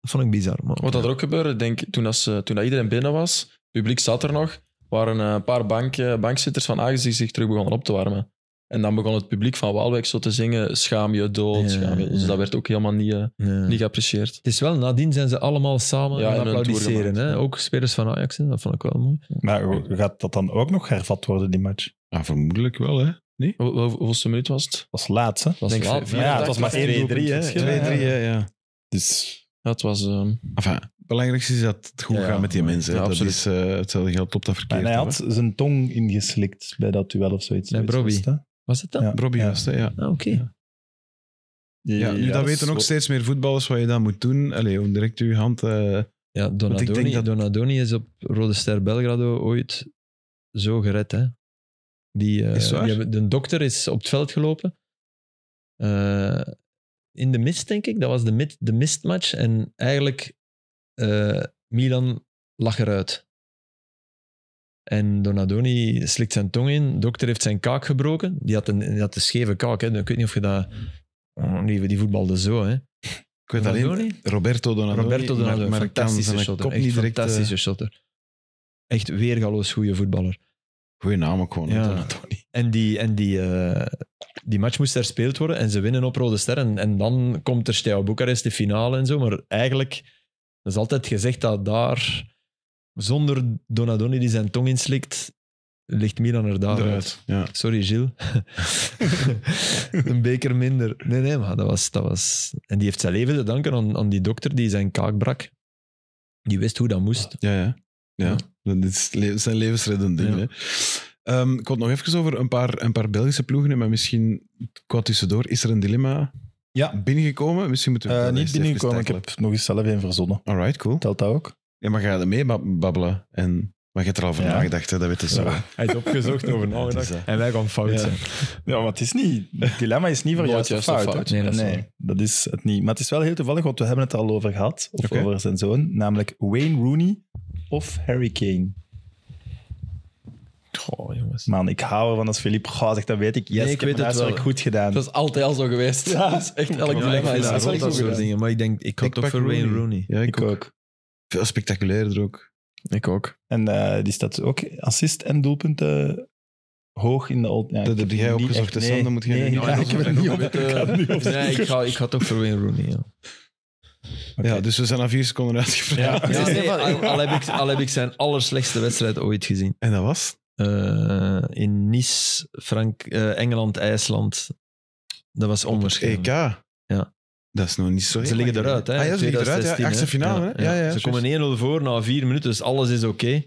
dat vond ik bizar. Maar,
Wat dat er ook gebeurde, denk, ik, toen, dat ze, toen dat iedereen binnen was, het publiek zat er nog, waren eh, een paar bank, eh, bankzitters van Ajax die zich terug begonnen op te warmen. En dan begon het publiek van Waalwijk zo te zingen, schaam je dood,
Ja,
schaam je. Dus
ja.
dat werd ook helemaal niet, eh,
Nee.
niet geapprecieerd.
Het is wel, nadien zijn ze allemaal samen
Ja,
gaan
en een tour
applaudisseren.
gemaakt,
Hè?
ja.
Ook spelers van Ajax, hè? dat vond ik wel mooi.
Maar hoe- gaat dat dan ook nog hervat worden, die match?
Ah, vermoedelijk wel, hè? Nee?
Hoe, hoe- hoeveelste minuut was het?
Dat was laatst, hè?
Dat was
Denk
wel-
ik
Ja, het was maar 1-3, hè?
Ja,
2-3, hè, ja.
Dus
Ja, het was... ehm,
Enfin, het belangrijkste is dat het goed
Ja,
gaat met die
maar-
mensen. hè.
ja,
dat
absoluut.
is eh, hetzelfde geld op dat verkeerd.
en hij had zijn tong ingeslikt bij dat duel of zoiets.
Bij
Zoiets
Brobby.
was het, hè?
Was het dat?
Ja.
Robbie was het, hè, ja.
Ah, Oké.
ja. Nu, dat weten ook steeds meer voetballers wat je dan moet doen. Allee, om direct uw hand... eh,
Ja,
Want ik
Donadoni,
denk dat-
Donadoni is op Rode Ster Belgrado ooit zo gered. Hè? Die, eh,
Is het waar?
die hebben- de dokter is op het veld gelopen. Eh, in de mist, denk ik. Dat was de, mid, de mistmatch. En eigenlijk, eh, Milan lag eruit. En Donadoni slikt zijn tong in. dokter heeft zijn kaak gebroken. Die had een, die had een scheve kaak. Hè? Ik weet niet of je dat... Oh, Die, die voetbalde zo, hè.
ik weet alleen...
Donadoni?
Roberto Donadoni.
Roberto Donadoni,
maar- maar ik kan
fantastische
zijn
shotter.
kop
Echt
niet direct... eh,
fantastische shotter. Echt weergaloos goede voetballer.
Goeie naam ook gewoon, hè,
Ja.
Donadoni.
En, die, en die, eh, die match moest herspeeld worden en ze winnen op Rode Ster. En, en dan komt er Steaua Boekarest de finale en zo. Maar eigenlijk, dat is altijd gezegd dat daar zonder Donadoni die zijn tong inslikt, ligt Milan er daaruit.
Eruit. Ja.
Sorry, Gilles. een beker minder. Nee, nee, maar dat was, dat was... En die heeft zijn leven te danken aan, aan die dokter die zijn kaak brak. Die wist hoe dat moest.
Ja, ja. ja. Dat is le- zijn levensreddend dingen. Hè.
Ja.
Ehm, ik had nog even over een paar, een paar Belgische ploegen, maar misschien qua tussendoor. Is er een dilemma
Ja.
binnengekomen? Misschien moeten we
Eh,
dat
niet
eerst
binnengekomen. Ik
even
heb nog eens zelf een verzonnen.
tackelen. Alright, cool.
Telt dat ook?
Ja, maar ga er mee bab- babbelen. En, maar je hebt er al van
Ja.
nagedacht, hè, dat weet je zo. Ja,
Hij is opgezocht over
het is,
nagedacht.
eh,
En wij gaan fout
Ja.
zijn.
Ja, maar het is niet. Het dilemma is niet voor
Nooit
juist,
juist
of fout.
of fout.
hè?
Nee, dat is
nee,
waar.
dat is het niet. Maar het is wel heel toevallig, want we hebben het al over gehad. Of
Oké.
over zijn zoon. Namelijk Wayne Rooney of Harry Kane.
Goh, jongens.
Man, ik hou ervan als Philippe Goh zegt, dat weet ik. Yes,
Nee,
ik,
ik
heb
weet
mijn
het wel.
huiswerk goed gedaan.
Dat is altijd al zo geweest.
Ja.
Dat is echt elk
Ja,
Ja, ik
dilemma
vind
dat
is
dat
is wel
rot,
goed
dat soort
gedaan.
dingen. Maar ik denk, ik ga
Ik
toch
pak
voor Wayne
Rooney.
Rooney.
Ja, ik,
ik
ook.
ook.
Veel spectaculairder ook.
Ik ook.
En eh, die staat ook assist en doelpunten hoog in de... Old, ja, ik
heb jij
niet
opgezocht,
echt-
hè,
nee,
Sam? Dat moet jij
nee,
niet
ja,
opzoeken.
ik heb het niet op.
Met, eh,
ik ga het niet opzoeken.
Nee, ik ga, ik ga toch voor Wayne Rooney, ja.
Oké.
Ja, dus we zijn al vier seconden uitgevraagd.
Ja.
Ja, nee, al, al heb ik, al heb ik zijn allerslechtste wedstrijd ooit gezien.
En dat was?
Eh, in Nice, Frank, eh, Engeland, IJsland. Dat was
EK.
onwaarschijnlijk. Ja.
Dat is nog niet zo heel
Ze liggen
lang
eruit, hè?
geleden. Ah, ja, ze liggen eruit, ja.
2016,
Achtste finale, hè? Ja, ja,
Ze
juist.
komen 1-0 voor na vier minuten, dus alles is oké.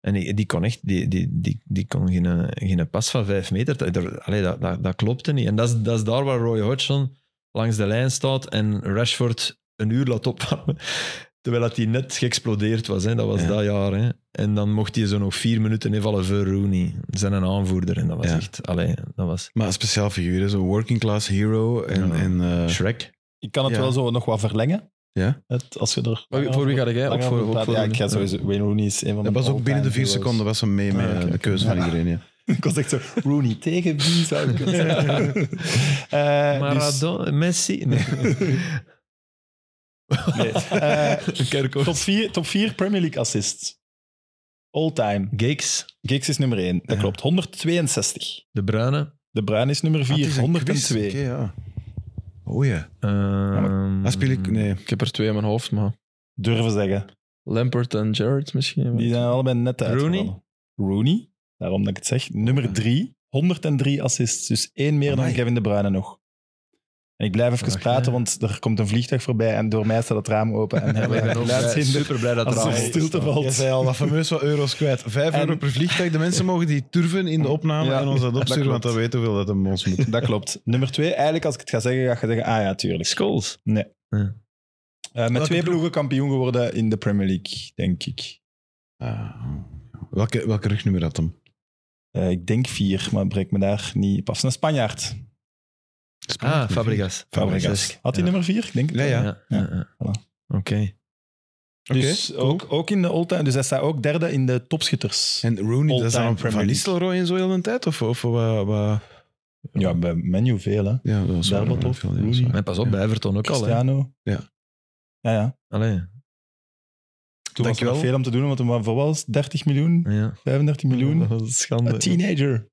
En die, die kon echt, die, die, die, die kon geen, eh, geen pas van vijf meter. Dat, dat- allee, dat, dat, dat klopte niet. En dat is, dat is daar waar Roy Hodgson langs de lijn staat en Rashford een uur laat opwarmen. Terwijl dat hij net geëxplodeerd was, hè. dat was
Ja.
dat jaar. Hè. En dan mocht hij zo nog vier minuten invallen voor Rooney. Zijn een aanvoerder. En dat was
Ja.
echt, allee, dat was
Maar een speciaal figuur, hè, zo'n working class hero. En,
Ja.
en, eh,
Shrek.
Ik kan het
Ja.
wel zo nog wat verlengen.
Ja.
Het, als je er...
Maar wie- voor wie ga jij?
Langer
Ook voor,
over
ook
praten.
voor
ja, ik ga sowieso... Wayne Rooney is een van de
dat was ook binnen de vier
all-time
seconden was
heroes.
hem mee met
Ah,
eh,
oké,
de
oké.
keuze van
Ja.
iedereen. Ja.
ik was echt zo... Rooney tegen wie zou ik dus- kunnen zeggen? Eh, dus-
Maradona, Messi. Nee.
nee. Eh,
Kerkhoff.
top, vier, top vier Premier League assists. All time.
Geeks,
Giggs is nummer 1. Dat klopt. 162.
De Bruyne.
De Bruin is nummer
Ah, het
4.
is een quiz.
102.
Oké, ja. Oh ja.
ehm,
Dat speel ik... Nee.
Ik heb er twee in mijn hoofd, maar...
Durven zeggen.
Lampert en Jared misschien.
Die zijn allebei net uit.
Rooney?
Rooney. Daarom dat ik het zeg. Nummer 3. 103 assists. Dus één meer dan
Amai.
Kevin De Bruyne nog. En ik blijf even
Wacht,
praten,
hè.
want er komt een vliegtuig voorbij en door mij staat het raam open. En
Ja,
hij
maar ik ben ook blij-
geluidshinder.
superblij dat
Als
er
er
allemaal-
stilte
Jij
valt.
zei al dat fameus wat euro's kwijt. Vijf
En-
euro per vliegtuig. De mensen mogen die turven in de opname
Ja,
en ons dat opsturen,
klopt.
want dat weten we wel dat hem ons moet.
Dat klopt. Nummer 2. Eigenlijk, als ik het ga zeggen, ga je zeggen, ah ja, tuurlijk.
Scholes.
Eh, met
Welke
twee
ploeg?
ploegen kampioen geworden in de Premier League, denk ik.
Ah. welke, welke rugnummer had hem?
Eh, ik denk vier, maar breek me daar niet op af. Een Spanjaard.
Ah, Fabregas.
Fabregas. Had hij nummer vier? Ik denk het
Ja,
wel.
ja.
Ja, ja.
Voilà.
Oké.
Oké,
Dus ook, ook in de all-time. Dus hij staat ook derde in de topschutters.
En Rooney, dat is
All-time
dan Van
Premier League.
Nistelrooy en zo heel een tijd? Of, of wat, wat-
ja, bij menu veel, hè.
Ja, dat was wel
Berbatov,
veel, ja, dat is
Rooney.
waar.
Maar pas op, bij Everton ook al. Hè.
Cristiano.
Ja.
Ja, ja.
Allee,
Toen was er
Dankjewel.
nog veel om te doen, want er was voor was 30 miljoen,
ja.
35 miljoen.
Dat is schande.
Een teenager.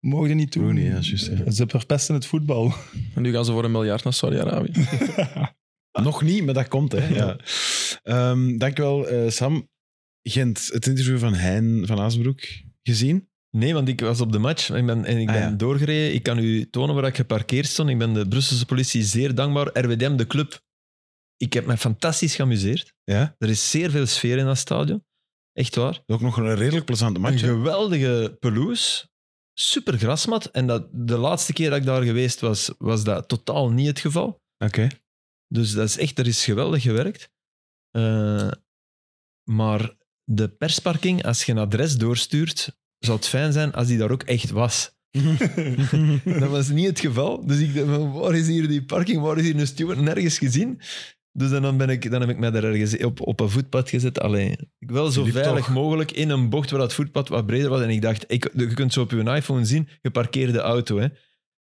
Mogen niet doen.
Rooney, ja, juist. ja.
Ze verpesten het voetbal.
En nu gaan ze voor een miljard naar Saudi-Arabië.
Nog niet, maar dat komt, hè. Ja. Ehm, dankjewel, eh, Sam. Gent, het interview van Hein van Aasbroek gezien?
Nee, want ik was op de match en ik ben, en ik
Ah,
ben
ja.
doorgereden. Ik kan u tonen waar ik geparkeerd stond. Ik ben de Brusselse politie zeer dankbaar. RWDM, de club. Ik heb me fantastisch geamuseerd.
Ja.
Er is zeer veel sfeer in dat stadion. Echt waar.
Ook nog een redelijk plezante match. hè?
Een geweldige pelouse. Super grasmat. En dat, de laatste keer dat ik daar geweest was, was dat totaal niet het geval.
Oké.
Dus dat is echt, er is geweldig gewerkt. Eh, maar de persparking, als je een adres doorstuurt, zou het fijn zijn als die daar ook echt was. dat was niet het geval. Dus ik dacht, van, waar is hier die parking? Waar is hier een steward? Nergens gezien. Dus dan- dan, ben ik, dan heb ik mij daar ergens op, op een voetpad gezet. Alleen, wel zo
liep
veilig
toch?
mogelijk in een bocht waar dat voetpad wat breder was. En ik dacht, ik, je kunt zo op je iPhone zien, geparkeerde auto. Hè.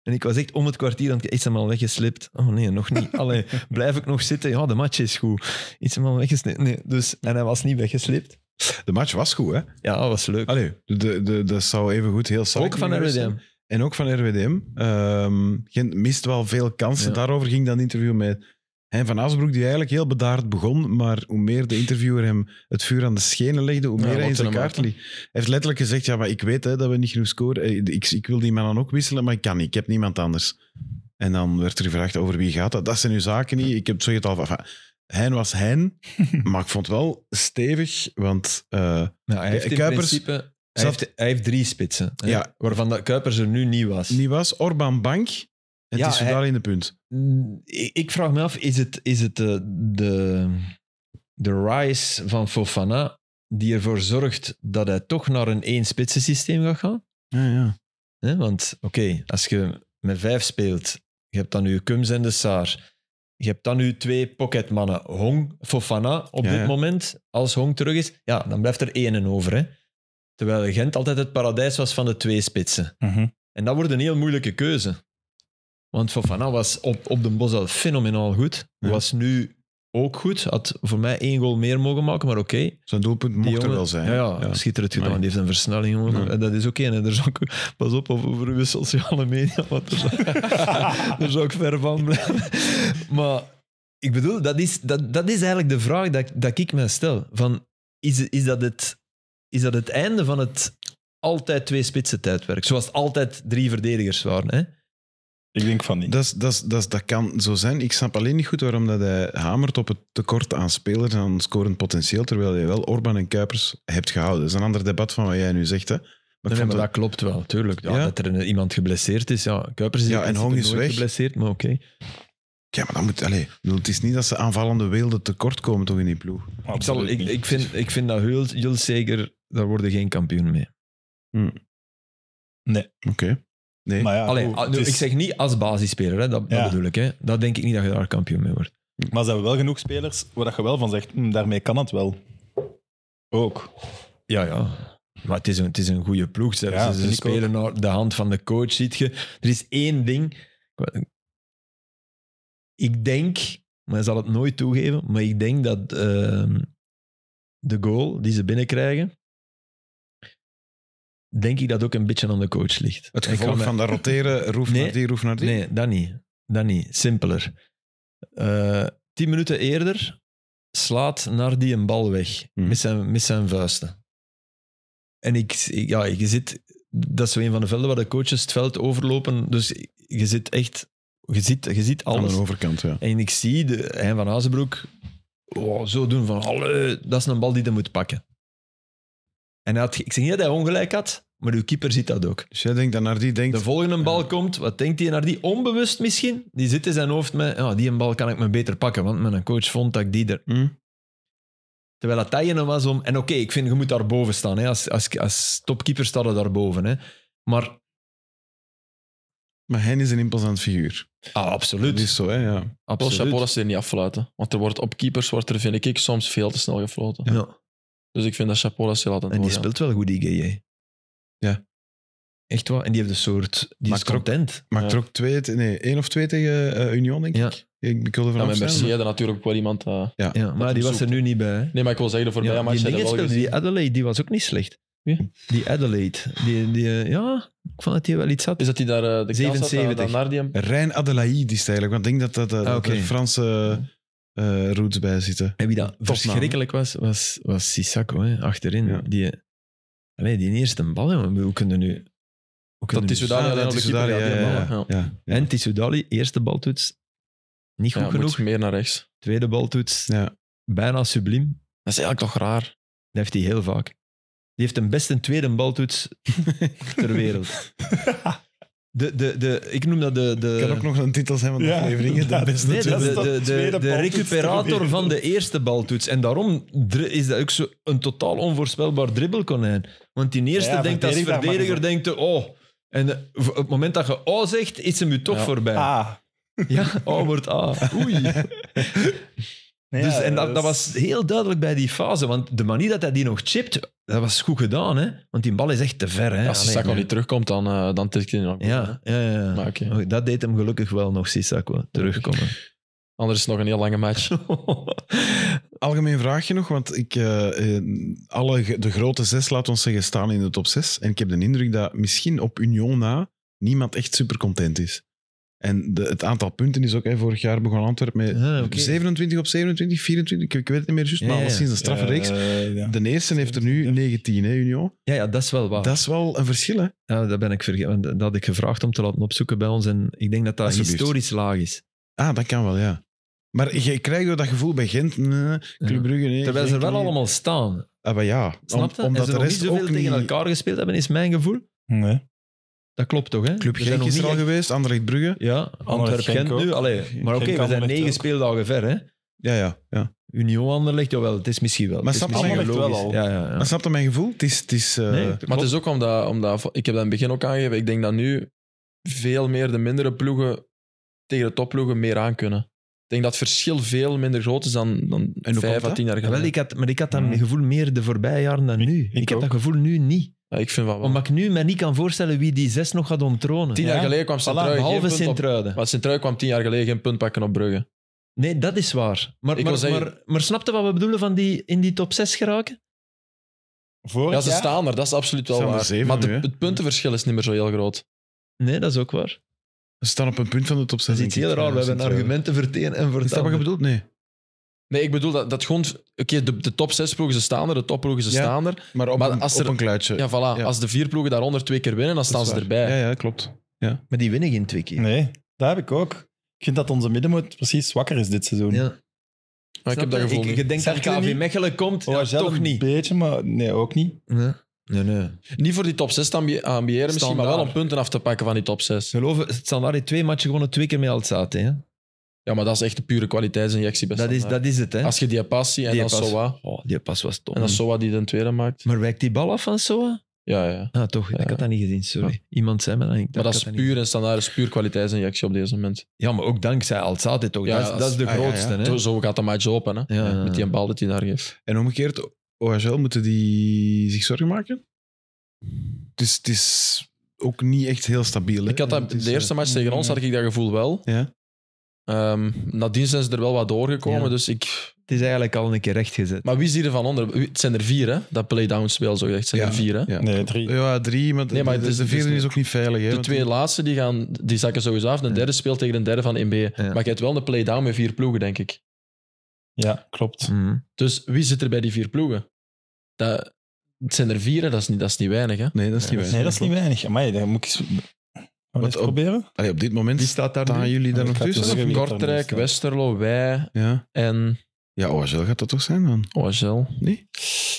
En ik was echt om het kwartier aan het is hem al weggeslipt. Oh nee, nog niet. Allee, blijf ik nog zitten? Ja, de match is goed. Is hem al weggeslipt? Nee, dus, en hij was niet weggeslipt.
De match was goed, hè?
Ja, dat was leuk.
Allee, de, de, dat zou even goed heel saai
Ook van
kunnen geweest
RWDM.
zijn. En ook van RWDM. Ehm Gent mist wel veel kansen.
Ja.
Daarover ging dat interview met Hein, Van Asbroek, die eigenlijk heel bedaard begon, maar hoe meer de interviewer hem het vuur aan de schenen legde, hoe
Ja,
meer hij in
lokte
zijn
hem
kaart
uit,
liep. Hij heeft letterlijk gezegd, ja, maar ik weet hè, dat we niet genoeg scoren. Eh, Ik, ik wil die man dan ook wisselen, maar ik kan niet. Ik heb niemand anders. En dan werd er gevraagd over wie gaat dat. Dat zijn uw zaken niet. Ik heb zo het al van... enfin, Hein was Hein, maar ik vond het wel stevig, want... eh,
Nou, hij heeft in
Kuipers
principe... hij
zat-
heeft- Hij heeft drie spitsen. hè,
Ja.
Waarvan dat Kuipers er nu niet was.
niet was Orban Bank. En
Ja,
het is
hij-
daar in de punt.
Mm, Ik, ik vraag me af, is het, is het de, de, de rise van Fofana die ervoor zorgt dat hij toch naar een één spitsen systeem gaat gaan?
Ja, ja.
Hè, want oké, als je met vijf speelt, je hebt dan nu Kums en de Saar. Je hebt dan nu twee pocketmannen, Hong, Fofana, op
Ja,
dit
ja.
moment. Als Hong terug is, ja, dan blijft er één en over. Hè? Terwijl Gent altijd het paradijs was van de twee spitsen.
Mhm.
En dat wordt een heel moeilijke keuze. Want Fofana was op, op de Bos al fenomenaal goed.
Ja.
Was nu ook goed. Had voor mij één goal meer mogen maken, maar oké.
Zijn doelpunt
Die
mocht er
jongen-
wel zijn.
Ja, ja, schitterend gedaan.
Nee.
Die heeft een versnelling, jongen.
Ja.
En dat is oké. En er is ook, pas op over- over uw sociale media, want er zou, daar zou ik ver van blijven. Maar ik bedoel, dat is, dat, dat is eigenlijk de vraag dat, dat ik mij stel. Van, is, is, dat het, is dat het einde van het altijd twee spitsen tijdwerk? Zoals het altijd drie verdedigers waren, hè?
Ik denk van niet.
Dat, is- dat, is- dat, is- dat kan zo zijn. Ik snap alleen niet goed waarom dat hij hamert op het tekort aan spelers en aan scorend potentieel, terwijl je wel Orban en Kuipers hebt gehouden. Dat is een ander debat van wat jij nu zegt. Hè. Maar ik
Nee,
vond
maar
dat-
dat klopt wel, tuurlijk. Ja,
Ja.
Dat er een- iemand geblesseerd is. Ja, Kuipers is
Ja,
in
en
principe
Hong is
nooit
weg.
geblesseerd, maar oké.
Ja, maar dat moet... Allez, ik bedoel, het is niet dat ze aanvallende wilden tekort komen toch in die ploeg.
Ik, zal,
Absoluut
ik,
niet.
ik, vind, ik vind dat heel, heel zeker, daar worden geen kampioen mee.
Oké. Nee.
Maar ja,
Allee,
goed,
ah,
het
nu,
is-
ik zeg niet als basisspeler, hè, dat,
Ja.
dat bedoel ik. Hè. Dat denk ik niet dat je daar kampioen mee wordt.
Maar ze hebben wel genoeg spelers waar dat je wel van zegt, "Hm, daarmee kan het wel. Ook.
Ja, ja. Maar het is een, het is een goede ploeg. Ze,
Ja,
ze
vind ik
spelen naar de hand van de coach, ziet je. Er is één ding. Ik denk, maar hij zal het nooit toegeven, maar ik denk dat ehm, de goal die ze binnenkrijgen, denk ik dat ook een beetje aan de coach ligt.
het
Ik kan
gevolg
me-
van dat roteren, roef
Nee.
naar die, roef naar die.
Nee, dat niet. Dat niet. Simpeler. Eh, tien minuten eerder slaat naar die een bal weg.
Mhm.
Met, zijn, met zijn vuisten. En ik, ik- ja, je zit... Dat is zo een van de velden waar de coaches het veld overlopen. Dus je zit echt... Je ziet, je ziet
Aan
alles.
de overkant, ja.
En ik zie de, hein van Azenbroek oh, zo doen van, "Allee, dat is een bal die hij moet pakken. En hij had, ik zeg niet dat hij ongelijk had, maar uw keeper ziet dat ook.
Dus jij denkt dat naar die denkt...
De volgende bal komt, wat denkt hij naar die? Onbewust misschien. Die zit in zijn hoofd met, ja, die een bal kan ik me beter pakken, want mijn coach vond dat ik die er...
Hm?
Terwijl dat dat ene was om... En oké, ik vind, je moet daarboven staan. Hè. Als, als, als topkeeper staat er daarboven. Hè. Maar,
Maar hij is een imposant figuur.
ah,
Dat
absoluut.
is zo, hè, ja.
Wel
absoluut.
chapeau dat ze er niet affluiten. Want er wordt op keepers, wordt er, vind ik, soms veel te snel gefloten.
Ja.
Dus ik vind dat chapeau dat ze
En
laten
die
doorgaan.
speelt wel goed, die GJ.
Ja.
Echt waar. En die heeft een soort... Die
Maakt
is
er ook-
content.
Maakt er
Ja.
ook twee... te- Nee, één of twee tegen eh, Union, denk ik.
Ja.
Ik, ik wilde
Ja,
van
met Mercier hadden natuurlijk ook wel iemand... eh,
Ja, maar
hem
die was er
zoekt.
nu niet bij. Hè.
Nee, maar ik wil zeggen, voor mij
Ja, die
match
dingen
hebben wel
speelde,
gezien.
die Adelaide, die was ook niet slecht.
Wie?
Die Adelaide. Die, die, eh, ja, ik vond dat die wel iets had.
Is dat die daar eh, de kans had dat-
77.
dat naar die hem-
Rijn Adelaide is het eigenlijk, want ik denk dat, dat, dat,
Ah,
dat
oké.
er Franse eh, roots bij zitten.
En wie dat verschrikkelijk was, was, was Sissako hè, achterin.
Ja.
Die, eh, allee, die eerste bal, jongen. Ik bedoel, Hoe kunnen nu... Hoe kunnen
Dat
nu- dus.
is Soudali alleen
Ah, dat
op de
is
keeper.
Soudali,
ja, die
ja,
hem ballen, ja.
Ja, ja.
En Tissoudali, eerste baltoets. Niet goed
Ja, moet
genoeg.
meer naar rechts.
Tweede baltoets.
Ja.
Bijna subliem.
Dat is eigenlijk toch raar.
Dat heeft hij heel vaak. Die heeft een best een tweede baltoets ter wereld. De, de, de, ik noem dat de... de
kan ook nog een titel zijn van de
Ja,
afleveringen. De
inderdaad.
beste
Nee,
Nee, de,
tweede-
dat is
de, de,
dat
de,
tweede
de
baltoets ter
recuperator
wereld.
van de eerste baltoets. En daarom dri- is dat ook zo een totaal onvoorspelbaar dribbelkonijn. Want die eerste
Ja, ja,
denkt als
verdediger, dat
verdediger,
mag
denkt hij, oh... En eh, v- op het moment dat je oh zegt, is hem u toch
Ja.
voorbij.
Ah.
Ja, oh wordt ah. Oei.
Nee,
dus,
ja,
en dat, dat was heel duidelijk bij die fase. Want de manier dat hij die nog chipt, dat was goed gedaan. Hè? Want die bal is echt te ver. Hè?
Als
Allee,
Sissako
ja.
niet terugkomt, dan, eh dan tikt hij nog.
Ja, ja, ja. ja.
Maar oké.
Oh, Dat deed hem gelukkig wel nog, Sissako. Terugkomen.
Anders is het nog een heel lange match.
Algemeen vraagje nog, want ik, eh, eh, alle, ge- de grote zes, laat ons zeggen, staan in de top zes. En ik heb de indruk dat misschien op Union na niemand echt super content is. En de, het aantal punten is ook, hè, vorig jaar begon Antwerpen met
Ah, oké.
27 op 27, 24, ik, ik weet het niet meer juist,
Ja,
maar
ja.
alleszins een straffe reeks.
Eh, ja.
De eerste heeft er nu 19, hè, Union.
Ja, ja, dat is wel waar.
Dat is wel een verschil, hè?
Ja, dat ben ik vergeten. want Dat had ik gevraagd om te laten opzoeken bij ons. En ik denk dat dat
Alsjeblieft.
historisch laag is.
Ah, dat kan wel, ja. Maar je krijgt door dat gevoel bij Gent, nee, Club Brugge, nee.
Terwijl ze er
Genk,
wel
nee.
allemaal staan.
Ah, maar ja.
Snap je?
Om- omdat
en ze
de rest
nog niet zoveel
ook
tegen
niet-
elkaar gespeeld hebben, is mijn gevoel.
Nee.
Dat klopt toch, hè?
Club
We zijn
Genk
nog
is
niet
er al
echt-
geweest, Anderlecht Brugge.
Ja,
Genk
Antwerp-Gent
ook.
nu. Allee, maar oké, we zijn
Anderlecht
negen
ook.
speeldagen ver, hè?
Ja, ja. ja.
Union-Anderlecht, jawel, het is misschien wel.
Maar
het
snap
is
je
misschien
Anderlecht
logisch.
wel
Ja, ja, ja.
Maar snap je mijn gevoel? Het is... Het is eh,
Nee,
Maar het is ook omdat, omdat, ik heb dat in het begin ook aangegeven, ik denk dat nu veel meer de mindere ploegen tegen de topploegen meer aankunnen. Ik denk dat het verschil veel minder groot is dan, dan
komt
vijf à
dat?
tien jaar
Ja, wel,
geleden.
ik had, maar ik had dat
Mm.
gevoel meer de voorbije jaren dan nu. Ik, heb
ook.
dat gevoel nu niet.
Ja, ik vind van wel.
Omdat ik nu me niet kan voorstellen wie die zes nog gaat onttronen.
Tien
Ja.
jaar geleden kwam Sint-Truiden geen
Behalve
punt op-
Sint-Truiden.
Maar Sint-Truiden kwam tien jaar geleden geen punt pakken op Brugge.
Nee, dat is waar. Maar,
Ik
maar,
wil zeggen-
maar, maar snap je wat we bedoelen van die, in die top 6 geraken?
Vorig
Ja, ze
jaar?
staan er, dat is absoluut wel
Staan er
waar.
zeven
maar
nu,
de-
hè?
het puntenverschil is niet meer zo heel groot.
Nee, dat is ook waar.
Ze staan op een punt van de top 6.
Dat is iets heel raar. We hebben argumenten voor het een en voor
eh, Is dat wat
het
je
ander.
bedoelt? Nee.
Nee, ik bedoel dat, dat gewoon... Oké, de, de top zes ploegen, ze staan er, de topploegen, ze
Ja.
staan er.
Maar op,
Maar
een,
als
op
er-
een kluitje.
Ja, voilà.
Ja.
Als de vier ploegen daaronder twee keer winnen, dan
Dat
staan
is
ze
waar.
erbij.
Ja, ja, klopt.
Maar die winnen geen twee keer.
Nee, dat heb ik ook. Ik vind dat onze middenmoot precies zwakker is dit seizoen. Oh,
Ja.
Maar ik
Snap
heb dat
je?
gevoel
Ik,
niet.
je denkt dat
Cercle
KV
niet?
Mechelen komt, ja,
OHL
toch
een
Oh, niet.
beetje, maar nee, ook niet.
Nee, nee. nee.
Niet voor die top 6 te ambi- ambiëren misschien, maar wel
Standaard.
om punten af te pakken van die top 6.
Ze geloven, het standaard heeft twee matchen gewonnen, twee keer met Alzate. Hè?
Ja, maar dat is echt de pure kwaliteitsinjectie. bij
Dat, is,
Standaard.
dat is het, hè.
Als je die passie en
Die
dan
pas.
Soa.
Oh, die pas was top.
En dan Soa die de tweede maakt.
Maar wijkt die bal af van Soa?
Ja, ja.
Ah, toch.
Ja.
Ik had dat niet gezien, sorry. Iemand zei me dat. Ik dacht,
Maar dat
ik
is
had niet-
puur en standaard is puur kwaliteitsinjectie op deze moment.
Ja, maar ook dankzij Alzate toch.
Ja,
dat, is,
als-
dat is de
ah, ja, ja.
grootste, hè.
Zo, zo gaat de match open, hè?
Ja, ja, ja.
Met die bal dat hij daar geeft.
En omgekeerd, OHL moeten die zich zorgen maken? Dus het is ook niet echt heel stabiel. hè?
Ik had dat,
Het is,
de eerste
eh,
match tegen ons had ik dat gevoel wel.
Ja.
Ehm, nadien zijn ze er wel wat doorgekomen.
Ja.
Dus ik...
Het is eigenlijk al een keer rechtgezet.
Maar wie is hier van onder? Wie- Het zijn er vier, hè? Dat playdown spel, zo gezegd. Het zijn
Ja.
er vier, hè?
Ja.
Nee, drie.
eh,
Eh,
Ja, drie, maar,
Nee, maar
de,
het
dus
is-
de vierde
het is
is ook niet veilig. Hè,
De
want-
twee laatste die gaan, die zakken sowieso af. De derde speelt tegen de derde van NB. Maar je hebt wel een play-down met vier ploegen, denk ik.
Ja, klopt.
Mhm.
Dus wie zit er bij die vier ploegen? Dat, het zijn er vier, hè. dat is niet, dat is niet weinig. Hè?
Nee, dat is niet waar.
Nee, dat is niet weinig. Maar dan moet ik eens... Gaan we
Wat
eens
op-
proberen?
Allee, op dit moment
Wie staat daar
staan
nu?
jullie daar
Ja,
nog
ik ga het
tussen.
zeggen. wie dat daarmee
Kortrijk,
staat.
Westerlo, wij
Ja.
en
ja, OHL gaat dat toch zijn dan?
OHL.
Nee?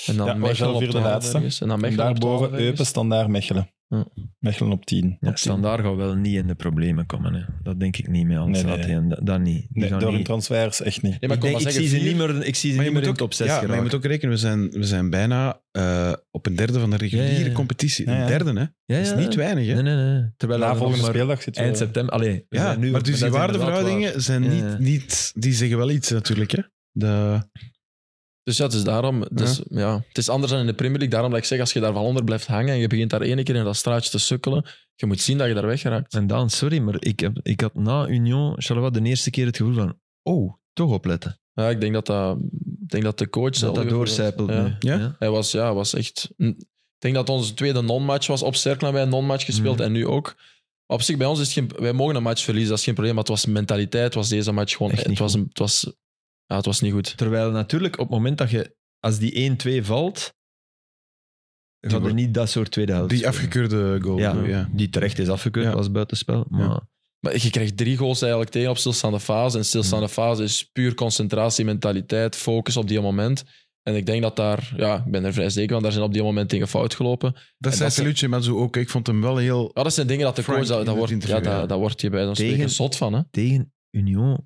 En dan
Ja, OHL
Mechelen op
vierde
12
laatste.
ergens. En dan
En
Mechelen op 12
daarboven
ergens.
Eupen, Standaard, Mechelen.
Ja.
Mechelen op tien.
Ja,
Op tien.
standaard gaat wel niet in de problemen komen. Hè. Dat denk ik niet met
nee,
Alzate.
nee.
en dat, dat niet. Die
Nee,
gaan
door hun
niet.
transfers echt niet.
Nee, maar
ik,
ik wil
denk, ik,
maar zeggen,
zie ze
vier-
niet meer, ik zie ze niet meer in top 6
ja, maar je
geraken.
moet ook rekenen, we zijn, we zijn bijna eh, op een derde van de reguliere
Ja, ja, ja.
competitie.
Ja, ja.
Een derde, hè?
ja,
Dat is
ja.
niet weinig, hè?
Nee, nee, nee. Terwijl
Na
we nog
volgende
maar
speeldag zitten we...
eind september... Allee, we
Ja,
zijn nu
maar
op-
dus die
dat is inderdaad waar.
waardeverhoudingen zijn
Ja,
niet,
ja.
niet... Die zeggen wel iets, natuurlijk, hè? De,
Dus ja, het is daarom. Het is, ja. het is anders dan in de Premier League. Daarom dat ik zeg, als je daar van onder blijft hangen en je begint daar ene keer in dat straatje te sukkelen, je moet zien dat je daar weggeraakt.
En Daan, sorry, maar ik, heb, ik had na Union Charleroi de eerste keer het gevoel van... Oh, toch opletten.
Ja, ik denk dat, dat, ik denk dat de coach...
Dat dat doorcijpelt
Ja.
nu.
Ja?
Hij was, ja, was echt... Ik denk dat onze tweede non-match was. Op Cercle hebben wij een non-match gespeeld
Mhm.
en nu ook. Maar op zich, bij ons is het geen... Wij mogen een match verliezen, dat is geen probleem. Maar het was mentaliteit, het was deze match gewoon...
Echt niet
Het was, een- het, was, ja, het was niet goed.
Terwijl natuurlijk op het moment dat je... Als die 1-2 valt... Gaat er
wordt-
niet dat soort tweede helft
die
spelen.
afgekeurde goal.
Ja,
bedoel je, ja.
die terecht is afgekeurd,
Ja.
was buitenspel. Maar
Maar je krijgt drie goals eigenlijk tegen op stilstaande fase. En stilstaande fase is puur concentratie, mentaliteit, focus op die moment. En ik denk dat daar... Ja, ik ben er vrij zeker van. Daar zijn op die moment tegen fout gelopen.
Dat
En
zei
dat zijn-
Salutje Mazou ook. Ik vond hem wel heel...
Ja, dat zijn dingen dat de
Frank
coach... Dat,
in
dat,
het
wordt, ja,
interview, ja.
dat, dat wordt je bij ons
Tegen-
tegen zot van, hè.
tegen Union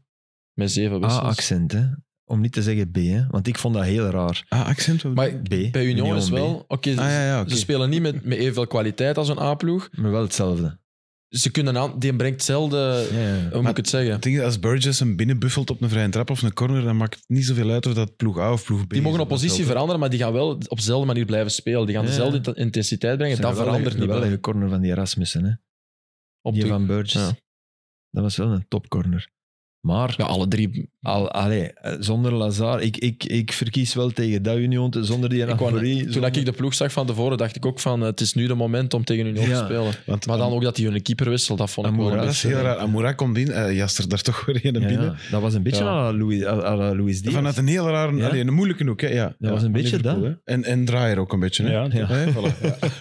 Met zeven
Ah,
wissels.
A-accent, hè. Om niet te zeggen B, hè. Want ik vond dat heel raar.
Ah, accent wel.
Maar
B.
Bij Union, is
B.
wel... Oké,
ah, ja, ja, oké.
Ze spelen niet met, met evenveel kwaliteit als een A-ploeg.
Maar wel hetzelfde.
Ze kunnen aan, die brengt hetzelfde,
Ja, ja.
hoe moet ik Eh, het zeggen?
Het ding is, als Burgess hem binnenbuffelt op een vrije trap of een corner, dan maakt het niet zoveel uit of dat ploeg A of ploeg B
Die mogen
is.
op positie veranderen, maar die gaan wel op dezelfde manier blijven spelen. Die gaan
Ja, ja.
dezelfde int- intensiteit brengen. Dat verandert niet.
wel.
Wel.
een corner van die Erasmussen, hè.
Op
die
de-
van Burgess.
Ja.
Dat was wel een topcorner. Maar
Ja, alle drie.
al, allee, eh, zonder Lazar, ik, ik, ik verkies wel tegen dat Union, te- zonder die
Ik wou-
Nagori.
Toen dat ik de ploeg zag van tevoren, dacht ik ook van eh, het is nu de moment om tegen Union
Ja.
te spelen.
Want
Maar dan ook dat hij hun keeper wisselt, dat vond ik wel
Amoura
een
dat is
beetje...
heel raar. Amoura komt in, eh, jaster daar toch weer een binnen.
dat was een beetje
Ja.
à la Louis, à à la Louis Diaz.
Vanuit een heel rare,
Ja.
allee, een moeilijke hoek. Hè? Ja.
Dat
Ja,
was een
van
beetje
Liverpool,
dat.
hè. En, en draaier ook een beetje. Hè?
Ja.
Ja.
Hè, voilà.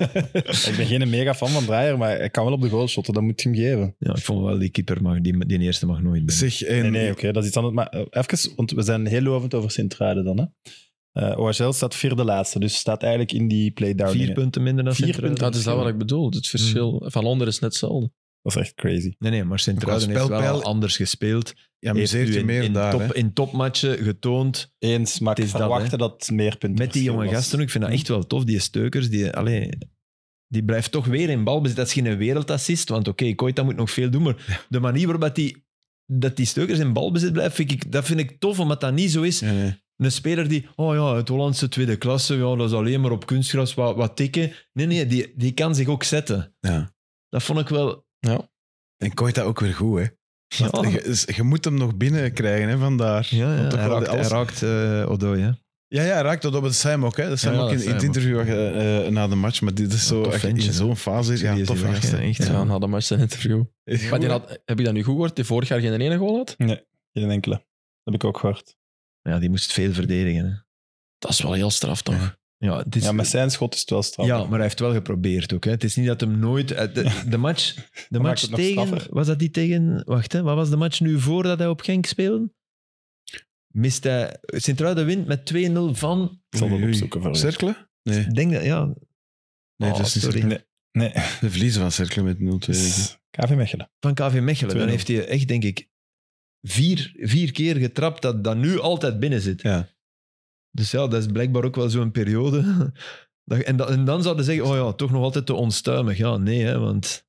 Ik ben geen mega fan van Draaier, maar hij kan wel op de goal shotten, dat moet je hem geven.
Ja, ik vond wel die keeper, mag, die, die eerste mag nooit binnen.
Zeg, en,
Nee, nee, oké, dat is iets anders. Maar eh, even, want we zijn heel lovend over Sint-Truiden dan. Hè? Eh OHL staat vierde laatste, dus staat eigenlijk in die play-down.
Vier
dingen.
punten minder dan
Vier
Sint-Truiden.
punten.
Dat is dat wat ik bedoel. Het verschil van onder is net hetzelfde.
Dat is echt crazy.
Nee, nee, maar Sint-Truiden
Qua
heeft wel
spelpeil-
al anders gespeeld.
ja,
Heeft
museert
u
je
in,
meer
in,
daar. hè.
top, in topmatchen getoond
Eens, maar
Het
ik
is dat,
verwachtte dat, meer punten
met die jonge gasten. ook. Ik vind dat
Hm.
echt wel tof, die Steukers. Die, allee, die blijft toch weer in balbezit. Dat is geen wereldassist, want oké, Koita moet nog veel doen, maar de manier waarop dat die, dat die Steukers in balbezit blijft, vind ik, dat vind ik tof, omdat dat niet zo is.
Ja, nee.
Een speler die, oh ja, het Hollandse tweede klasse, ja, dat is alleen maar op kunstgras wat, wat tikken. Nee, nee, die, die kan zich ook zetten.
Ja.
Dat vond ik wel...
En Koita ook weer goed, hè.
Ja,
Want Je, is- je moet hem nog binnenkrijgen, hè, vandaar.
ja, ja,
Want ook
hij
wel
raakt,
alles-
hij raakt eh, Odoi, hè.
Ja, ja, hij raakt dat op het Sam ook. Hè. Dat Sam
Ja, ja,
ook in,
dat
in het
Sam ook.
interview eh, eh, na de match. Maar dit is zo,
tof
echt
ventje,
in zo'n fase.
Die
Ja,
is
tof
die weg,
gast.
hè,
hè.
Echt,
Ja,
ja.
na de match zijn interview.
Is
Maar
goed,
die
hè.
had, heb je dat nu goed gehoord? Die vorig jaar geen ene goal had?
Geen enkele. Dat heb ik ook gehoord.
Ja, die moest veel verdedigen. Hè.
Dat is wel heel straf, toch?
Ja, het is,
Ja, met zijn schot is het wel straf.
Ja, maar hij heeft wel geprobeerd ook. Hè. Het is niet dat hem nooit... eh, De, de match, de
maakt
match
het nog
tegen...
straffer.
Was dat die tegen... Wacht, hè, wat was de match nu voordat hij op Genk speelde? Mist hij... Sint-Truiden wint met 2-0 van...
Ik zal dat
Oei, oei.
opzoeken voor u.
Cerkelen? Nee,
Ik denk dat... Ja,
nee
Oh,
dat is niet
sorry.
Cerkelen.
Nee,
De verliezen van Cerkelen met 0-2. denk ik.
dus KV Mechelen.
van KV Mechelen. Dan
2-0.
heeft hij echt, denk ik, vier, vier keer getrapt dat dat nu altijd binnen zit.
Ja.
Dus ja, dat is blijkbaar ook wel zo'n periode. Dat- En, dat- en dan zouden ze zeggen, oh ja, toch nog altijd te onstuimig. Ja, nee, hè, want...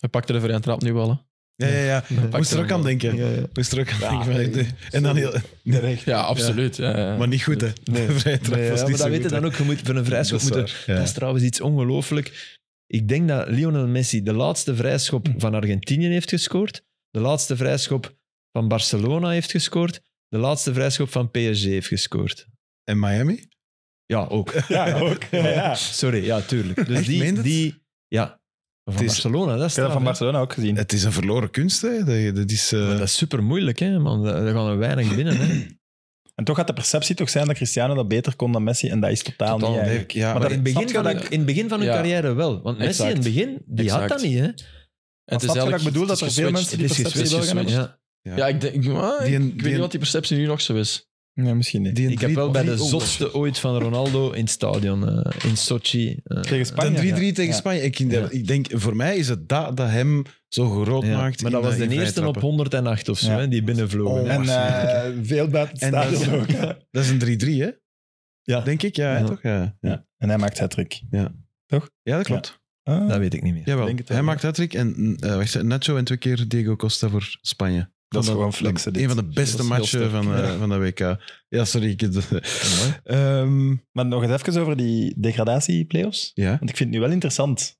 Hij pakte de vrije trap nu wel. Hè.
Ja, ja, ja. Moest er ook aan denken.
Ja, ja.
Moest er ook aan
Ja,
denken. van,
nee.
eh, En dan heel...
Terecht.
Ja, absoluut. Ja. ja.
Maar niet goed, hè.
Nee.
De vrije trap
Nee, ja,
was
maar
niet
dat
zo
weet je
goed,
dan
hè.
ook. Je moet van een vrijschop
Dat is
moeten...
waar, ja.
Dat is trouwens iets ongelooflijk. Ik denk dat Lionel Messi de laatste vrijschop van Argentinië heeft gescoord. De laatste vrijschop van Barcelona heeft gescoord. De laatste vrijschop van PSG heeft gescoord.
En Miami?
Ja, ook.
Ja, ook. Ja, ja.
Sorry, ja, tuurlijk. Dus
Echt, meen je
die,
dat?
die... Ja, van
Het is-
Barcelona, dat is
Ik heb dat van
straf, hè.
Barcelona ook gezien.
Het is een verloren kunst, hè. Dat, dat is... eh,
Maar Dat is super moeilijk, hè, man. Daar daar gaan er weinig binnen, hè.
En toch gaat de perceptie toch zijn dat Cristiano dat beter kon dan Messi. En dat is totaal,
Totaal
niet
niet.
eigenlijk.
ja,
maar
Maar
dat-
in het
snap
begin,
je
van hun,
dat ik-
in het begin van hun
Ja.
carrière wel. Want Messi in
Exact.
het begin, die had
Exact.
dat niet, hè.
En het
snap je dat ik
eigenlijk-
bedoel
het is
dat er veel
geswitcht.
mensen die
Het is
perceptie
geswitcht,
wel gaan
geswitcht.
Ja.
Ja, ik denk... ah, ik-
Die-
ik
die-
weet niet wat die perceptie nu nog zo is.
Nee, misschien niet.
die oh,
Ik heb wel bij de
zotste
zotste ooit van Ronaldo in het stadion, eh, in Sochi. eh.
Tegen
Dan
Spanje.
3-3 tegen
Ja.
Spanje. Ik,
Ja.
ik denk, voor mij is het dat dat hem zo groot
Ja,
maakt.
Maar
in
dat was
in
de eerste op
vrijtrappen.
108 of zo,
Ja.
hè, die binnenvlogen.
Oh.
hè.
En eh, veel buiten het
En dat
stadion ook.
is- Dat is een 3-3, hè?
Ja.
Denk ik, ja, hè,
Ja.
toch? Ja, ja.
Ja. En hij maakt hat-trick.
Ja, dat klopt.
Ah.
Dat weet ik niet meer.
Jawel.
denk het wel,
Hij
ja.
maakt hat-trick en eh, wacht, Nacho en twee keer Diego Costa voor Spanje.
Dat is
Van de-
gewoon flexen, dit.
Een van de beste
Dat is heel
matchen
sterk.
van, eh, van de WK. Ja, sorry. Ik,
Mooi.
Ehm,
Maar nog eens even over die degradatie-playoffs.
ja.
Want ik vind het nu wel interessant.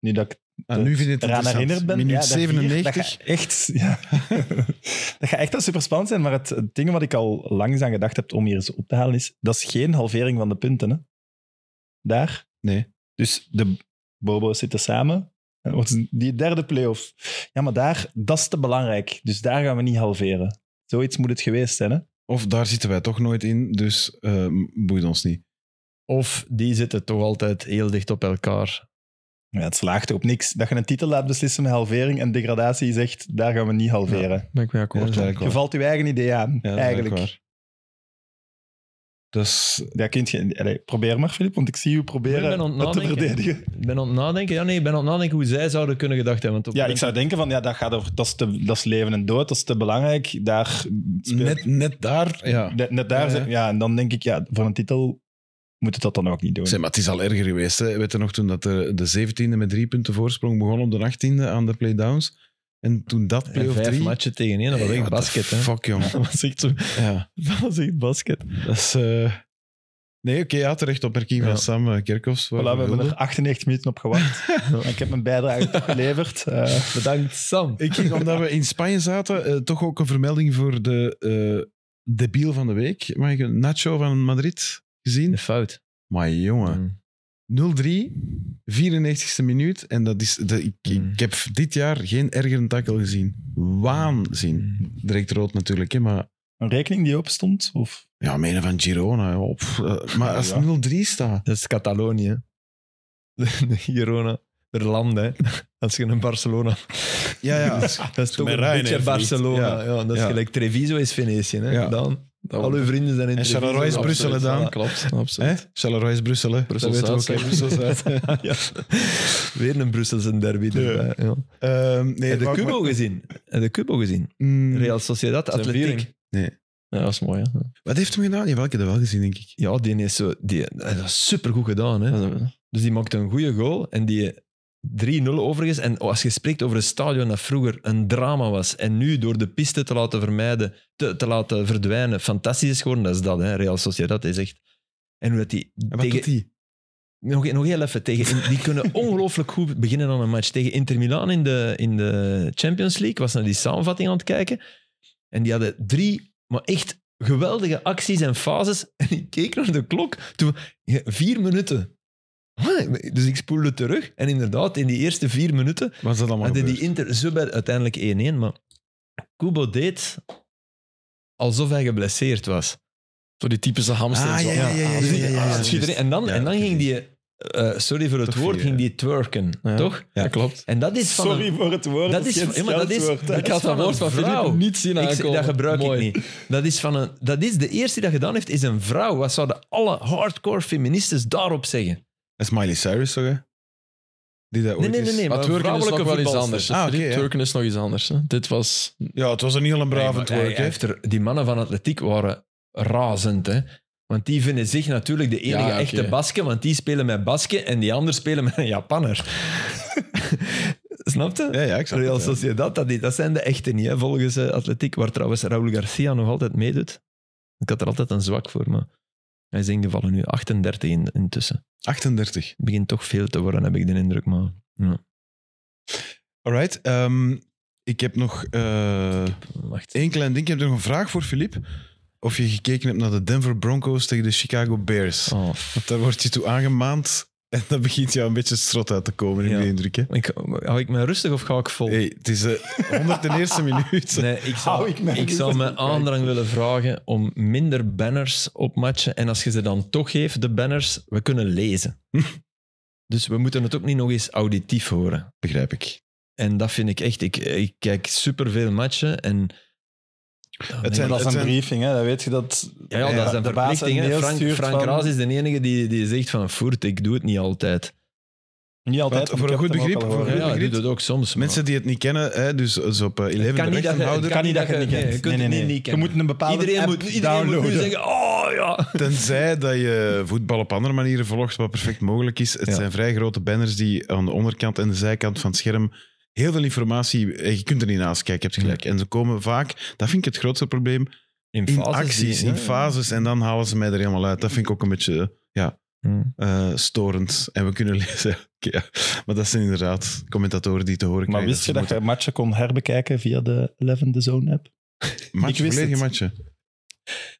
Nu dat ik
Ah, nu vind ik het
eraan
interessant.
herinnerd ben.
Minuut
ja, dat vier,
97.
dat gaat echt, ja. dat gaat echt wel superspannend zijn. Maar het, het ding wat ik al langs aan gedacht heb om hier eens op te halen is, dat is geen halvering van de punten. Hè? Daar.
Nee.
Dus de Bobo's zitten samen. En wordt
Mm.
Die derde play-off. Ja, maar daar, dat is te belangrijk. Dus daar gaan we niet halveren. Zoiets moet het geweest zijn, hè?
Of daar zitten wij toch nooit in, dus eh, boeit ons niet.
Of die zitten toch altijd heel dicht op elkaar.
Ja, het slaagt op niks. Dat je een titel laat beslissen met halvering en degradatie is echt, daar gaan we niet halveren.
Ben ik mee akkoord.
Dus
Ja, dat is eigenlijk
je valt je eigen idee aan,
Ja, dat is
eigenlijk.
waar. Dat is...
Ja, kunt je, allee, probeer maar, Filip, want ik zie u
Ik
proberen
ben aan het
het te
nadenken.
verdedigen.
Ik ben aan het nadenken, ja, nee, ik ben aan het nadenken hoe zij zouden kunnen gedacht hebben. Want op
Ja, ik zou denken van, ja, dat, gaat over, dat, is te- dat is leven en dood, dat is te belangrijk. Daar speelt-
Net, net daar, ja.
net, net daar,
Ja,
ja,
ja.
en dan denk ik, ja, voor een titel moet het dat dan ook niet doen.
Zeg, maar het is al erger geweest. Hè. Weet je nog toen dat de, de 17e met drie punten voorsprong begon op de 18e aan de playdowns? En toen dat
En
play-off
vijf
drie...
matchen tegen één, dat was
Hey,
echt
what the
basket. Hè.
Fuck, jong.
Dat was echt zo.
Ja,
Dat was echt basket.
dat is... eh, Nee, oké, ja, terecht opmerking
Ja.
van Sam eh, Kerkhoffs.
Voilà,
waar
we
we
hebben
wilden.
er 98 minuten op gewacht. Ik heb mijn bijdrage toch geleverd. Eh,
Bedankt, Sam.
Ik ging, omdat we in Spanje zaten, eh, toch ook een vermelding voor de eh debiel van de week. Mag ik een Nacho van Madrid gezien?
De fout.
Maar jongen.
Mm.
0-3, 94ste minuut. En dat is, dat, ik, ik
Mm.
heb dit jaar geen ergere tackle gezien. Waanzin.
Mm.
Direct rood natuurlijk, hè, maar
een rekening die opstond? Of?
ja, menen van Girona. joh, pff, eh, maar als
Ja.
0-3 staat,
Dat is Catalonië. hè. De, de Girona. Er landen, hè. Als je een Barcelona...
ja, ja.
Dat is toch
met
een
Ryanair
beetje
vliegt.
Barcelona. Ja.
Ja.
dat is
Ja.
gelijk Treviso is Venetië. Hè.
Ja.
Dan,
Dat
al uw vrienden zijn in
En
Treviso.
Charleroi is Brussel, hè,
Absoluut,
dan?
voilà.
Klopt,
Hè?
absoluut.
Charleroi is Brussel, hè?
Brussel
Dat weten we
Zuid,
ook, hè, Brussel Zuid.
ja. Weer een Brusselse derby erbij. Ja.
Ehm, nee,
Heb je de
wou ik
Cubo
maar-
gezien? Heb je de Cubo gezien?
Mm,
Real Sociedad,
Zijn
Atletiek.
viering. Ja, dat is mooi. Hè?
Wat heeft hem gedaan? Jawel, ik heb dat wel gezien, denk ik.
Ja, die is zo... Die, dat is supergoed gedaan, hè.
Dat is-
Dus die maakte een goede goal en die 3-0 overigens. En als je spreekt over een stadion dat vroeger een drama was en nu door de piste te laten vermijden, te, te laten verdwijnen, fantastisch is geworden, dat is dat, hè. Real Sociedad is echt... En hoe dat die
En wat
tegen
doet hij?
Nog, nog heel even. Tegen, die kunnen ongelooflijk goed beginnen aan een match. Tegen Inter Milan in de, in de Champions League. Ik was naar die samenvatting aan het kijken. En die hadden drie, maar echt geweldige acties en fases. En ik keek naar de klok. Toen, ja, vier minuten. Huh? Dus ik spoelde terug. En inderdaad, in die eerste vier minuten
Was dat allemaal
hadden die
gebeurd?
Inter zo bij uiteindelijk 1-1. Maar Kubo deed alsof hij geblesseerd was.
Zo die typische hamsters.
Ah, ja, ja, ja, ja,
Dus
ja,
die-
ja, ja,
ah,
ja.
schiet erin. En dan,
Ja,
en dan
oké.
ging die, eh, sorry voor het
Toch
woord,
weer,
ging die twerken,
Ja.
toch?
Ja, klopt.
En dat is van een-
Sorry voor het woord.
dat is,
geen
ja, maar dat is,
scheldwoord, hè.
dat
Ik had
is
dat
van
woord
een
van Filip
vrouw.
niet zien
Ik-
aankomen.
dat gebruik
Mooi.
ik niet. Dat is, van een, dat is de eerste die dat gedaan heeft, is een vrouw. Wat zouden alle hardcore feministes daarop zeggen?
Dat is Miley Cyrus, toch? Hè? Die dat
Nee,
ooit
nee, nee.
is-
nee
Maar
maar
twerken is
vrouwelijke
nog wel iets
voetbalsters.
anders.
Ah,
Ah,
oké, ja.
Twerken is nog iets anders. Hè. Dit was...
Ja, het was een heel een
Nee,
brave
maar
het
hij-
werk,
hij
hè?
heeft er, die mannen van atletiek waren razend, hè. Want die vinden zich natuurlijk de enige
Ja, oké.
echte Basken, want die spelen met Basken en die anderen spelen met een Japanner. Snap je?
Ja, ja, ik snap
Real
het, ja.
Sociedad, dat, die- dat zijn de echte niet, hè, volgens eh, Atletiek, waar trouwens Raúl Garcia nog altijd meedoet. Ik had er altijd een zwak voor, maar hij is ingevallen nu 38 in, intussen.
38.
Het begint toch veel te worden, heb ik de indruk, maar...
Alright. ehm, ik heb nog eh
Wacht.
één klein ding. Ik heb nog een vraag voor Filip. Of je gekeken hebt naar de Denver Broncos tegen de Chicago Bears.
Oh,
Want daar word je toe aangemaand. En dan begint jou een beetje strot uit te komen, in
Ja. Oh.
de indruk. Hè?
ik, hou ik me rustig of ga ik vol?
Hey, het is eh, de 101ste minuut.
Nee,
Hou
ik zou,
ik me
ik
niet
zou
aan
mijn
het
aandrang willen vragen om minder banners op matchen. En als je ze dan toch geeft, de banners, we kunnen lezen. dus we moeten het ook niet nog eens auditief horen.
Begrijp ik.
En dat vind ik echt... Ik, ik kijk superveel matchen en...
Het
Maar
zijn-
dat is
het
een
zijn-
briefing, hè. dat weet je dat.
ja, ja, dat is een
de baas
verplichting.
een
hè.
mail
Frank,
stuurt
Frank
van-
Raas is de enige die, die zegt van... Voert, ik doe het niet altijd.
Niet altijd.
Voor
want
een
ik
goed
heb het hem
begrip,
ook al
voor
Ja,
een
gehoord.
goed
hij
Ingrid?
doet het ook soms. maar-
Mensen die het niet kennen, hè, dus, dus op eh, 11
kan
de
niet dat je-
rechterhouder.
Kan niet dat je het niet
Nee,
kent.
je kunt
Nee, nee,
het
nee.
niet
Nou, Je
kennen.
moet een bepaalde
Iedereen,
app
moet, iedereen moet
downloaden.
nu zeggen... Oh ja...
Tenzij dat je voetbal op andere manieren volgt, wat perfect mogelijk is. Het
Ja.
zijn vrij grote banners die aan de onderkant en de zijkant van het scherm heel veel informatie... eh, Je kunt er niet naast kijken, je hebt gelijk. En ze komen vaak, dat vind ik het grootste probleem, in acties,
die-
in
ja.
fases. En dan halen ze mij er helemaal uit. Dat vind ik ook een beetje eh, ja,
Hmm.
eh, storend. En we kunnen lezen. Oké, ja. Maar dat zijn inderdaad commentatoren die te horen
Maar
krijgen.
wist je dat
ze
je matchen kon herbekijken via de 11 The Zone app?
moeten- Matje,
Ik wist
volledige
het.
matje.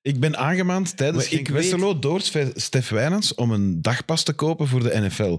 Ik ben aangemaand tijdens
Maar ik
Genk
weet-
Westerlo door Sve- Stef Wijnands om een dagpas te kopen voor de NFL.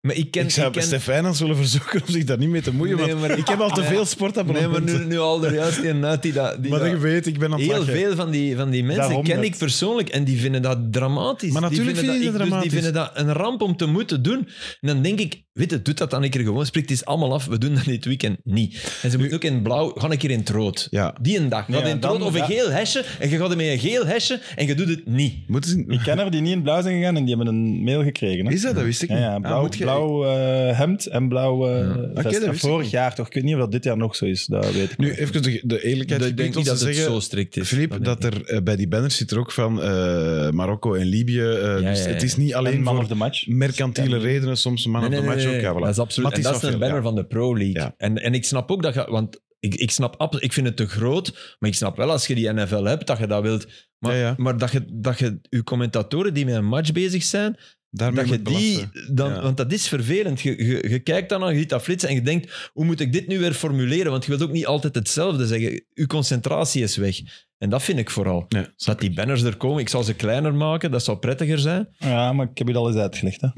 Maar ik ken...
ik zou
ik ken-
Stef Wijnands willen verzoeken om zich daar niet mee te moeien,
Nee,
want
maar-
ik heb al te
Nee.
veel
Nee,
sportabonnementen.
maar nu, nu al er juist een uit die dat... Die
maar
dat-
dat je weet, ik ben aan het
heel
lachen.
veel van die, van die mensen
Daarom
ken
net.
ik persoonlijk en die vinden dat dramatisch.
Maar
Die
natuurlijk
vinden
vinden die
ik-
dat
dus die vinden dat een ramp om te moeten doen. En dan denk ik, weet je, doet dat dan een keer gewoon. Spreekt het eens allemaal af, we doen dat dit weekend niet. En ze moeten ook in blauw, ga een keer in het rood.
Ja.
Die een dag. Ga
Ja,
in het
dan-
rood of een
ja.
geel hesje en je gaat er met een geel hesje en je doet het niet.
Moeten
Ik
ze...
ken er die niet in blauw zijn gegaan en die hebben een mail gekregen. Hè?
Is dat? Dat wist ik
Ja,
niet.
ja,
Ah,
blauw,
moet je-
blauw eh, hemd en blauw eh,
Ja.
vest.
Oké, dat
En
wist ik
vorig
niet.
jaar toch? Ik weet niet of dat dit jaar nog zo is. Dat weet ik
Nu,
niet.
even de, de eerlijkheid.
ik denk
gebiedt ons
niet dat
te
het
zeggen-
zo strikt is.
Filip,
denk
dat
ik.
er eh, bij die banners zit er ook van eh, Marokko en Libië. eh,
Ja,
dus
ja, ja.
het is niet
En
alleen
man of
voor
the match.
mercantiele redenen, soms een man
Nee,
op
nee,
de
nee,
match
nee,
ook. Ja,
nee.
voilà.
Dat is absoluut.
Maar
En
het is
dat is
wel
een
veel,
banner van de Pro League.
Ja.
En, en ik snap ook dat je... Want Ik, ik snap, ab- ik vind het te groot, maar ik snap wel als je die NFL hebt, dat je dat wilt. Maar,
Ja, ja.
maar dat je, dat je je commentatoren die met een match bezig zijn,
Daarmee
dat je
moet
die
belasten.
dan,
Ja.
want dat is vervelend. Je, je, je kijkt dan aan, je ziet dat flitsen en je denkt, hoe moet ik dit nu weer formuleren? Want je wilt ook niet altijd hetzelfde zeggen. Je concentratie is weg. En dat vind ik vooral.
Ja,
dat die banners er komen, ik zal ze kleiner maken, dat zou prettiger zijn.
Ja, maar ik heb je al eens uitgelegd. Hè.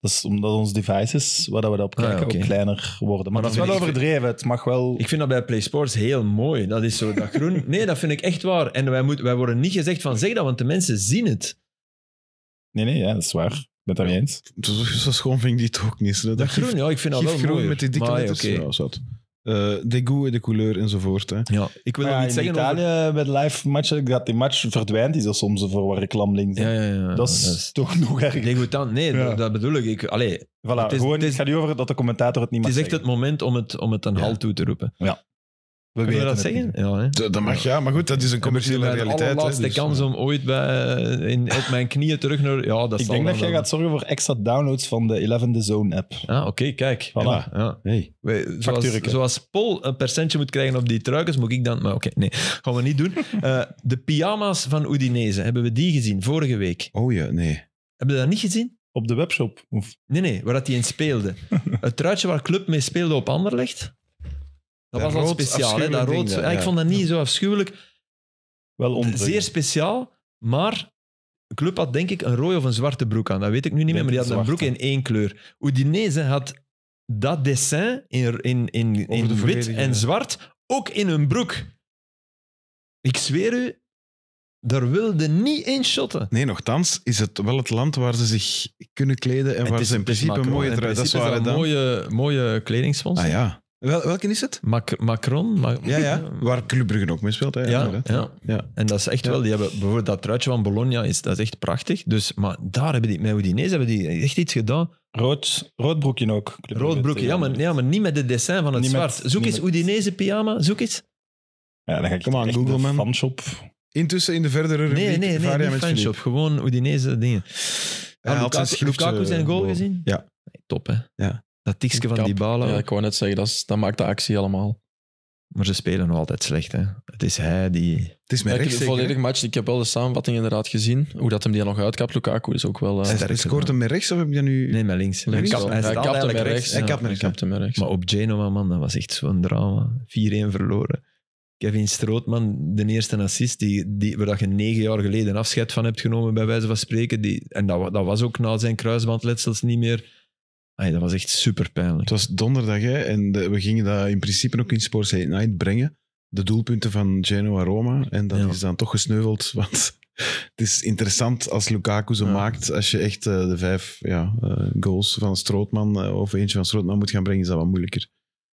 Dat is omdat onze devices, waar dat we dat op
Ah,
kijken,
oké.
ook kleiner worden. Maar,
Maar
dat
dan
is wel
vind ik-
overdreven. Het mag wel...
Ik vind dat bij Play Sports heel mooi. Dat is zo, dat groen. Nee, dat vind ik echt waar. En wij, moeten wij worden niet gezegd van zeg dat, want de mensen zien het.
Nee, nee, ja, dat is waar. Ik ben het daarmee eens.
Zo, zo schoon vind ik die toch ook niet. zo. Dat,
Dat
groen,
groen, ja, ik vind dat wel
groen
mooi.
met die dikke
Maar,
letters.
oké.
Ja, zat. Eh, de goût, de couleur enzovoort. Hè.
Ja, ik wil
Maar
nog
ja,
iets
Ah, in
zeggen over-
Italië bij de live matchen, dat die match verdwijnt, is dat soms voor waar reclame links.
Ja, ja, ja.
dat, is toch nog erg.
degoutant. Nee,
Ja.
dat, dat bedoel ik. ik allee,
Voilà,
het is-
gewoon,
het
het,
is-
gaat niet over dat de commentator het niet
het
mag
is echt het
zeggen.
moment om het, om het een halt toe te roepen.
We
Wil je
weten
dat
het
zeggen?
niet.
Ja, hè.
Dat, dat mag, ja. Maar goed, dat is een commerciële
Mijn
realiteit. hè,
allerlaatste
dus,
kans
ja.
om ooit bij, in, op mijn knieën terug naar... Ja, dat
Ik
zal
denk
dan
dat jij
wel.
gaat zorgen voor extra downloads van de 11 The Zone app.
Ah, oké, kijk.
Voilà.
Ja.
Hey.
We- Zoals,
Factuurke.
zoals Paul een percentje moet krijgen op die truikens, moet ik dan... Maar oké, nee, gaan we niet doen. Eh, de pyjama's van Udinese, hebben we die gezien vorige week?
Oh ja, nee.
Hebben we dat niet gezien?
Op de webshop. Of,
Nee, nee, waar dat die in speelde. Het truitje waar Club mee speelde op Anderlecht. Dat
Dat
was al
rood
speciaal, hè? Dat
afschuwelijk
rood,
ding,
ja,
ja.
Ik vond dat niet zo afschuwelijk.
wel onder.
Zeer speciaal, maar de Club had denk ik een rode of een zwarte broek aan. Dat weet ik nu niet meer,
Denk
maar die
een
had een broek
zwarte.
in één kleur. Udinese had dat dessin in, in, in,
Over
in
de
wit
verdediging,
en
ja.
zwart ook in hun broek. Ik zweer u, daar wilde niet één shotten.
Nee, nogthans is het wel het land waar ze zich kunnen kleden en
Het
waar
is-
ze in
het is
principe een
Macron.
mooie
In
trui... Dat is waar,
principe
hè,
een
dan.
mooie, mooie
Ah
kledingsponsor.
ja. Wel, welke is het?
Mac- Macron? Ma-
Ja, ja. Waar Club Brugge ook mee speelt. Hè,
Ja,
inderdaad.
ja.
Ja.
en dat is echt wel, die hebben bijvoorbeeld dat truitje van Bologna, is, dat is echt prachtig. Dus, maar daar hebben die, met Udinese hebben die echt iets gedaan.
Rood, rood broekje ook. Club eh,
Rood broekje, ja maar, ja, maar niet met het dessin van het
Niet met-
zwart. zoek
niet
eens
met-
Udinese pyjama, zoek eens.
Ja, dan ga ik
Come on,
echt
Google,
de
man.
fanshop.
Intussen in de verdere rubriek...
Nee, nee, nee,
Varia
niet
met
fanshop,
Philippe.
gewoon Udinese dingen.
Hij
Ah,
had zijn
Lukaku,
schrift,
Lukaku
eh,
zijn goal
boven.
gezien?
Ja.
Nee, Top, hè?
Ja.
Dat tikje van
Kap.
die balen.
Ja, ik wou net zeggen, dat, is- dat maakt de actie helemaal.
Maar ze spelen nog altijd slecht, hè? Het is hij die...
Het is mijn
Ja, ik heb
recht,
de
zeker, hè?
volledige match. Ik heb wel de samenvatting inderdaad gezien. Hoe dat hem die nog uitkapt, Lukaku, is ook wel... eh,
Hij- Hij
Sterker
scoort hem met rechts of heb je dat nu...
Nee, met links.
Hij
links
Hij
kapt-
wel.
staat
hij kapt hem
eigenlijk
met
rechts.
rechts.
Hij
ja.
kapt met rechts,
Hij kapt hem met rechts.
Maar op Genova, man, dat was echt zo'n drama. 4-1 verloren. Kevin Strootman, de eerste assist, die, die, waar dat je negen jaar geleden afscheid van hebt genomen, bij wijze van spreken. Die, en dat, wa- dat was ook na zijn kruisbandletsels niet meer. Ay, dat was echt super pijnlijk.
Het was donderdag hè, en de- we gingen dat in principe ook in Sports Late Night brengen. De doelpunten van Genoa Roma. En dat
Ja.
is dan toch gesneuveld. Want het is interessant als Lukaku ze
Ja.
maakt. Als je echt eh, de vijf ja, eh, goals van Strootman eh, of eentje van Strootman moet gaan brengen, is dat wat moeilijker.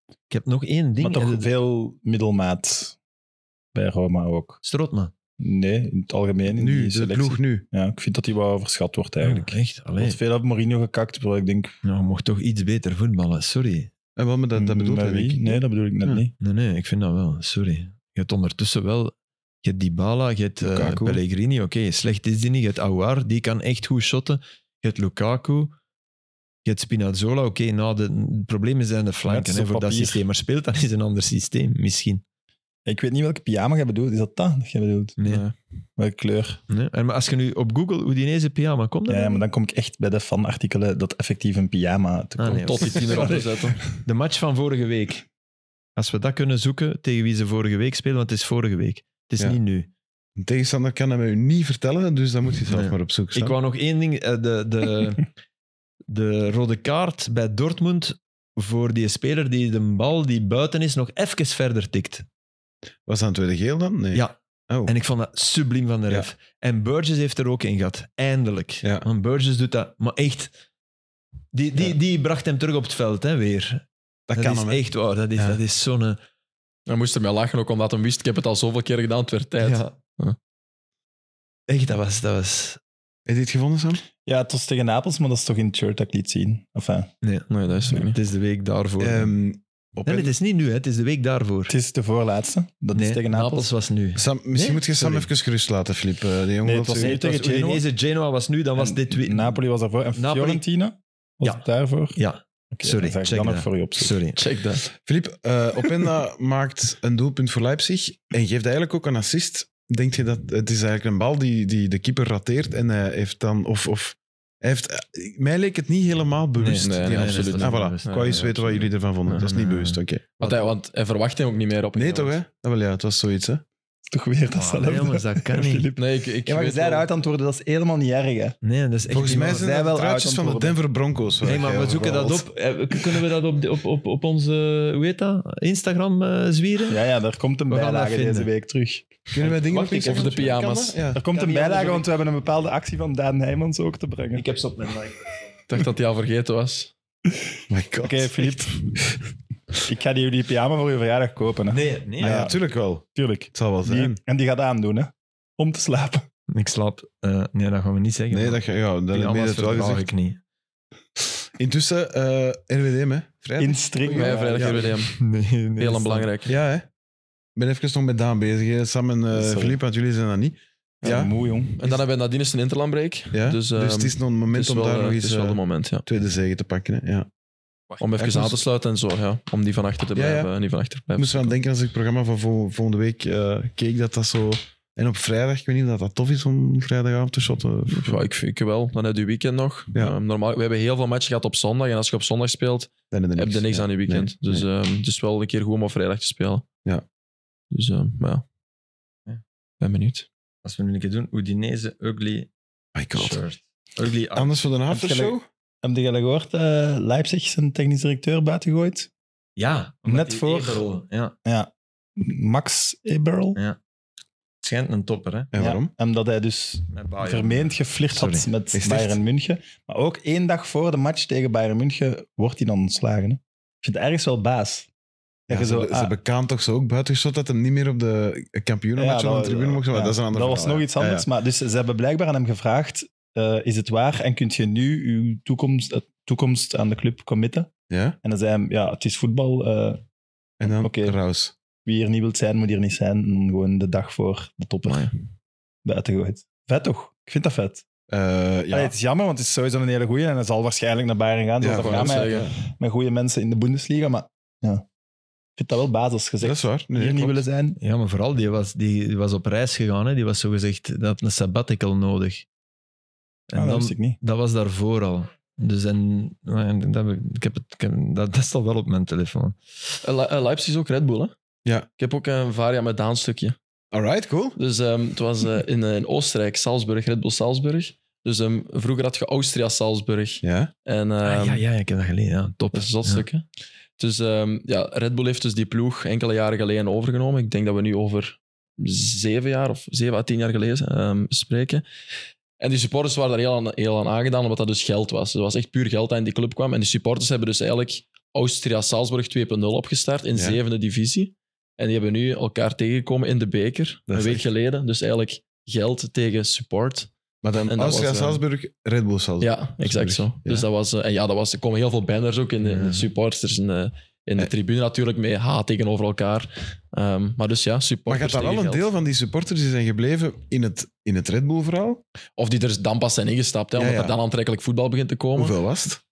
Ik heb nog één ding.
Maar toch
Eh,
veel middelmaat. Bij Roma ook.
Strootman.
Nee, in het algemeen. In
Nu,
die
de
selectie.
ploeg nu.
Ja, ik vind dat die wel overschat wordt eigenlijk.
Ja, echt,
Er
alleen.
wordt veel op Mourinho gekakt, maar ik denk...
Nou, je mocht toch iets beter voetballen, sorry.
En wat met dat,
Mm,
dat bedoelt
met
hij,
Mm, wie?
denk ik.
Nee, dat bedoel ik net
Ja.
niet.
Nee, nee, ik vind dat wel, sorry. Je hebt ondertussen wel... Je hebt Dybala, je hebt eh,
Lukaku.
Pellegrini, oké, slecht is die niet. Je hebt Aouar, die kan echt goed shotten. Je hebt Lukaku, je hebt Spinazzola, oké, nou, de, de problemen zijn de flanken
is
hè,
op
voor dat
papier.
systeem. Maar speelt dat is een ander systeem, misschien.
Ik weet niet welke pyjama jij bedoelt. Is dat dat dat jij bedoelt?
Nee.
Ja.
Welke kleur?
Nee? En, maar als je nu op Google Udinese pyjama komt, dan
Ja, maar dan kom ik echt bij de fanartikelen dat effectief een pyjama te
Ah,
koop
nee,
Tot die tien erop te zetten.
de match van vorige week. Als we dat kunnen zoeken, tegen wie ze vorige week spelen, want het is vorige week. Het is
Ja.
niet nu.
Een tegenstander kan dat mij u niet vertellen, dus dan moet je zelf
Nee.
maar op zoek staan.
Ik wou nog één ding. eh, De, de, de rode kaart bij Dortmund voor die speler die de bal die buiten is nog even verder tikt.
Was dat een tweede geel dan? Nee.
Ja.
Oh.
En ik vond dat subliem van de ref. En Burgess heeft er ook in gehad. Eindelijk.
Ja.
Want Burgess doet dat. Maar echt... Die, die, die bracht hem terug op het veld, hè, weer.
dat, kan
is
hem. hè.
echt waar. Dat is,
Ja.
dat is zo'n... eh,
Hij moest ermee lachen, ook omdat hij wist, ik heb het al zoveel keer gedaan, het werd tijd.
ja.
Ja.
Echt, dat was... Dat was
Heb je dit gevonden, Sam?
Ja, het was tegen Napels, maar dat is toch in het shirt dat ik liet zien. Enfin,
Nee, dat is er niet.
het is de week daarvoor.
Ehm, op
nee, nee, het is niet nu. Hè. Het is de week daarvoor.
het is de voorlaatste. Dat
nee,
is tegen Napels.
Napels was nu.
Sam, misschien
Nee?
moet je Sam
Sorry.
even gerust laten, Filip. Eh, De jongen
Nee,
wil
het was
zo-
niet
Nee, het was
tegen Genoa.
Udinese. Genoa was nu, dan was
En
dit... we-
Napoli was daarvoor. En
Napoli-
Fiorentina was
Ja.
het daarvoor.
Ja, Sorry,
dan ga ik
check
dan nog
dat.
voor u opzoeken.
Sorry.
Check dat.
Filip, eh, Openda maakt een doelpunt voor Leipzig en geeft eigenlijk ook een assist. Denk je dat het is eigenlijk een bal die, die de keeper rateert en hij heeft dan. Of, of, hij heeft, eh, mij leek het niet helemaal bewust.
nee,
die
nee,
assist.
absoluut
Ah,
niet
voilà.
bewust.
Ik
Nee,
wou eens
nee,
weten wat
absoluut.
jullie ervan vonden. Dat is niet
Nee,
bewust, oké.
Want hij, want hij verwacht hem ook niet meer op.
Nee, toch hè? Dat wel ja, het was zoiets hè.
Toch weer dat
Ah, nee, jongens, dat kan niet.
Nee, ik, ik
Ja, maar je zei
weet wel-
eruit antwoorden, dat is helemaal niet erg. Hè.
Nee, dat is echt
Volgens
niet
mij
waar.
zijn
Zij
dat
wel
truitjes van de
uitantwoorden.
Denver Broncos. waar
Nee, maar
jij
we
over
zoeken dat
babbelt.
op. Eh, k- Kunnen we dat op, de- op, op, op onze, hoe heet dat, Instagram eh, zwieren?
Ja, ja, daar komt een
We gaan dat
bijlage deze
vinden.
week terug.
Kunnen wij dingen
Wacht,
nog
ik-
eens
of de
zeggen? Kan
pyjama's.
dat? Ja.
Er komt
Kan
een
niet
bijlage,
anders
want we hebben een bepaalde actie van Daan Nijmans ook te brengen. Oké,
heb ze op mijn like.
Ik dacht dat hij al vergeten was.
My god.
Filip. ik ga die jullie pyjama voor je verjaardag kopen. Hè.
Nee, nee.
Ah, ja,
Ja.
tuurlijk wel.
Tuurlijk.
Het zal wel zijn.
Die- en die gaat aandoen, hè. Om te slapen.
Ik slaap. eh, nee, dat gaan we niet zeggen.
Nee,
maar
dat, ga- ja, dat heb
pyjama's
je het wel
verdraag
gezegd.
ik niet.
Intussen, eh RWDM, hè? Vrijdag.
In string.
Ja,
Ja,
vrijdag
ja.
hebben we hem.
Nee, nee, dat
Heel
is-
en belangrijk.
Ja, hè? Ik ben even nog met Daan bezig. hè. Sam en eh
Sorry.
Filip, want jullie zijn dat niet. Ja, ja.
Moe, jong.
En dan hebben we nadien eens een interlandbreak.
Dus,
Dus, ehm,
het is nog een
het
moment
is
om
wel,
daar
eh,
nog
het
eens
is wel
eh,
het moment, ja.
tweede zege te pakken. Hè? Ja.
Om even
ik
aan
moest-
te sluiten en zo, ja. Om die van achter te
Ja,
blijven
ja.
en die van achter te
Ik
blijven.
moest wel aan denken als ik het programma van vol- volgende week eh, keek, dat dat zo... En op vrijdag, ik weet niet of dat, dat tof is om vrijdagavond te shotten.
Ja, ik, ik wel. Dan heb je weekend nog.
Ja.
Ehm, normaal, we hebben heel veel matchen gehad op zondag. En als je op zondag speelt,
Dan heb
heb je niks
Ja.
aan je weekend.
Nee,
dus ehm, het is wel een keer goed om op vrijdag te spelen.
Ja.
Dus, ehm, maar ja. Ben benieuwd.
Als we nu een keer doen, Udinese Ugly
eh,
Oh My god.
Shirt. Ugly Art.
Anders voor de
Heb
aftershow?
Heb je gehoord, eh, Leipzig zijn technisch directeur buiten gegooid?
Ja, omdat
Net
die
voor-
Eberl, Ja, het
Ja. Max Eberl.
Ja. schijnt een topper, hè?
En waarom? Ah,
Ja, omdat hij dus
Met Bayern.
vermeend geflirt had
Sorry.
met
Is het echt?
Bayern München. Maar ook één dag voor de match tegen Bayern München wordt hij dan ontslagen. Hè? Ik vind het ergens wel baas.
Ja,
Dat je
ze,
zo,
ze
ah,
hebben Kaan toch zo ook buiten geschoten dat hem niet meer op de kampioenenmatch
ja,
op de tribune mocht zijn. Maar
ja,
dat is een ander
dat was
verhaal,
nog
ja.
iets anders.
Ja,
Maar dus ze hebben blijkbaar aan hem gevraagd, eh, is het waar en kunt je nu uw toekomst, eh, toekomst aan de club committen?
ja. Ja?
En dan zei hij, ja, het is voetbal. eh,
En dan
Oké.
Raus.
wie hier niet wilt zijn, moet hier niet zijn. En gewoon de dag voor de topper buiten gegooid. Vet toch? Ik vind dat vet.
Eh, ja.
Allee, het is jammer, want het is sowieso een hele goeie en hij zal waarschijnlijk naar Bayern gaan.
Ja,
Zoals dat
wou
gaat
net
met-
zeggen.
met goede mensen in de Bundesliga, maar ja. ik vind dat wel basis
dat is
gezegd.
waar. Nee,
Hier niet
klopt.
willen zijn.
Ja, maar vooral, die was, die was op reis gegaan. Hè. Die was zogezegd, dat had een sabbatical nodig.
Ah,
En
dat
dan,
wist ik niet.
dat was daarvoor al. Dus en, en dat, ik heb het, ik heb- dat, dat staat wel op mijn telefoon.
Eh, Le- eh, Leipzig is ook Red Bull, hè?
Ja.
Ik heb ook een Varia met Daan stukje.
Alright, cool.
Dus ehm, het was eh, in, eh, in Oostenrijk, Salzburg, Red Bull Salzburg. Dus ehm, vroeger had je Austria-Salzburg.
Ja.
En,
ah,
ehm,
ja, ja, ik heb dat gelezen. Ja, top.
Dat is zot
Ja.
stuk, hè? Dus ehm, ja, Red Bull heeft dus die ploeg enkele jaren geleden overgenomen. Ik denk dat we nu over zeven jaar of zeven à tien jaar geleden ehm, spreken. En die supporters waren daar heel aan, heel aan aangedaan, omdat dat dus geld was. Dus Het was echt puur geld dat in die club kwam. En die supporters hebben dus eigenlijk Austria-Salzburg 2.0 opgestart in
Ja.
zevende divisie. En die hebben nu elkaar tegengekomen in de beker,
Dat
een
is
week
echt-
geleden. Dus eigenlijk geld tegen support.
Maar dan
En dat
Austria,
was, eh,
Salzburg, Red Bull Salzburg.
Ja, exact zo.
Ja.
Dus dat was, eh, en ja, dat was, er komen heel veel banners ook in de, in de supporters en de, in de
Eh.
tribune natuurlijk mee haat tegenover elkaar. Ehm, maar dus ja,
Maar gaat
supporters.
dat wel
tegen
een
geld.
deel van die supporters die zijn gebleven in het, in het Red Bull verhaal?
Of die er dan pas zijn ingestapt, hè,
Ja,
omdat
ja.
er dan aantrekkelijk voetbal begint te komen.
Hoeveel was het?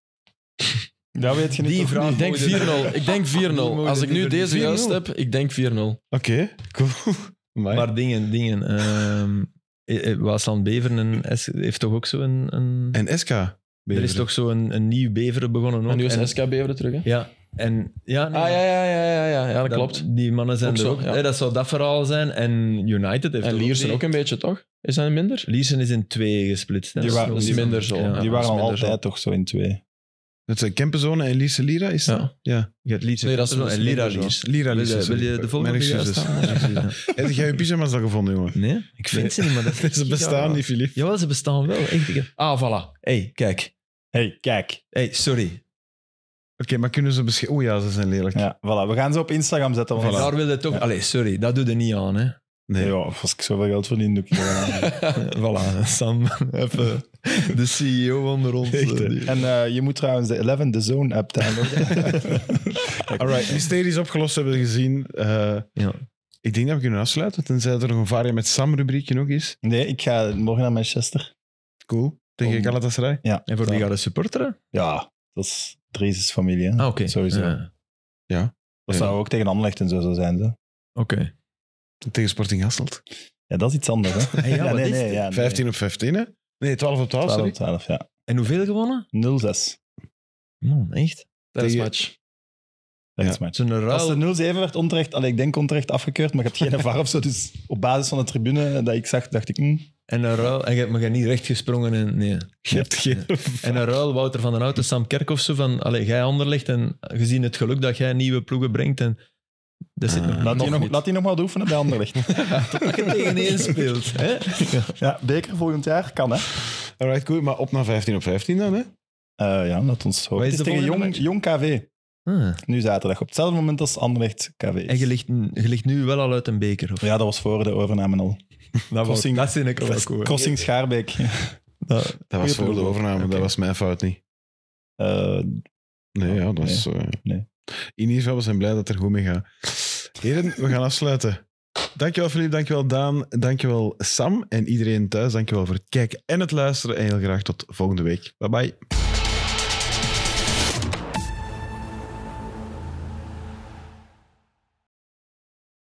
Dat weet je niet.
Die
toch?
vraag
Ik denk 4-0. Ik denk 4-0.
Die mogen
Als ik nu
liever niet.
deze juist heb, ik denk 4-0.
Oké, cool.
Ah,
Amai.
Maar dingen, dingen. ehm, eh, eh, Waasland Beveren en S- heeft toch ook zo een... een
en SK?
er is
Beveren.
toch zo een, een nieuw Beveren begonnen ook.
En nu is
en-
SK Beveren terug, hè?
Ja, en... Ja, nee,
Ah, ja, ja, ja, ja, ja, ja dat klopt.
Die mannen zijn
Ook
er
zo,
ook.
ja.
Hè, dat zou dat verhaal zijn. En United heeft
En
er
Liersen
twee.
ook een beetje, toch? Is dat minder?
Liersen is in twee gesplitst. hè.
Die
Dat
wa-
nog
die-
eens-
minder zo.
Ja.
Die
Ja,
waren al
dat is minder
altijd toch zo in twee.
Dat zijn Kempenzone en Lierse Lira, is dat?
Ja.
Ja.
Je hebt Liersen
Nee, dat is
en
minder
Lira
zo.
Liersen.
Lira
Wil
Lierse.
je, wil je de volgende
Mijn
juist
excuses.
halen? dus- Ja.
Heb jij je pyjama's al gevonden, jongen?
Nee, ik vind ze niet, maar dat is
Ze
echt
bestaan
raar.
niet, Filip.
Jawel, ze bestaan wel. Echt, ik heb- Ah, voilà. hey, kijk.
hey, kijk.
hey, sorry.
Oké, maar kunnen ze beschrijven? Oeh ja, ze zijn lelijk.
Ja, voilà. We gaan ze op Instagram zetten. want-
Daar wilde toch... Allee, Eh, sorry, dat doe je niet aan, hè.
Nee.
Ja, als ik zoveel geld verdien, doe ik het wel aan.
Eh, voilà, Sam. Even de CEO onder ons.
Echt, hè. En eh, je moet trouwens de 11 de Zone app downloaden.
Alright, mysteries opgelost hebben we gezien. Eh,
Ja.
Ik denk dat we kunnen afsluiten, tenzij er nog een varia met Sam-rubriekje nog is.
nee, ik ga morgen naar Manchester.
Cool. Tegen
Om-
Galatasaray.
En voor wie gaat de supporteren?
Ja, dat is Dries is familie.
Oh,
hè.
Ah, oké.
Sowieso.
Ja.
Dat zou ook tegen Anderlecht en zo zo zijn. Zo.
Oké.
Tegen Sporting Hasselt.
Ja, dat is iets anders. Hè?
ja, wat is dit?
ja, nee.
15 op 15, hè? Nee, 12 op 12,
oh,
12,
sorry.
12, ja.
En hoeveel gewonnen?
0-6.
Man, echt?
Tijdens
Tegen-
match.
Dat is
Ja.
maar.
Zo'n
Als
ruil.
de 0-7 werd onterecht, allee, ik denk onterecht afgekeurd, maar ik had geen VAR of zo. Dus op basis van de tribune dat ik zag, dacht ik... hm,
En een ruil. En je hebt me niet recht gesprongen. En, nee.
Je hebt geen...
en een ruil, Wouter van den Houten, Sam Kerkhoff, zo van, allee, jij anderlegt en gezien het geluk dat jij nieuwe ploegen brengt en dat zit nog
laat,
nog
die nog,
niet.
laat die nog maar oefenen bij Anderlecht.
dat je tegen één speelt. Hè?
ja, beker volgend jaar kan, hè.
Alright, cool. Maar op naar 15 op 15 dan, hè?
Eh, ja, laat ons hopen.
Wat
Het
is
is
de
tegen
volgende
jong, jong KV,
Ah.
nu zaterdag. Op hetzelfde moment als Anderlecht KV is.
En je ligt, je ligt nu wel al uit een beker. Of?
Ja, dat was voor de overname al.
dat, was,
Crossing-
dat vind ik wel cool.
Crossing Schaarbeek.
Dat-
Dat was voor de overname.
Oké.
Dat was mijn fout niet.
Eh,
Nee, ja, dat was... eh,
Nee.
In ieder geval, we zijn blij dat het er goed mee gaat. Heren, we gaan afsluiten. Dankjewel, Filip. Dankjewel, Daan. Dankjewel, Sam. En iedereen thuis, dankjewel voor het kijken en het luisteren. En heel graag tot volgende week. Bye-bye.